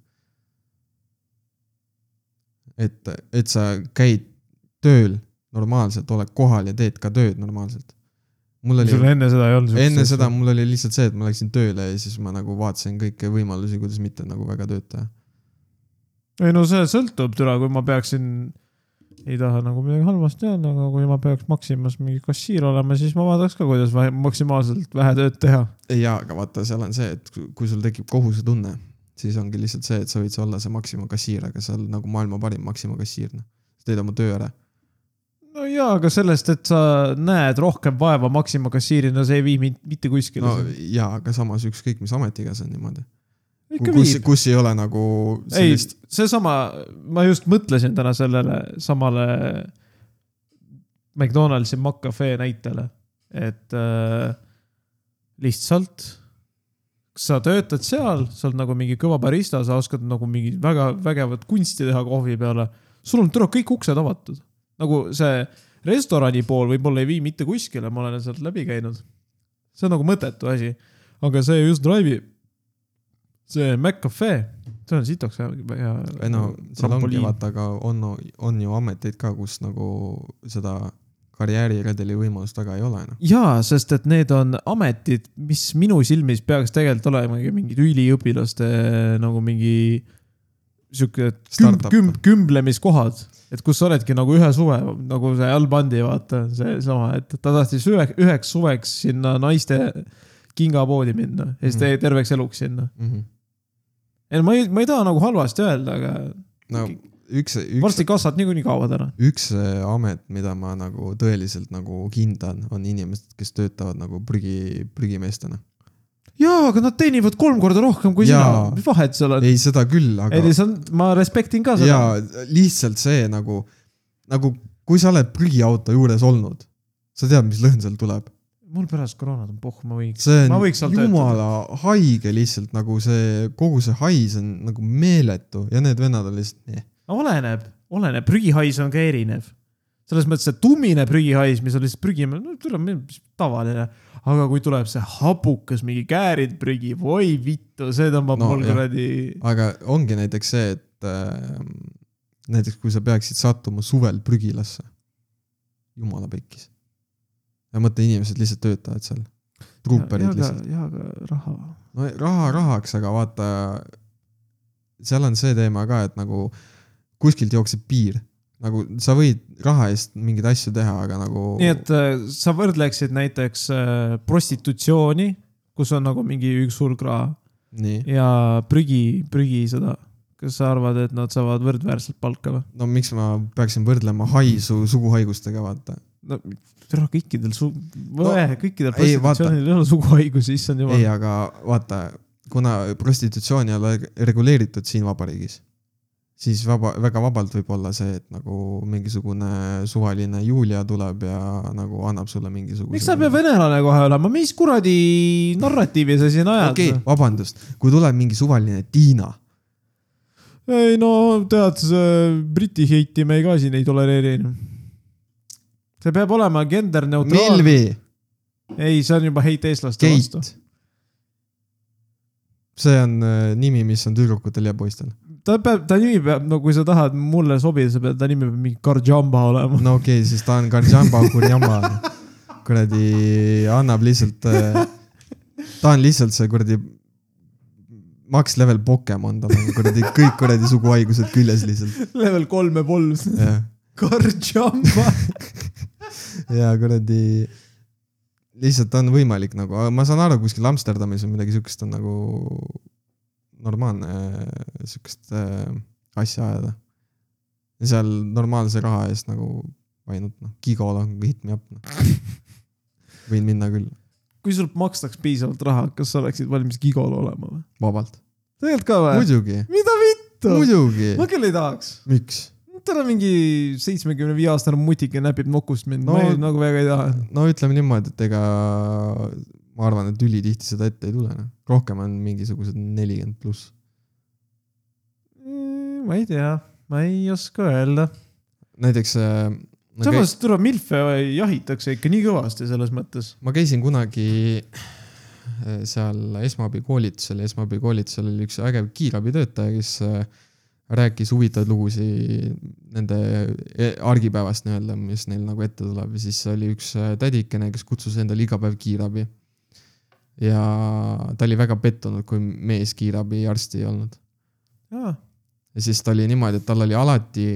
et , et sa käid tööl normaalselt , oled kohal ja teed ka tööd normaalselt . mul oli sul enne seda ei olnud . enne seda . mul oli lihtsalt see , et ma läksin tööle ja siis ma nagu vaatasin kõiki võimalusi , kuidas mitte nagu väga tööd teha . ei no see sõltub , türa , kui ma peaksin , ei taha nagu midagi halvasti öelda , aga kui ma peaks Maximas mingi kassiir olema , siis ma vaataks ka , kuidas vähe, maksimaalselt vähe tööd teha . ei jaa , aga vaata , seal on see , et kui- kui sul tekib kohusetunne , siis ongi lihtsalt see , et sa võid olla see Maxima kassiir , aga sa oled nagu maailma parim Maxima kassiir , noh . sa teed oma töö ära . no jaa , aga sellest , et sa näed rohkem vaeva Maxima kassiirina , see ei vii mind mitte kuskile no no, . jaa , aga samas ükskõik mis ametiga see on niimoodi . ikka kus viib ,. kus ei ole nagu ei , sellist , seesama , ma just mõtlesin täna sellele samale McDonaldsi McCafe näitele , et äh, lihtsalt sa töötad seal , sa oled nagu mingi kõva barista , sa oskad nagu mingi väga vägevat kunsti teha kohvi peale . sul on tule kõik uksed avatud , nagu see restorani pool võib-olla ei vii mitte kuskile , ma olen sealt läbi käinud . see on nagu mõttetu asi , aga see just Drive'i , see McCafe , see on sitoks hea , hea . ei no seal ongi vaata , aga on , on ju ameteid ka , kus nagu seda karjääriredeli võimalust väga ei ole , noh . jaa , sest et need on ametid , mis minu silmis peaks tegelikult olema mingid üliõpilaste nagu mingi sihuke kümb, Startup. kümb, kümblemiskohad , et kus sa oledki nagu ühe suve , nagu see Al Bundy , vaata seesama , et ta tahtis ühe, üheks suveks sinna naiste kingapoodi minna ja siis tegi terveks eluks sinna . mm . -hmm. ei , ma ei , ma ei taha nagu halvasti öelda , aga no üks , üks , varsti kasvad niikuinii kaovad ära . üks amet , mida ma nagu tõeliselt nagu hindan , on inimesed , kes töötavad nagu prügi , prügimeestena . jaa , aga nad teenivad kolm korda rohkem kui Jaa. sina , mis vahet seal on ? ei , seda küll , aga ei , see on , ma respektin ka seda ja lihtsalt see nagu , nagu kui sa oled prügiauto juures olnud , sa tead , mis lõhn seal tuleb . mul pärast koroonat on puhk , ma võiks . see Ma on võiks seal jumala haige lihtsalt nagu see , kogu see hais on nagu meeletu ja need vennad on lihtsalt eh. . oleneb , oleneb , prügihais on ka erinev . selles mõttes , et tummine prügihais , mis on lihtsalt prügi , no tule , tavaline . aga kui tuleb see hapukas mingi käärid prügi , oi vittu , see tõmbab No no, mul jah. kuradi . aga ongi näiteks see , et äh, näiteks kui sa peaksid sattuma suvel prügilasse . jumala pekkis . ja mõtle , inimesed lihtsalt töötavad seal . truuperid lihtsalt . Oh. jaa , aga raha . no raha rahaks , aga vaata , seal on see teema ka , et nagu kuskilt jookseb piir . nagu sa võid raha eest mingeid asju teha , aga nagu . nii et äh, sa võrdleksid näiteks äh, prostitutsiooni , kus on nagu mingi üks hulk raha nii , ja prügi , prügi seda . kas sa arvad , et nad saavad võrdväärselt palka või ? no miks ma peaksin võrdlema haisu suguhaigustega , vaata . no tere , kõikidel su- , No, kõikidel ei, vaata. prostitutsioonidel ei ole suguhaigusi , issand ei , jumal . aga vaata , kuna prostitutsioon ei ole reguleeritud siin vabariigis , siis vaba , väga vabalt võib olla see , et nagu mingisugune suvaline Julia tuleb ja nagu annab sulle mingisuguse . miks sa pead venelane kohe olema , mis kuradi narratiivi sa siin ajad okei okay, , vabandust , kui tuleb mingi suvaline Tiina ei no tead , Briti heiti me ka siin ei tolereeri . see peab olema gender neutraalne . Milvi , ei , see on juba heit eestlaste vastu . Keit . see on äh, nimi , mis on tüdrukutel ja poistel . ta peab , ta nimi peab , no kui sa tahad mulle sobida , sa pead , ta nimi peab mingi Karjamba olema . <laughs> no okei okay, , siis ta on Karjamba Kurjamba . kuradi , annab lihtsalt , ta on lihtsalt see kuradi max level Pokemon , tal on kuradi kõik kuradi suguhaigused küljes lihtsalt , level kolm ja pool , jah . <laughs> Karjamba . ja kuradi , lihtsalt on võimalik nagu , aga ma saan aru , kuskil Amsterdamis või midagi siukest on nagu normaalne äh, siukest äh, asja ajada . ja seal normaalse raha eest nagu ainult noh , gigol on hit me up noh . võin minna küll , kui sul makstaks piisavalt raha , kas sa oleksid valmis gigol olema või ? vabalt . tegelikult ka või ? muidugi , mida vittu ? muidugi . ma küll ei tahaks . miks ? tal on mingi seitsmekümne viie aastane mutike näpib nokust mind no, , ma No- ei, nagu väga ei taha . no ütleme niimoodi , et ega ma arvan , et ülitihti seda ette ei tule , noh . rohkem on mingisugused nelikümmend pluss . Mm, ma ei tea , ma ei oska öelda . näiteks äh, ma, käis, samas tuleb , milfe jahitakse ikka nii kõvasti selles mõttes . ma käisin kunagi äh, seal esmaabikoolitusel ja esmaabikoolitusel oli üks ägev kiirabitöötaja , kes äh, rääkis huvitavaid lugusid nende e- argipäevast nii-öelda , mis neil nagu ette tuleb ja siis oli üks äh, tädikene , kes kutsus endale iga päev kiirabi . ja ta oli väga pettunud , kui mees kiirabiarsti ei olnud . ja siis ta oli niimoodi , et tal oli alati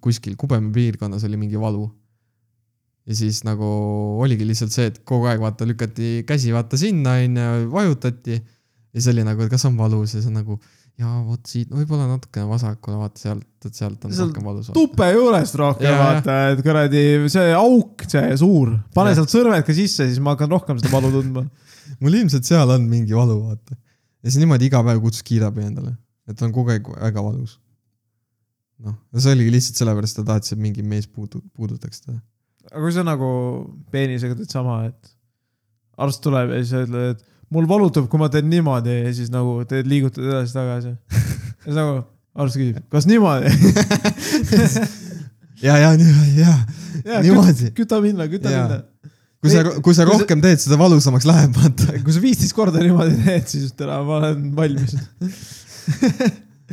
kuskil Kubemi piirkonnas oli mingi valu . ja siis nagu oligi lihtsalt see , et kogu aeg vaata lükati käsi vaata sinna onju , vajutati . ja siis oli nagu , et kas on valus ja siis on nagu ja vot siit no, , võib-olla natukene vasakule , vaata sealt , et sealt on Seal rohkem valus . tupe juurest rohkem Jaa. vaata , et kuradi see auk , see suur , pane Jah. sealt sõrmed ka sisse , siis ma hakkan rohkem seda valu tundma . mul ilmselt seal on mingi valu , vaata . ja siis niimoodi iga päev kutsus kiirabi endale , et on kogu aeg väga valus . noh , see oligi lihtsalt sellepärast , et ta tahtis , et mingi mees puudu- , puudutaks teda . aga kui sa nagu peenisega teed sama , et arst tuleb ja siis sa ütled , et mul valutab , kui ma teen niimoodi ja siis nagu teed , liigutad <laughs> edasi-tagasi . ja siis nagu arst küsib , kas niimoodi ? <laughs> ja , ja , ja , niimoodi . küta minna , küta Jaa. minna . kui sa , kui sa Kui sa- rohkem teed , seda valusamaks läheb , vaata . kui sa viisteist korda niimoodi teed , siis ütled , et ma olen <laughs> valmis .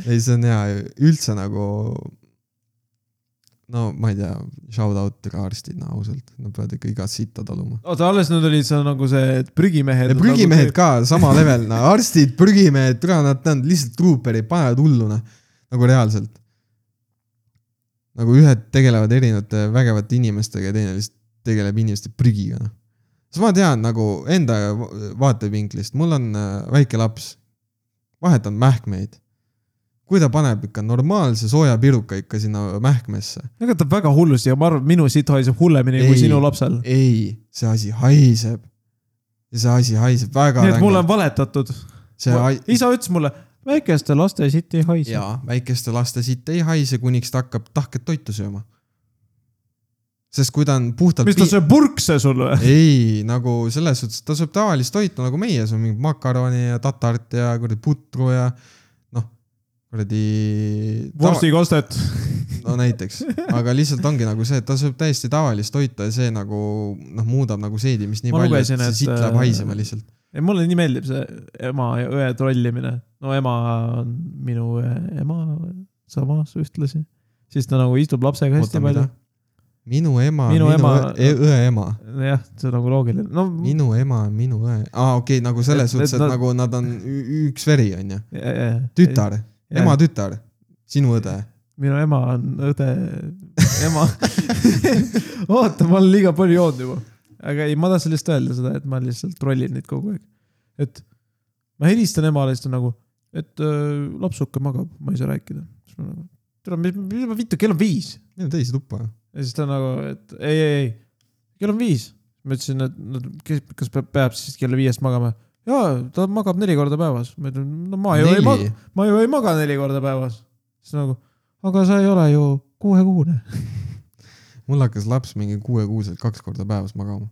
ei , see on hea , üldse nagu . no ma ei tea , shout out ka arstid , no ausalt , nad peavad ikka igat sitta taluma . oota , alles nüüd olid seal nagu see , et prügimehed . ja prügimehed ka sama level , no arstid , prügimehed , türa nad , nad lihtsalt truuperid , panevad hulluna nagu reaalselt . nagu ühed tegelevad erinevate vägevate inimestega ja teine lihtsalt tegeleb inimeste prügiga , noh . siis ma tean nagu enda va- vaatevinklist , mul on äh, väike laps , vahetan mähkmeid . kui ta paneb ikka normaalse sooja piruka ikka sinna mähkmesse , ega ta väga hullusti ja ma arvan , et minu siit haiseb hullemini Ei. kui sinu lapsel . ei , see asi haiseb . ja see asi haiseb väga nii et mulle on valetatud . rängalt . isa ütles mulle , väikeste laste siit ei haise . jaa , väikeste laste siit ei haise , kuniks ta hakkab tahket toitu sööma . sest kui ta on puhtalt mis ta sööb purkse sul või ? <laughs> ei , nagu selles suhtes , ta sööb tavalist toitu nagu meie , sööb mingit makaroni ja tatart ja kuradi putru ja noh , kuradi . vorstikostet . no näiteks , aga lihtsalt ongi nagu see , et ta sööb täiesti tavalist toitu ja see nagu noh , muudab nagu seedimist nii Ma palju , et lugesin, see et, sitt läheb äh, haisema lihtsalt . mulle nii meeldib see ema ja õe trollimine . no ema on minu õe- ema samas ühtlasi . siis ta nagu istub lapsega hästi oota , mida palju ., minu ema , Minu minu ema- õe- õe ema jah , see on nagu loogiline . no minu ema on minu õe , aa okei okay, , nagu selles Et- suhtes , et et nad- nagu nad on ü- üks veri , onju . ja- ja- ja. tütar , Ja. ema tütar , sinu õde . minu ema on õde , ema . <laughs> oota , ma olen liiga palju joonud juba . aga ei , ma tahtsin lihtsalt öelda seda , et ma lihtsalt trollin neid kogu aeg . et ma helistan emale , siis ta nagu , et öö, lapsuke magab , ma ei saa rääkida . siis ma nagu , tere , mis , mis ma vittu , kell on viis . Mine teise tuppa . ja siis ta nagu , et ei , ei , ei , kell on viis . ma ütlesin , et no kes , kas peab , peab siis kella viiest magama ? jaa , ta magab neli korda päevas . ma ütlen , no ma ju ei maga . ma ju ei maga neli korda päevas . siis nagu , aga sa ei ole ju kuuekuune . mul hakkas laps mingi kuuekuuselt kaks korda päevas magama .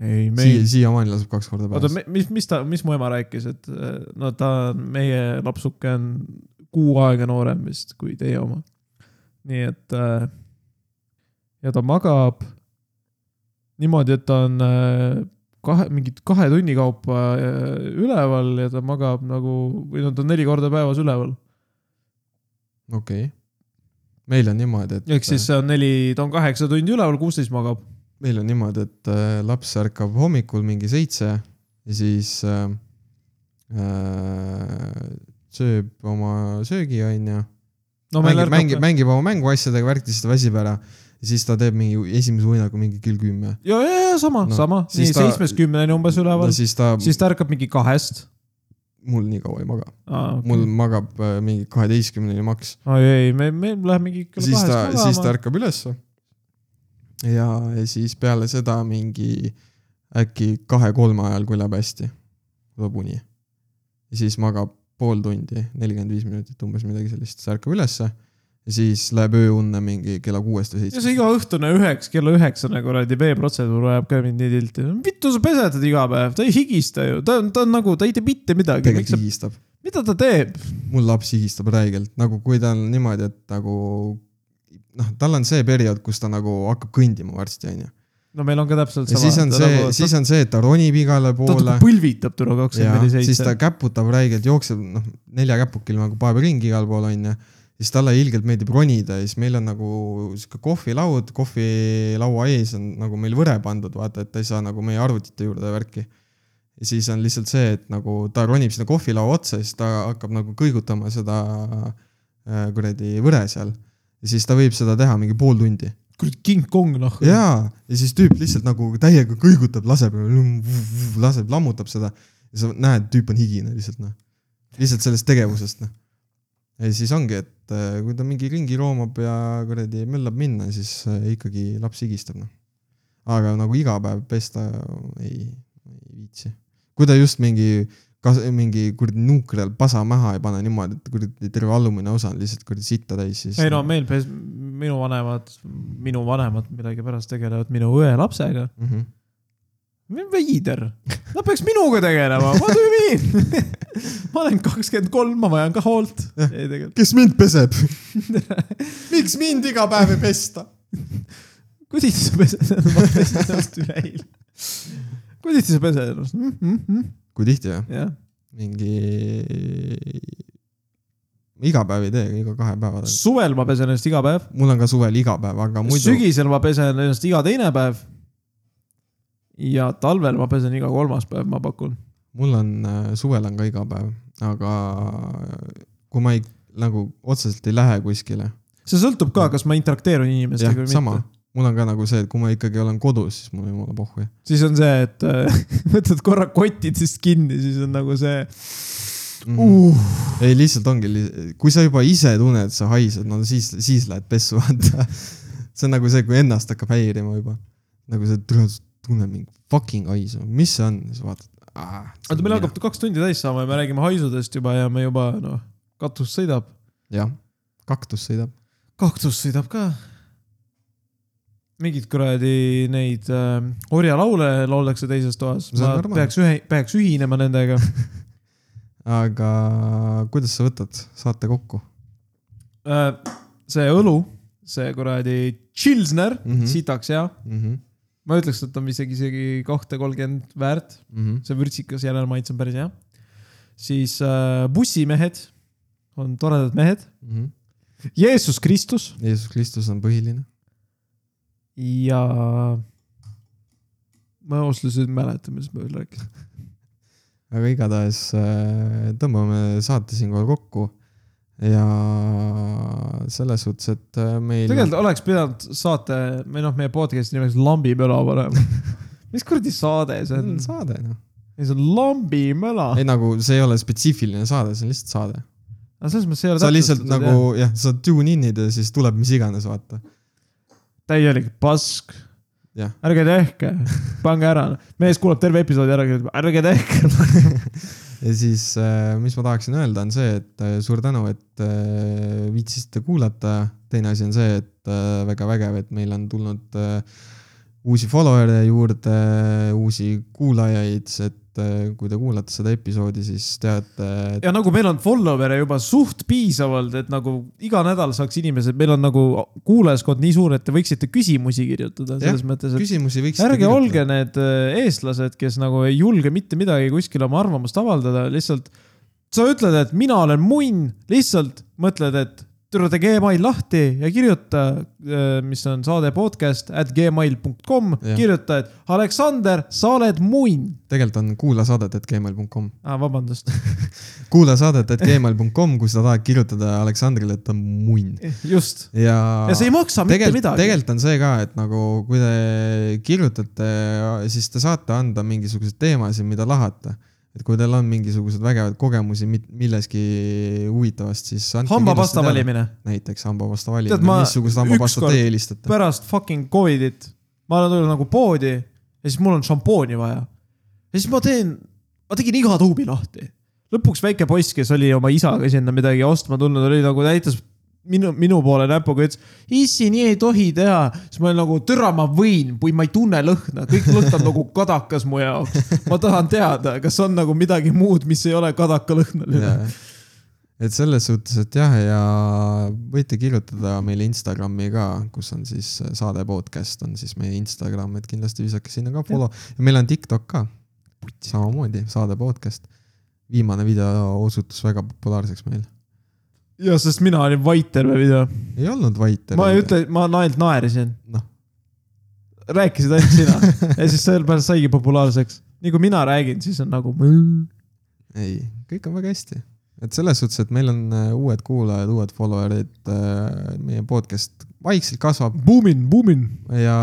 ei , siia , meil . siiamaani laseb kaks korda oota päevas ., mis , mis ta , mis mu ema rääkis , et eh, no ta on , meie lapsuke on kuu aega noorem vist kui teie oma . nii et . ja ta magab niimoodi , et ta on eh, kahe , mingit kahe tunni kaupa eh, üleval ja ta magab nagu , või no ta on neli korda päevas üleval . okei okay. . meil on niimoodi , et . ehk siis see on neli , ta on kaheksa tundi üleval , kuusteist magab . meil on niimoodi , et äh, laps ärkab hommikul mingi seitse ja siis äh, äh, sööb oma söögi , onju . no meil mängib , ärkab mängib , mängib oma mänguasjadega , värkis , siis ta väsib ära ja siis ta teeb mingi esimese uinagu mingi kell kümme . ja , ja , ja sama no, , No, sama , siis nii ta- seitsmest kümneni umbes üleval no no, , siis, siis ta, siis ta ärkab mingi kahest . mul nii kaua ei maga , mul magab äh, mingi kaheteistkümneni maks , oi ei , me , me läheme mingi kella siis kahest ta , magama . siis ta ärkab ülesse . ja , ja siis peale seda mingi äkki kahe-kolme ajal , kui läheb hästi , tuleb uni . ja siis magab pool tundi , nelikümmend viis minutit , umbes midagi sellist , siis ärkab ülesse ja siis läheb ööunne mingi kella kuuest või ja see seitsmest . igaõhtune üheks , kella nagu üheksane kuradi veeprotseduur ajab ka mind nii tilti . vittu sa pesetad iga päev , ta ei higista ju , ta on , ta on nagu , ta ei tee mitte midagi , miks tegelikult sa , higistab . mida ta teeb ? mul laps higistab räigelt , nagu kui ta on niimoodi , et nagu noh , tal on see periood , kus ta nagu hakkab kõndima varsti , onju . no meil on ka täpselt ja sama . siis on see , siis on see , et ta ronib igale nagu- ta poole nagu . põlvitab tule ja kakskümmend neli siis ta seitse . käputab räigelt , jookseb noh , nelja käpukil nagu paeb ringi igal pool onju . siis talle ilgelt meeldib ronida ja siis meil on nagu sihuke kohvilaud , kohvilaua ees on nagu meil võre pandud , vaata , et ta ei saa nagu meie arvutite juurde värki . ja siis on lihtsalt see , et nagu ta ronib sinna kohvilaua otsa ja siis ta hakkab nagu kõigutama seda äh, kuradi võre seal . ja siis ta võib seda teha mingi pool tundi . kuradi King Kong noh . jaa , ja siis tüüp lihtsalt nagu täiega kõigutab , laseb , laseb , lammutab seda ja sa näed , tüüp on higine lihtsalt noh . lihtsalt sellest tegevusest noh . ja siis ongi , et äh, kui ta mingi ringi roomab ja kuradi möllab minna , siis äh, ikkagi laps higistab noh . aga nagu iga päev pesta ei , ei viitsi . kui ta just mingi , kas mingi kuradi nuukral pasa maha ei pane niimoodi , et kuradi terve alumine osa on lihtsalt kuradi sitta täis , siis . noh. ei no meil pes- , minu vanemad , minu vanemad millegipärast tegelevad minu õe lapsega . mm . -hmm veider , nad peaks minuga tegelema , what do you mean ? <laughs> ma olen kakskümmend kolm , ma vajan ka hoolt . ei tegelikult , kes mind <laughs> peseb ? miks mind iga päev ei pesta ? kuidas sa pesed ennast , ma pesin ennast üleeile . kuidas sa pesed ennast mm ? -hmm. kui tihti või ? jah , mingi . iga päev ei tee , iga kahe päeva teen . suvel ma pesen ennast iga päev , mul on ka suvel iga päev , aga muidu . sügisel ma pesen ennast iga teine päev . ja talvel ma pesen iga kolmas päev , ma pakun . mul on , suvel on ka iga päev , aga kui ma ei , nagu otseselt ei lähe kuskile . see sõltub ka , kas ma interakteerun inimestega jah või , sama mitte ., mul on ka nagu see , et kui ma ikkagi olen kodus , siis mul ei ole pohhu . siis on see , et äh, <laughs> võtad korra kotid siis kinni , siis on nagu see uh, . ei , lihtsalt ongi , kui sa juba ise tunned , et sa haised , no siis , siis lähed pessu , <laughs> vaata . see on nagu see , kui ennast hakkab häirima juba . nagu see , tunned mingi fucking haisu , mis see on , siis vaatad . oota , meil hakkab kaks tundi täis saama ja me räägime haisudest juba ja me juba noh , katus sõidab . jah , kaktus sõidab . kaktus sõidab ka . mingid kuradi neid äh, orjalaule lauldakse teises toas . See on ma normaalne. peaks ühe , peaks ühinema nendega aga kuidas sa võtad saate kokku ? äh, . see õlu , see kuradi Chilsner mm , Mhm. -hmm. sitaks hea . ma ütleks , et on isegi , isegi kahte kolmkümmend väärt . see vürtsikas järelmaitse on päris hea . siis äh, bussimehed on toredad mehed . Jeesus Kristus Jeesus Kristus on põhiline . ja . ma ausalt öeldes ei mäleta , mis ma veel rääkisin . aga igatahes äh, tõmbame saate siinkohal kokku . ja selles suhtes , et äh, meil . tegelikult oleks pidanud saate või noh , meie podcast'i nimeks Lambi möla <laughs> panema . mis kuradi saade see on ? saade noh . ei , see on Lambi möla . ei nagu see ei ole spetsiifiline saade , see on lihtsalt saade . aga selles mõttes ei ole sa lihtsalt nagu jah , sa tune in'id ja siis tuleb mis iganes , vaata . <laughs> täielik pask Jah. . ärge tehke , pange ära . mees kuulab terve episoodi ära , kirjutab ärge tehke . ja siis , mis ma tahaksin öelda , on see , et äh, suur tänu , et äh, viitsisite kuulata . teine asi on see , et äh, väga vägev , et meil on tulnud äh, uusi follower'e juurde , uusi kuulajaid , et äh, kui te kuulate seda episoodi , siis teate , et ja nagu meil on follower'e juba suht piisavalt , et nagu iga nädal saaks inimesed , meil on nagu kuulajaskond nii suur , et te võiksite küsimusi kirjutada Jah, selles mõttes , et küsimusi võiks . ärge olge . need äh, eestlased , kes nagu ei julge mitte midagi kuskil oma arvamust avaldada , lihtsalt . sa ütled , et mina olen munn , lihtsalt mõtled , et tule tee Gmail lahti ja kirjuta , mis on saade podcast at gmail.com , Jah. kirjuta , et Aleksander , sa oled munn . tegelikult on kuulasaadet , et gmail.com . Ah, vabandust , <laughs> kuula saadet , et gmail.com , kui sa tahad kirjutada Aleksandrile , et ta on munn just . ja . ja see ei maksa mitte tegelikult , midagi . tegelikult on see ka , et nagu kui te kirjutate , siis te saate anda mingisuguseid teemasid , mida lahata . et kui teil on mingisuguseid vägevaid kogemusi mi- milleski huvitavast , siis . hambapasta . valimine näiteks hambapasta Tead, ma valimine , missugust hambapastat ükskord- teie eelistate ? pärast fucking Covidit ma olen tulnud nagu poodi ja siis mul on šampooni vaja . ja siis ma teen , ma tegin iga tuubi lahti . lõpuks väike poiss , kes oli oma isaga sinna midagi ostma tulnud , oli nagu näitas minu , minu poole näpuga ja ütles , issi , nii ei tohi teha . siis ma olin nagu , türa , ma võin , kui ma ei tunne lõhna , kõik lõhn on nagu kadakas mu jaoks . ma tahan teada , kas on nagu midagi muud , mis ei ole kadakalõhnaline . Jaa. et selles suhtes , et jah , ja võite kirjutada meile Instagrami ka , kus on siis äh, saade podcast on siis meie Instagram , et kindlasti visake sinna ka follow . meil on TikTok ka , samamoodi saade podcast . viimane video osutus väga populaarseks meil . ja , sest mina olin vait terve video . ei olnud vait . ma ei . ütle , ma ainult naerisin , noh , rääkisid ainult sina ja siis sellepärast saigi populaarseks . nii kui mina räägin , siis on nagu . ei , kõik on väga hästi . et selles suhtes , et meil on äh, uued kuulajad , uued follower'id , meie podcast vaikselt kasvab . Boomin , boomin . ja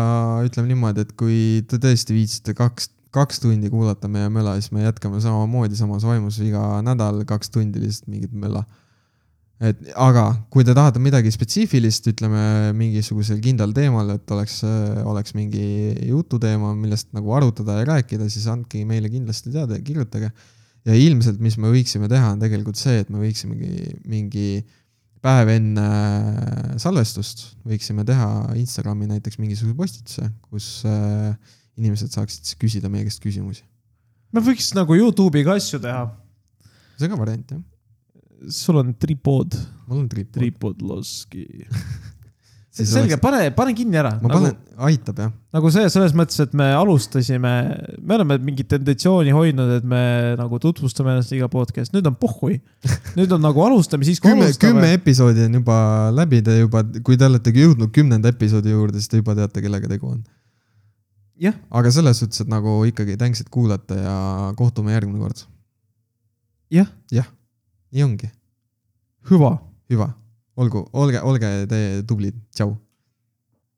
ütleme niimoodi , et kui te tõesti viitsite kaks , kaks tundi kuulata meie möla , siis me jätkame samamoodi samas vaimus iga nädal kaks tundi lihtsalt mingit möla . et aga kui te tahate midagi spetsiifilist , ütleme mingisugusel kindlal teemal , et oleks , oleks mingi jututeema , millest nagu arutada ja rääkida , siis andke meile kindlasti teada ja kirjutage . ja ilmselt , mis me võiksime teha , on tegelikult see , et me võiksimegi mingi päev enne äh, salvestust võiksime teha Instagrami näiteks mingisuguse postituse , kus äh, inimesed saaksid siis küsida meie käest küsimusi . me võiks nagu Youtube'iga asju teha . see on ka variant jah , sul on tripod , mul on trip . tripod <laughs> loski . Siis selge oleks- , pane , pane kinni ära . ma panen , aitab jah , nagu see selles mõttes , et me alustasime , me oleme mingit tendentsiooni hoidnud , et me nagu tutvustame ennast iga podcast'i , nüüd on <laughs> pohhui . nüüd on nagu alustame siis , kui kümme , kümme alustame . episoodi on juba läbi , te juba , kui te olete jõudnud kümnenda episoodi juurde , siis te juba teate , kellega tegu on . Jah. . aga selles suhtes , et nagu ikkagi tänks , et kuulate ja kohtume järgmine kord . Jah. . jah , nii ongi , hüva hüva , olgu , olge , olge te tublid , tšau